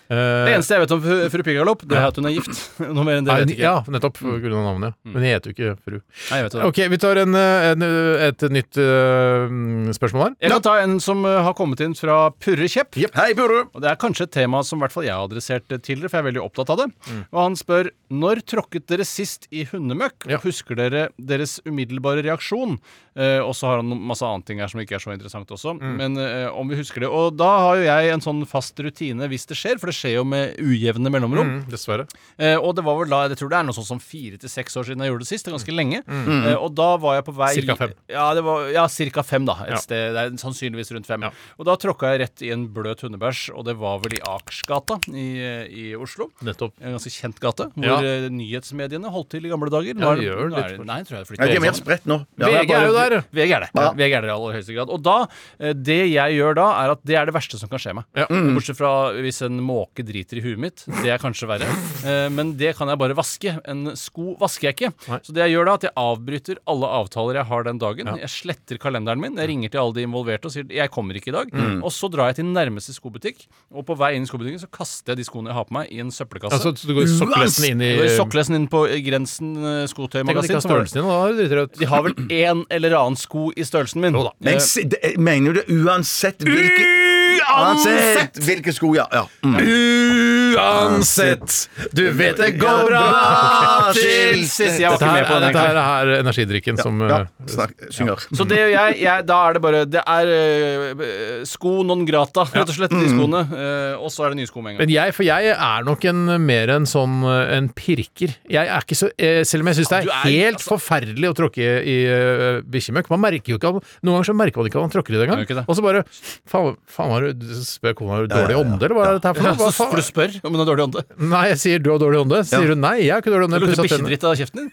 Eh,
Det eneste jeg vet om fru, fru Pigalopp, det er at hun er gift. (laughs) Noe mer enn det
nei,
vet jeg ikke. Mm.
ja, nettopp. På grunn av navnet. ja. Men jeg heter jo ikke fru.
Nei, jeg vet det.
Ok, vi tar en, eh, en, eh, et nytt eh, spørsmål her.
Jeg kan ta en som eh, har kommet inn fra Purre Kjepp.
Hei, Burre!
Og Det er kanskje et tema som i hvert fall jeg har adressert eh, tidligere, for jeg er veldig opptatt av det.
Mm.
Og han spør når tråkket dere sist i hundemøkk?
Ja.
Husker dere deres umiddelbare reaksjon? Eh, og så har han noen- masse annet ting her som ikke er så interessant også.
Mm.
Men eh, om vi husker det. Og da har jo jeg en sånn fast rutine hvis det skjer, for det skjer jo med ujevne mellomrom.
Mm, dessverre.
Eh, og det var vel da, jeg tror det er noe sånn som fire til seks år siden jeg gjorde det sist. Det er ganske lenge. Eh, og da var jeg på vei
Mm. Cirka fem.
Ja, det var, ja cirka fem, da. Et
Ja.
sted, det er sannsynligvis rundt fem.
Ja.
Og da tråkka jeg rett i en bløt hundebæsj, og det var vel i Akersgata i, eh, i Oslo.
Nettopp.
En ganske kjent gate, hvor
Ja.
eh, nyhetsmediene holdt til i gamle
Ja,
dager. Nå er-
det gjør
nå
litt
er
for-
Nei, jeg tror jeg
Ja,
flytter
de er mer spredt nå. Ja.
VG er jo der.
VG er det.
Ja.
VG er det i aller høyeste grad. Og da, eh, det jeg gjør da, er at det er det verste som kan skje meg.
Ja.
Bortsett fra hvis en måke driter i huet mitt. Det er kanskje verre. Eh, Men det kan jeg bare vaske. En sko vasker jeg ikke.
Nei.
Så det jeg gjør da, er at jeg avbryter alle avtaler jeg har den dagen. Jeg sletter kalenderen min. Jeg ringer til alle de involverte og sier jeg kommer ikke i dag.
Mm.
Og så drar jeg til nærmeste skobutikk, og på vei inn i skobutikken så kaster jeg de skoene jeg har på meg, i en søppelkasse.
Altså, så du går sokkelesen inn i
Jeg går i Sokkelesten inn på eh, Grensen
Tenk
eh,
at de ikke
skotøymagasin.
har
som var det.
størrelsen din, da er du dritrødt.
De har vel en eller annen sko i størrelsen min.
Jo da.
Men
Eh,
se- det- mener du det uansett hvilke Uansett hvilke sko, ja. ja. Mm.
Uansett, du vet det går
bra til
sist. Jeg var
Dette
ikke med
her,
på den.
dette
egentlig.
her er energidrikken som
Ja,
eh,
snakk, synger.
Så det gjør jeg, jeg. Da er det bare Det er eh, sko non grata, rett og slett, de skoene. Eh, og så er det nye sko med en gang.
Men jeg, for jeg er nok en, mer en sånn eh, en pirker. Jeg er ikke så, eh, selv om jeg syns det er,
Du er-
helt
altså-
forferdelig å tråkke i eh, bikkjemøkk Man merker jo ikke at- Noen ganger så merker man ikke at man tråkker i det
Gjør ikke
engang.
det.
Og så bare Faen, faen har du spør kona har du dårlig ånde, eller hva er dette her for
Ja,
noe?
så
Hva faen?
får du spørre om hun har dårlig ånde.
Nei, jeg sier du har dårlig ånde. Så sier hun nei, jeg har ikke dårlig ånde.
Det lukter
Pusset tennene.
bikkjedritt av kjeften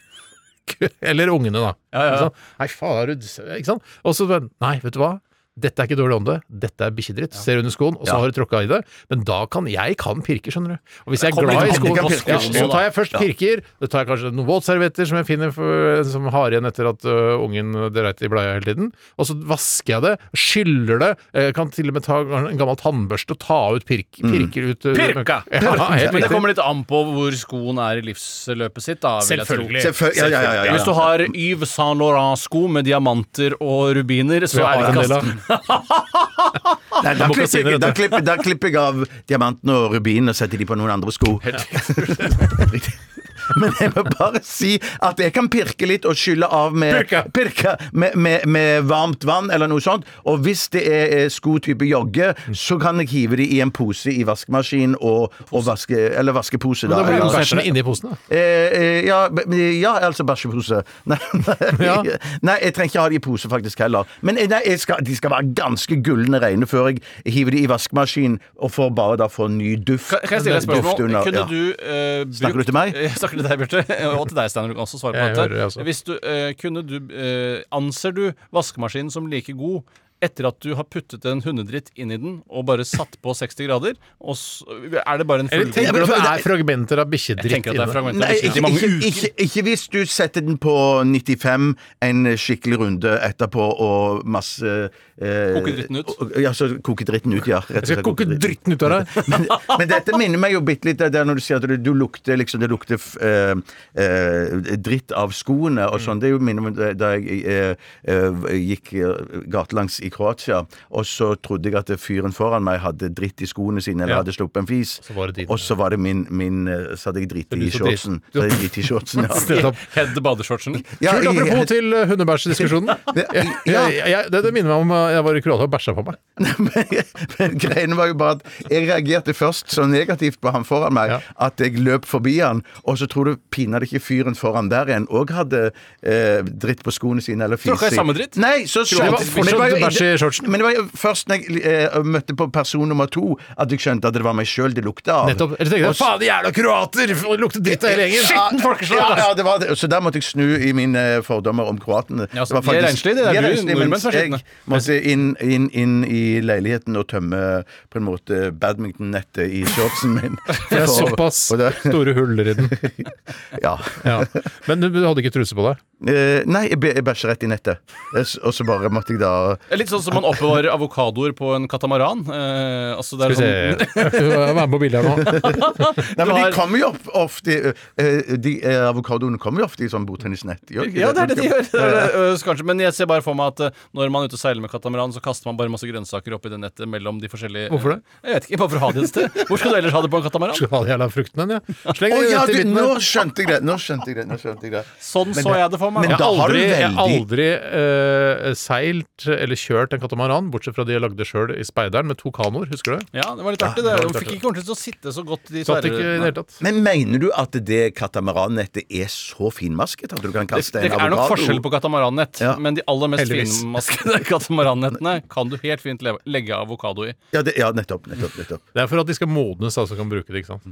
din.
(laughs) Eller ungene, da.
Ja, ja, ja.
Sånn, Nei, faen, er du Ikke sant? Og så bare, Nei, vet du hva? Dette er ikke dårlig ånde, dette er bikkjedritt. Ser under skoen, og så har du tråkka i det. Men da kan jeg kan pirke, skjønner du. Og hvis jeg er
kommer
glad i
litt an på
skoen,
hvilken
ja,
pirker.
så tar jeg først pirker. Da tar jeg kanskje noen våtservietter som jeg finner for, som har igjen etter at ø, ungen dreit i bleia hele tiden. Og så vasker jeg det, skyller det. Jeg kan til og med ta en gammel tannbørste og ta ut pirk, pirker ut ø,
Mm. Pirka!
Ja, helt riktig.
Men det kommer litt an på hvor skoen er i livsløpet sitt, da. vil jeg tro.
Selvfølgelig.
Selvfølgelig. Ja, ja, ja, ja, ja.
Hvis du har Yves Saint Laurent-sko med diamanter og rubiner, så er det
en del
kast.
av.
Nei, Ah, da,
må ikke si det,
klipper, jeg- da,
vet
klipper, da klipper jeg av diamantene og rubinen og setter de på noen andre sko. (laughs) Men jeg må bare si at jeg kan pirke litt og skylle av med,
Pirke.
pirke med, med, med varmt vann eller noe sånt. Og hvis det er eh, skotype jogge, så kan jeg hive de i en pose i vaskemaskinen og, og vaske, eller vaskepose. Da,
Da blir
ja.
jo bæsjen inni posen, da.
Eh, eh, ja, b- men- ja, altså bæsjepose. (laughs) Nei, nei,
Ja.
nei, jeg trenger ikke ha de i pose faktisk heller. Men eh, nei, jeg skal, de skal være ganske gullende reine før jeg hiver de i vaskemaskinen og får bare da få ny duft.
Kan kan jeg stille deg et
Duft
spørsmål?
under,
Kunne
ja.
du eh, brukt
Snakker du til meg?
Jeg (laughs) snakker til deg, Bjarte. Og til deg, Steinar. Du kan også svare på
Jeg
dette.
hører det, altså.
Hvis du, eh, kunne du eh, Anser du vaskemaskinen som like god etter at du har puttet en hundedritt inn i den og bare satt på 60 grader? Og s- er det bare en
Eller
fullgod
tenker du at det er
Jeg
fragmenter av
Jeg
bikkjedritt
tenker at det er
inne?
fragmenter.
Nei,
av
ikke,
bikkjer.
ikke, ikke, ikke hvis du setter den på 95 en skikkelig runde etterpå og masse eh,
Koker dritten ut.
og- Ja, så koker dritten ut, ja. Rett og
Jeg skal
slett
koke
koker
dritten
dritten.
ut av deg!
men, men dette minner meg jo bitte litt der når du sier at du, du lukter liksom, det lukter f- eh, eh, dritt av skoene og sånn. Det er jo minner meg da- da jeg eh, eh, gikk eh, gatelangs i Kroatia, og så trodde jeg at fyren foran meg hadde dritt i skoene sine eller
Ja.
hadde sluppet en fis,
Så var det din.
og så var det min, min eh, Så hadde jeg dritt
Så du
i
så dritten.
shortsen. Så hadde jeg dritt i shortsen, (laughs) ja.
Nettopp.
(laughs) Head badeshortsen.
Ja,
Kult,
i-
apropos til eh, hundebæsjediskusjonen. Jeg,
Ja.
jeg, jeg, det, det minner meg om eh, jeg var i Kroatia og bæsja på meg.
(laughs) men, men greiene var jo bare at jeg reagerte først så negativt på han foran meg
Ja.
at jeg løp forbi han, og så tror du pinadø ikke fyren foran der igjen òg hadde eh, dritt på skoene sine eller fise.
Tråkka i samme dritt?
Nei, så
det var
skjønte
fortsatt bæsj i shortsen.
Men det var jo først når jeg eh, møtte på person nummer to at jeg skjønte at det var meg sjøl det lukta av.
Nettopp. Eller tenker jeg,
Og så-
Faen, de jævla kroater! f- Lukter dritt av hele gjengen!
Ja,
altså.
Ja, ja, det var det. Så der måtte jeg snu i mine eh, fordommer om kroatene.
Ja, så de er renslige, de der.
de er
Du,
renslige,
nordmenn
mens
som er
jeg
skitne.
måtte inn, inn, inn i leiligheten og tømme på en måte badminton-nettet i shortsen (laughs) min.
Det er
For-
såpass
og det-
store huller i den.
Ja.
Ja. Men du, du hadde ikke truse på deg?
Eh, nei, jeg bæ- jeg bæsjer rett i nettet. Jeg s- Og så bare måtte jeg da
Litt sånn som man oppbevarer avokadoer på en katamaran. Eh, altså det er
Skal
sånn,
vi se Vær med på bildet her nå.
Nei, men
Du har-
De kommer jo opp, ofte eh, de, eh, Avokadoene kommer jo ofte i sånn botennisnett. gjør ikke
Ja, det er det de gjør. (laughs) Det er det, øh, så kanskje, men jeg ser bare for meg at øh, når man er ute og seiler med katamaran, så kaster man bare masse grønnsaker oppi det nettet mellom de forskjellige
Hvorfor det?
Jeg vet ikke, bare for å ha det et sted. Hvor skal du ellers ha det på en katamaran?
Skal ha de jævla fruktene, den, ja. Sleng
Å
den
ja,
rett i
du,
midten
nå
der.
skjønte jeg det! Nå skjønte jeg det. Nå skjønte jeg det.
Sånn
Men
så
det-
jeg det for meg.
men
Ja.
Jeg
da
har
har du
aldri, jeg har
veldig-
aldri eh, seilt eller kjørt en katamaran, bortsett fra de jeg lagde sjøl i Speideren med to kanoer. Husker du det?
Ja, det var litt artig.
det
det.
var litt
Du fikk
artig.
ikke ordentlig til å sitte så godt i
Satt ikke i det
tverre-
hele tatt.
Men mener du at det katamaranet er så finmasket at du kan
Det,
kaste
det
en
er nok
avokado?
forskjell på katamarannett,
Ja.
men de aller mest
Heldigvis.
finmaskede (laughs) katamarannettene kan du helt fint leve, legge avokado i.
Ja, det, ja nettopp. nettopp, nettopp.
Det er for at de skal modnes, altså kan bruke det. ikke sant?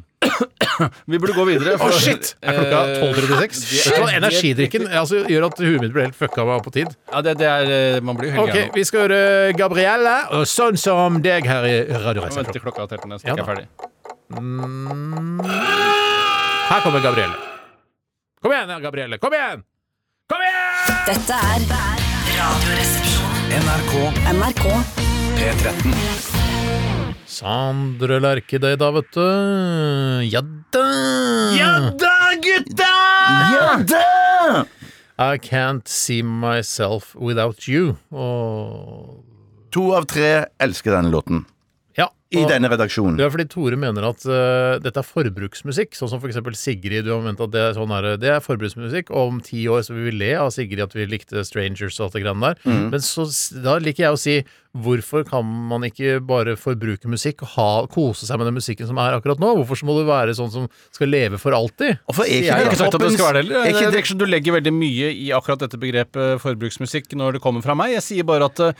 Vi burde gå videre. for-
Er klokka
Eh,
12.36? Vet du hva, Energidrikken altså, gjør at huet mitt blir helt fucka av på tid.
Ja, det, det er øh, Man blir jo helt
Ok,
gæren. nå.
Vi skal høre Gabrielle, og sånn som deg her i
Vent til
Radioresepsjonen.
klokka er telt ned, så
Ja
ikke jeg
da.
er ferdig.
Her kommer Gabrielle. Kom igjen, Gabrielle. Kom igjen! Kom igjen!
Dette er Radioresepsjonen. NRK. NRK.
Sandre Lerche, det da, vet du. Ja da!
Ja da!
I can't see myself without you. Og
To av tre elsker denne låten.
ja.
I
og-
denne
Det
redaksjonen.
er fordi Tore mener at eh, dette er forbruksmusikk, sånn som for eksempel Sigrid. Du har ment at det er, sånn her, det er forbruksmusikk, og om ti år så vil vi le av Sigrid at vi likte Strangers og alt det greiene der. Men så, s- da liker jeg å si hvorfor kan man ikke bare forbruke musikk og ha, kose seg med den musikken som er akkurat nå? Hvorfor så må du være sånn som skal leve for alltid?
Hvorfor er
Jeg har ikke sagt at det skal være det
Er
heller.
ikke
Det
det-
virker som du legger veldig mye i akkurat dette begrepet forbruksmusikk når det kommer fra meg. Jeg sier bare at uh,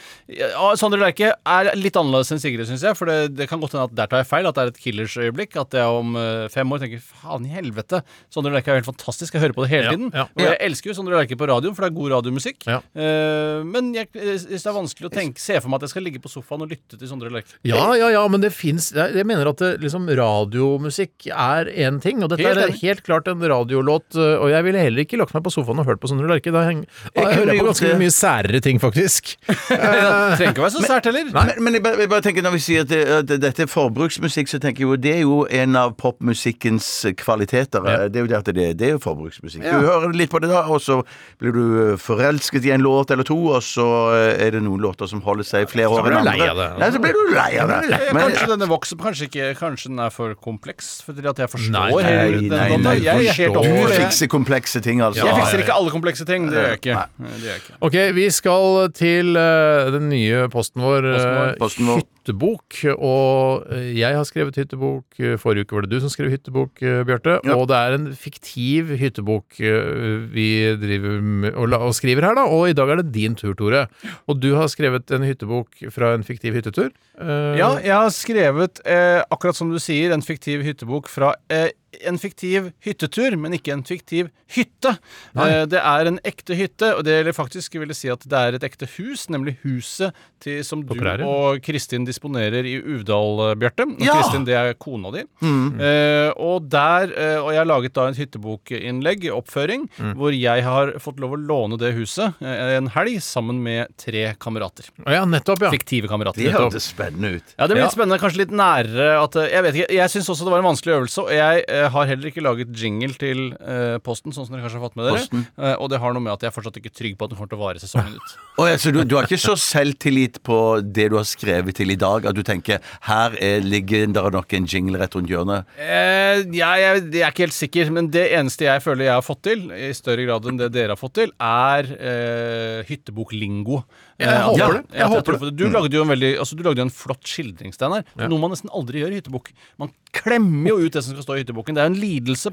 Sondre Lerche er litt annerledes enn Sigrid, syns jeg. For det, det kan godt hende at der tar jeg feil, at det er et killers øyeblikk. At jeg om eh, fem år tenker faen i helvete, Sondre Lerche er jo helt fantastisk, jeg hører på det hele
Ja,
tiden.
ja.
Og jeg elsker jo Sondre Lerche på radioen, for det er god radiomusikk.
Ja.
Eh, men jeg, jeg synes det er vanskelig å tenke, se for meg at jeg skal ligge på sofaen og lytte til Sondre Lerche.
Ja, ja, ja, men det fins Jeg jeg mener at det, liksom, radiomusikk er én ting, og dette
Helt
er
enig.
helt klart en radiolåt. øh, Og jeg ville heller ikke lagt meg på sofaen og hørt på Sondre Lerche. Da heng- da
kunne
hører jeg
gjort
ganske
det.
mye særere ting, faktisk. Eh.
Det trenger ikke å være så sært heller.
Men, men jeg, bare, jeg bare tenker når vi sier at, det, at dette er forbruksmusikk, så tenker jeg jo det er jo en av popmusikkens kvaliteter.
Ja.
Det er jo det at det, det er jo forbruksmusikk. Du hører litt på det da, og så blir du forelsket i en låt eller to, og så eh, er det noen låter som holder seg i flere
så
år
blir
enn
du
andre.
lei av det.
Nei, så blir du lei av det.
Ja,
Men-
Eh, kanskje denne vokser kanskje ikke Kanskje den er for kompleks? Fordi at jeg forstår
Nei,
hele
nei,
den
nei,
låta.
nei,
Jeg er helt
forstår.
opp
du
for det.
fikser komplekse ting, altså.
Jeg fikser ikke alle komplekse ting. Det gjør jeg ikke. Det gjør jeg ikke.
Ok, vi skal til øh, den nye posten vår, øh,
Posten vår.
hyttebok. Og øh, jeg har skrevet hyttebok. øh, Forrige uke var det du som skrev hyttebok, øh, Bjarte.
Ja.
Og det er en fiktiv hyttebok øh, vi driver med og, la- og skriver her, da. Og i dag er det din tur, Tore. Og du har skrevet en hyttebok fra en fiktiv hyttetur. Eh,
Ja, jeg har skrevet, eh, akkurat som du sier, en fiktiv hyttebok fra eh, en fiktiv hyttetur, men ikke en fiktiv hytte. Eh, det er en ekte hytte, og det eller faktisk vil jeg si at det er et ekte hus, nemlig huset til, som du
prærien.
og Kristin disponerer i Uvdal, eh, Bjarte. Og
Ja!
Kristin, det er kona di. Eh, og der, eh, og jeg har laget da en hyttebokinnlegg, oppføring, hvor jeg har fått lov å låne det huset eh, en helg sammen med tre kamerater.
ja, nettopp, ja.
Fiktive kamerater.
Det hørtes spennende ut.
Ja, det blir
Ja.
litt spennende. Kanskje litt nærere at eh, Jeg vet ikke, jeg syns også det var en vanskelig øvelse, og jeg eh, har heller ikke laget jingle til eh, Posten, sånn som dere kanskje har fått med dere. Eh, og det har noe med at jeg er fortsatt ikke trygg på at den kommer til å vare sesongen ut.
Å, ja, så du, du har ikke så selvtillit på det du har skrevet til i dag, at du tenker her er, ligger det nok en jingle rett rundt hjørnet?
(laughs) Eh, jeg, jeg, jeg er ikke helt sikker, men det eneste jeg føler jeg har fått til, i større grad enn det dere har fått til, er eh, hytteboklingo.
Jeg
Eh, at-
håper
ja,
det.
at
Jeg håper
tror på Du lagde jo en veldig altså, Du lagde jo en flott skildring, Steinar. Noe man nesten aldri gjør i hyttebok. Man klemmer jo ut det som skal stå i hytteboken. Det er jo en lidelse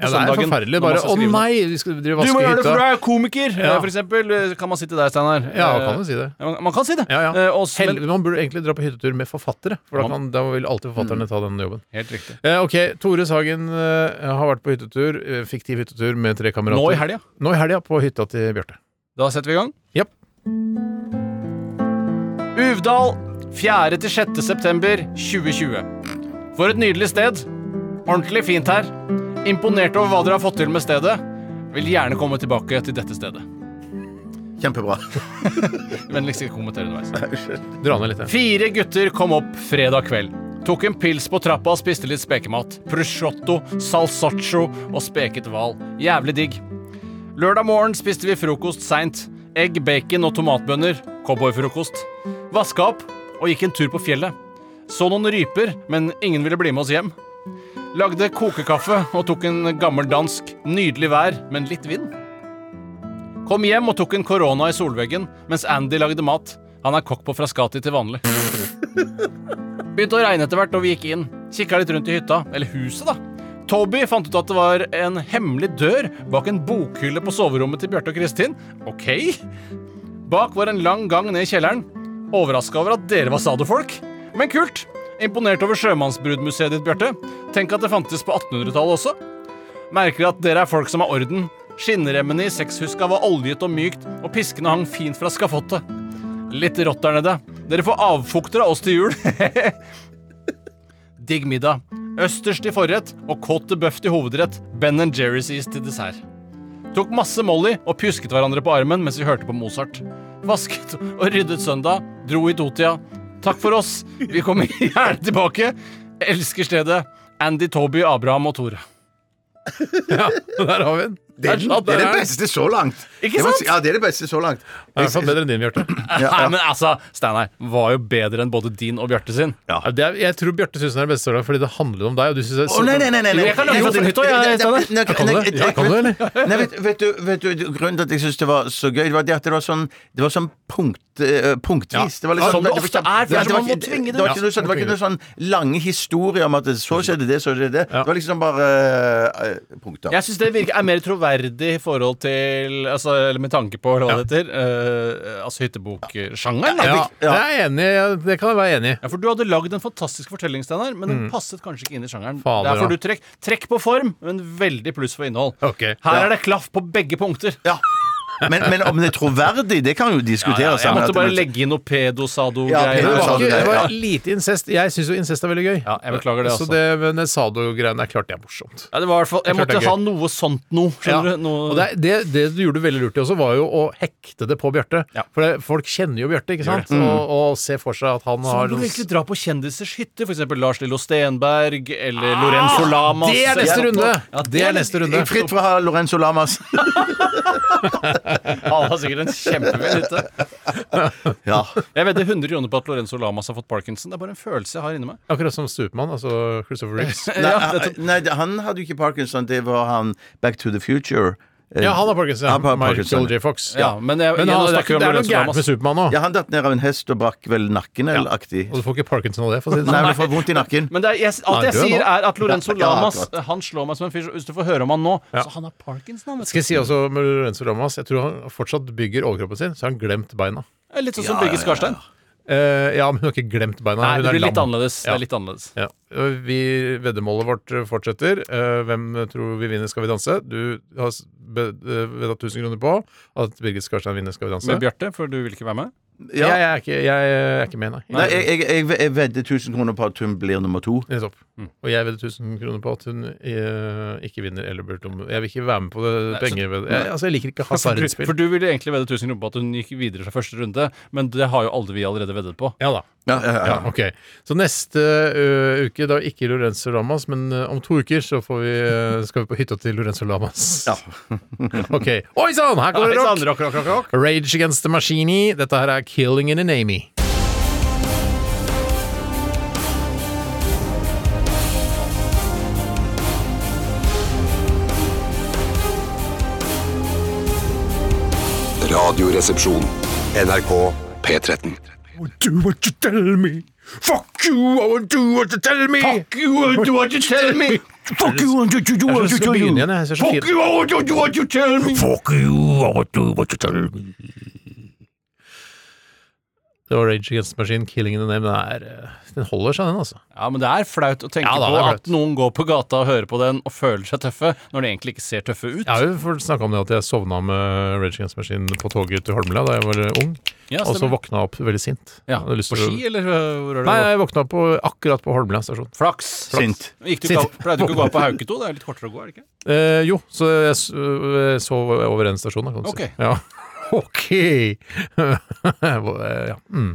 ja.
på
Det er
søndagen.
forferdelig.
når man
Bare
skal
å
skrive noe.
nei, vi skal drive og
Du må
vaske
gjøre det, for du
hytta.
er komiker,
Ja.
eh, for eksempel. Eh, Kan man si til deg, Steinar.
Ja,
eh,
kan du si det.
ja, Man, man kan si det.
Ja, ja.
Eh, og s-
Hell,
men,
man burde egentlig dra på hyttetur med forfattere, for da,
Ja. Mm.
kan, da vil alltid forfatterne ta den jobben.
helt riktig.
Eh, ok, Tore Sagen eh, har vært på hyttetur, eh, fiktiv hyttetur med tre kamerater.
Nå i helga.
Nå i helga, på hytta til Bjarte.
Da setter vi i gang.
Japp.
Uvdal, 4. til 6. september 2020. For et nydelig sted. Ordentlig fint her. Imponert over hva dere har fått til med stedet. Vil gjerne komme tilbake til dette stedet.
Kjempebra.
Vennligst ikke kommenter underveis.
Dra ned litt. jeg.
Fire gutter kom opp fredag kveld. Tok en pils på trappa og spiste litt spekemat. Prosciutto, salsaccio og speket hval. Jævlig digg. Lørdag morgen spiste vi frokost seint. Egg, bacon og tomatbønner. Cowboyfrokost. Vaska opp og gikk en tur på fjellet. Så noen ryper, men ingen ville bli med oss hjem. Lagde kokekaffe og tok en gammel dansk. Nydelig vær, men litt vind. Kom hjem og tok en korona i solveggen mens Andy lagde mat. Han er kokk på Frascati til vanlig. Begynte å regne etter hvert, og vi gikk inn. Kikka litt rundt i hytta. Eller huset, da. Toby fant ut at det var en hemmelig dør bak en bokhylle på soverommet til Bjarte og Kristin. Ok. Bak var en lang gang ned i kjelleren. Overraska over at dere var sadofolk. Men kult. Imponert over sjømannsbrudmuseet ditt, Bjarte. Tenk at det fantes på 1800-tallet også. Merker at dere er folk som har orden. Skinnremmene i sekshuska var oljet og mykt, og piskene hang fint fra skafottet. Litt rått der nede. Dere får avfukter av oss til jul. (laughs) Digg middag. Østers til forrett og kåt til bøff til hovedrett. Ben Jerry's is til dessert. Tok masse Molly og pjusket hverandre på armen mens vi hørte på Mozart. Vasket og ryddet søndag. Dro i totida. Takk for oss. Vi kommer (laughs) gjerne tilbake. Elsker stedet. Andy, Toby, Abraham og Tore.
Ja, (laughs) der har vi den.
Det er,
sant,
det er
det
det
er.
beste så langt.
Ikke
Det var-
sant?
Ja, det er det beste så langt.
Det er i hvert fall bedre enn din, Bjarte.
Nei, men altså, Steinar var jo bedre enn både din og Bjarte sin.
Ja, Eh, det er- Jeg tror Bjarte syns den er den beste så langt, fordi det handler om deg. Og du synes det er
Å, nei, nei, nei, nei,
Jo, jeg kan lage fra din hytte, jeg,
Nei,
Steinar.
nei,
Kan du det? Ja, kan du det, eller?
Nei, vet, vet, du, vet du, grunnen til at jeg syntes det var så gøy, det var det at det var sånn, det var sånn punkt, eh, punktvis.
Ja,
Det var liksom-
som det ofte er, for
Ja,
man
var
må
ikke-
tvinge det.
det. Var
Ja,
ikke, noe sånn, det var ikke noe sånn lange historier om at det- så skjedde det, så skjedde det.
Ja.
Det var liksom bare eh, punkter.
Jeg syns det virker er mer troverdig i forhold til altså, Eller med tanke på eller hva det heter. eh, altså hytteboksjangeren.
Ja,
Ja.
det er jeg enig i. Det kan jeg være enig i.
ja, for du hadde lagd en fantastisk fortelling, Steinar, men den passet kanskje ikke inn i sjangeren.
Mm. Fader,
Der får
ja.
du trekk. Trekk på form, men veldig pluss for innhold.
Ok.
Her er det klaff på begge punkter.
Ja. Men, men om det er troverdig, det kan jo diskuteres.
jeg
men at
måtte
det-
bare legge inn noe
Ja,
pedo-sado-greier.
Det
pedo-
var,
sa du
ikke,
det,
det
ja.
var lite incest. Jeg syns jo incest er veldig gøy.
Ja, jeg beklager det,
Så
altså.
det, men det sado-greiene er klart det er morsomt.
ja, det var i hvert fall, jeg
Det er klart det
måtte
er
ha
gøy.
noe sånt noe. Skjønner
Ja.
du? Noe,
Og det, er- det, det du gjorde veldig lurt i også, var jo å hekte det på Bjarte.
Ja.
For det, folk kjenner jo Bjarte, ikke sant? Og, og ser for seg at han
Så
har
må Sånn, du egentlig dra på kjendisers hytte, f.eks. Lars Lillo Stenberg eller Lorenzo Lamas.
Ah, Det er neste
eller noe
runde!
sånt. Ja,
Det er neste runde.
Fritt fra Lorenzo Lamas.
Han har sikkert en kjempefin hytte. (laughs)
Ja.
Jeg vedder 100 kroner på at Lorenzo Lamas har fått parkinson. Det er bare en følelse jeg har inni meg.
Akkurat som Stupemann, altså Christopher
(laughs)
Riggs.
Nei, eh, nei, han hadde jo ikke Parkinson, det var han Back to the Future. Eh,
Ja, han har parkinson.
Han har parkinson.
Michael J. Fox.
Ja, men jeg-
men han,
igjen,
det,
nå
er,
snakker
ikke-
vi om
det er noe
Lorenzo
gærent
Lamas.
med Supermann nå.
Ja, han datt ned av en hest og brakk vel nakken eller aktig.
Og du får ikke parkinson av det, for å si det
Nei,
sånn.
du får vondt i nakken.
Men det er, jeg, alt
Han er
jeg
død
sier,
nå.
er at Lorenzo
Ja, ja,
Lamas
akkurat.
Han slår meg som en fyr. så Hvis du får høre om han nå
Ja.
Så han har parkinson, han. vet
Skal jeg si også med Lorenzo Lamas, jeg tror han fortsatt bygger overkroppen sin, så har han glemt beina.
du. Litt sånn som Birgit Skarstein.
Eh, ja, men hun har ikke glemt beina.
Nei,
hun
det
er
blir litt
lam.
annerledes. Det
Ja.
er litt annerledes.
Ja. og Vi, veddemålet vårt fortsetter. Eh, Hvem tror vi vinner Skal vi danse? Du har s- be- eh, vedda 1000 kroner på at Birgit Skarstein vinner Skal vi danse.
Med Bjarte, for du vil ikke
(laughs)
være med?
Jeg,
Ja.
jeg, er ikke, jeg er ikke med, nei.
Nei, jeg, jeg, jeg, jeg vedder 1000 kroner på at hun blir nummer to.
Nettopp. Og jeg vedder 1000 kroner på at hun eh, ikke vinner eller blir tom. Jeg vil ikke være med på det pengeved... Jeg, altså, jeg liker ikke
For du,
hasardspill.
for du ville egentlig vedde 1000 kroner på at hun gikk videre fra første runde, men det har jo alle vi allerede veddet på.
Ja da.
Ja, ja, ja.
Ja, ok. Så neste ø, uke, da ikke Lorenzo Lamas, men ø, om to uker så får vi, ø, skal vi på hytta til Lorenzo Lamas.
Ja.
(laughs) ok. Oi sann, her kommer det rock!
Rock, rock, rock, rock.
Rage Against the Machine. Dette her er Killing in an Amy.
Radioresepsjon. NRK P13.
Do what you tell me. Fuck you, I won't do what you tell me. Fuck you, I won't do what you tell me. Fuck you, I won't do what you tell me. Jeg ser så fin- Det var Rage Against the Machine, Killing in the Name. Den, er, ø, den holder seg, den, altså.
Ja, men det er flaut å tenke
Ja, da, det
på
er flaut.
at noen går på gata og hører på den og føler seg tøffe, når de egentlig ikke ser tøffe ut.
Jeg har jo snakka om det at jeg sovna med Rage Against the Machine på toget til Holmlia da jeg var ø, ung,
Ja,
og så
stemmer.
våkna jeg opp veldig sint.
Ja,
Jeg hadde lyst
På
til å-
ski, eller øh, hvor er det?
Nei,
du går?
jeg våkna opp på, akkurat på Holmlia stasjon.
Flaks.
Sint.
Gikk du
Sint.
ikke, av- pleide du ikke å gå (laughs) av på Hauketo? Det er litt kortere å gå, er det ikke?
Eh, jo, så jeg s- øh, sov eh, over en stasjon, da, kan du
Ok.
si. Ja. (laughs) OK! (laughs) ja. mm.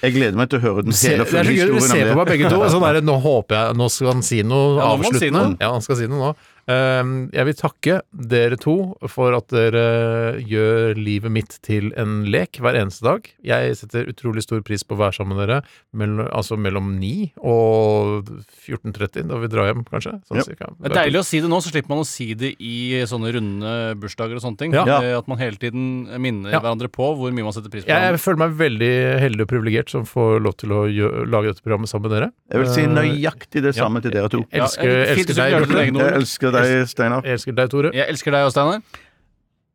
Jeg gleder meg til å høre den
Se,
hele
det er så gøy dere
historien.
ser på meg begge to. Sånn er det, nå håper jeg Nå skal han si noe
Ja, nå må han si
avsluttende.
noe.
Ja, han skal si noe nå. Ehm, Jeg vil takke dere to for at dere gjør livet mitt til en lek hver eneste dag. Jeg setter utrolig stor pris på å være sammen med dere, mellom, altså mellom 9 og 14.30, da vi drar hjem, kanskje. Sånn
Ja.
cirka.
Det er deilig å si det nå, så slipper man å si det i sånne runde bursdager og sånne ting.
Ja.
Eh, At man hele tiden minner
Ja.
hverandre på hvor mye man setter pris på.
Jeg,
hverandre.
jeg føler meg veldig heldig og privilegert som får lov til å gjø- lage dette programmet sammen med dere.
Jeg vil si
Eh,
nøyaktig det samme til dere to.
Ja,
Elsker,
jeg- fint
elsker
hvis du
deg,
gjør det med
Bjarte.
egne
Jeg
ord.
elsker deg, Steinar.
Jeg elsker deg, Tore.
Jeg elsker deg òg, Steinar.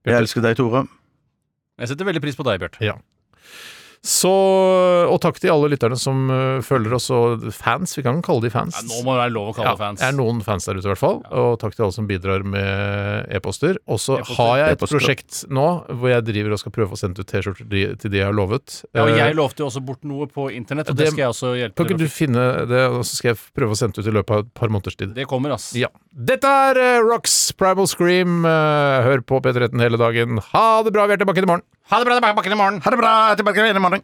Jeg elsker deg, Tore.
Jeg setter veldig pris på deg, Bjarte.
Så, og takk til alle lytterne som øh, følger oss, og fans. Vi kan kalle de fans.
Ja, nå må det være lov å kalle
Ja,
det fans.
er noen fans der ute, i hvert fall. Og takk til alle som bidrar med e-poster. Og så
E-poster.
har jeg et
E-poster.
prosjekt nå hvor jeg driver og skal prøve å sende ut T-skjorter de- til de jeg har lovet.
Ja, og
Eh,
jeg lovte jo også bort noe på internett, og
det-
det skal jeg også hjelpe
kan
til
ikke du
med.
finne det, og så skal jeg prøve å sende det ut i løpet av et par måneders tid.
Det kommer, ass.
Ja. Dette er eh, Rocks Primal Scream. Eh, Hør på P13 hele dagen. Ha det bra, vi er tilbake i morgen.
Ha det bra, tilbake bakken i morgen.
Ha det bra! Tilbake igjen i morgen.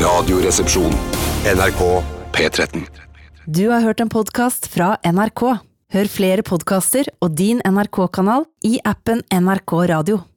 Radioresepsjon. NRK P13.
Du har hørt en podkast fra NRK. Hør flere podkaster og din NRK-kanal i appen NRK Radio.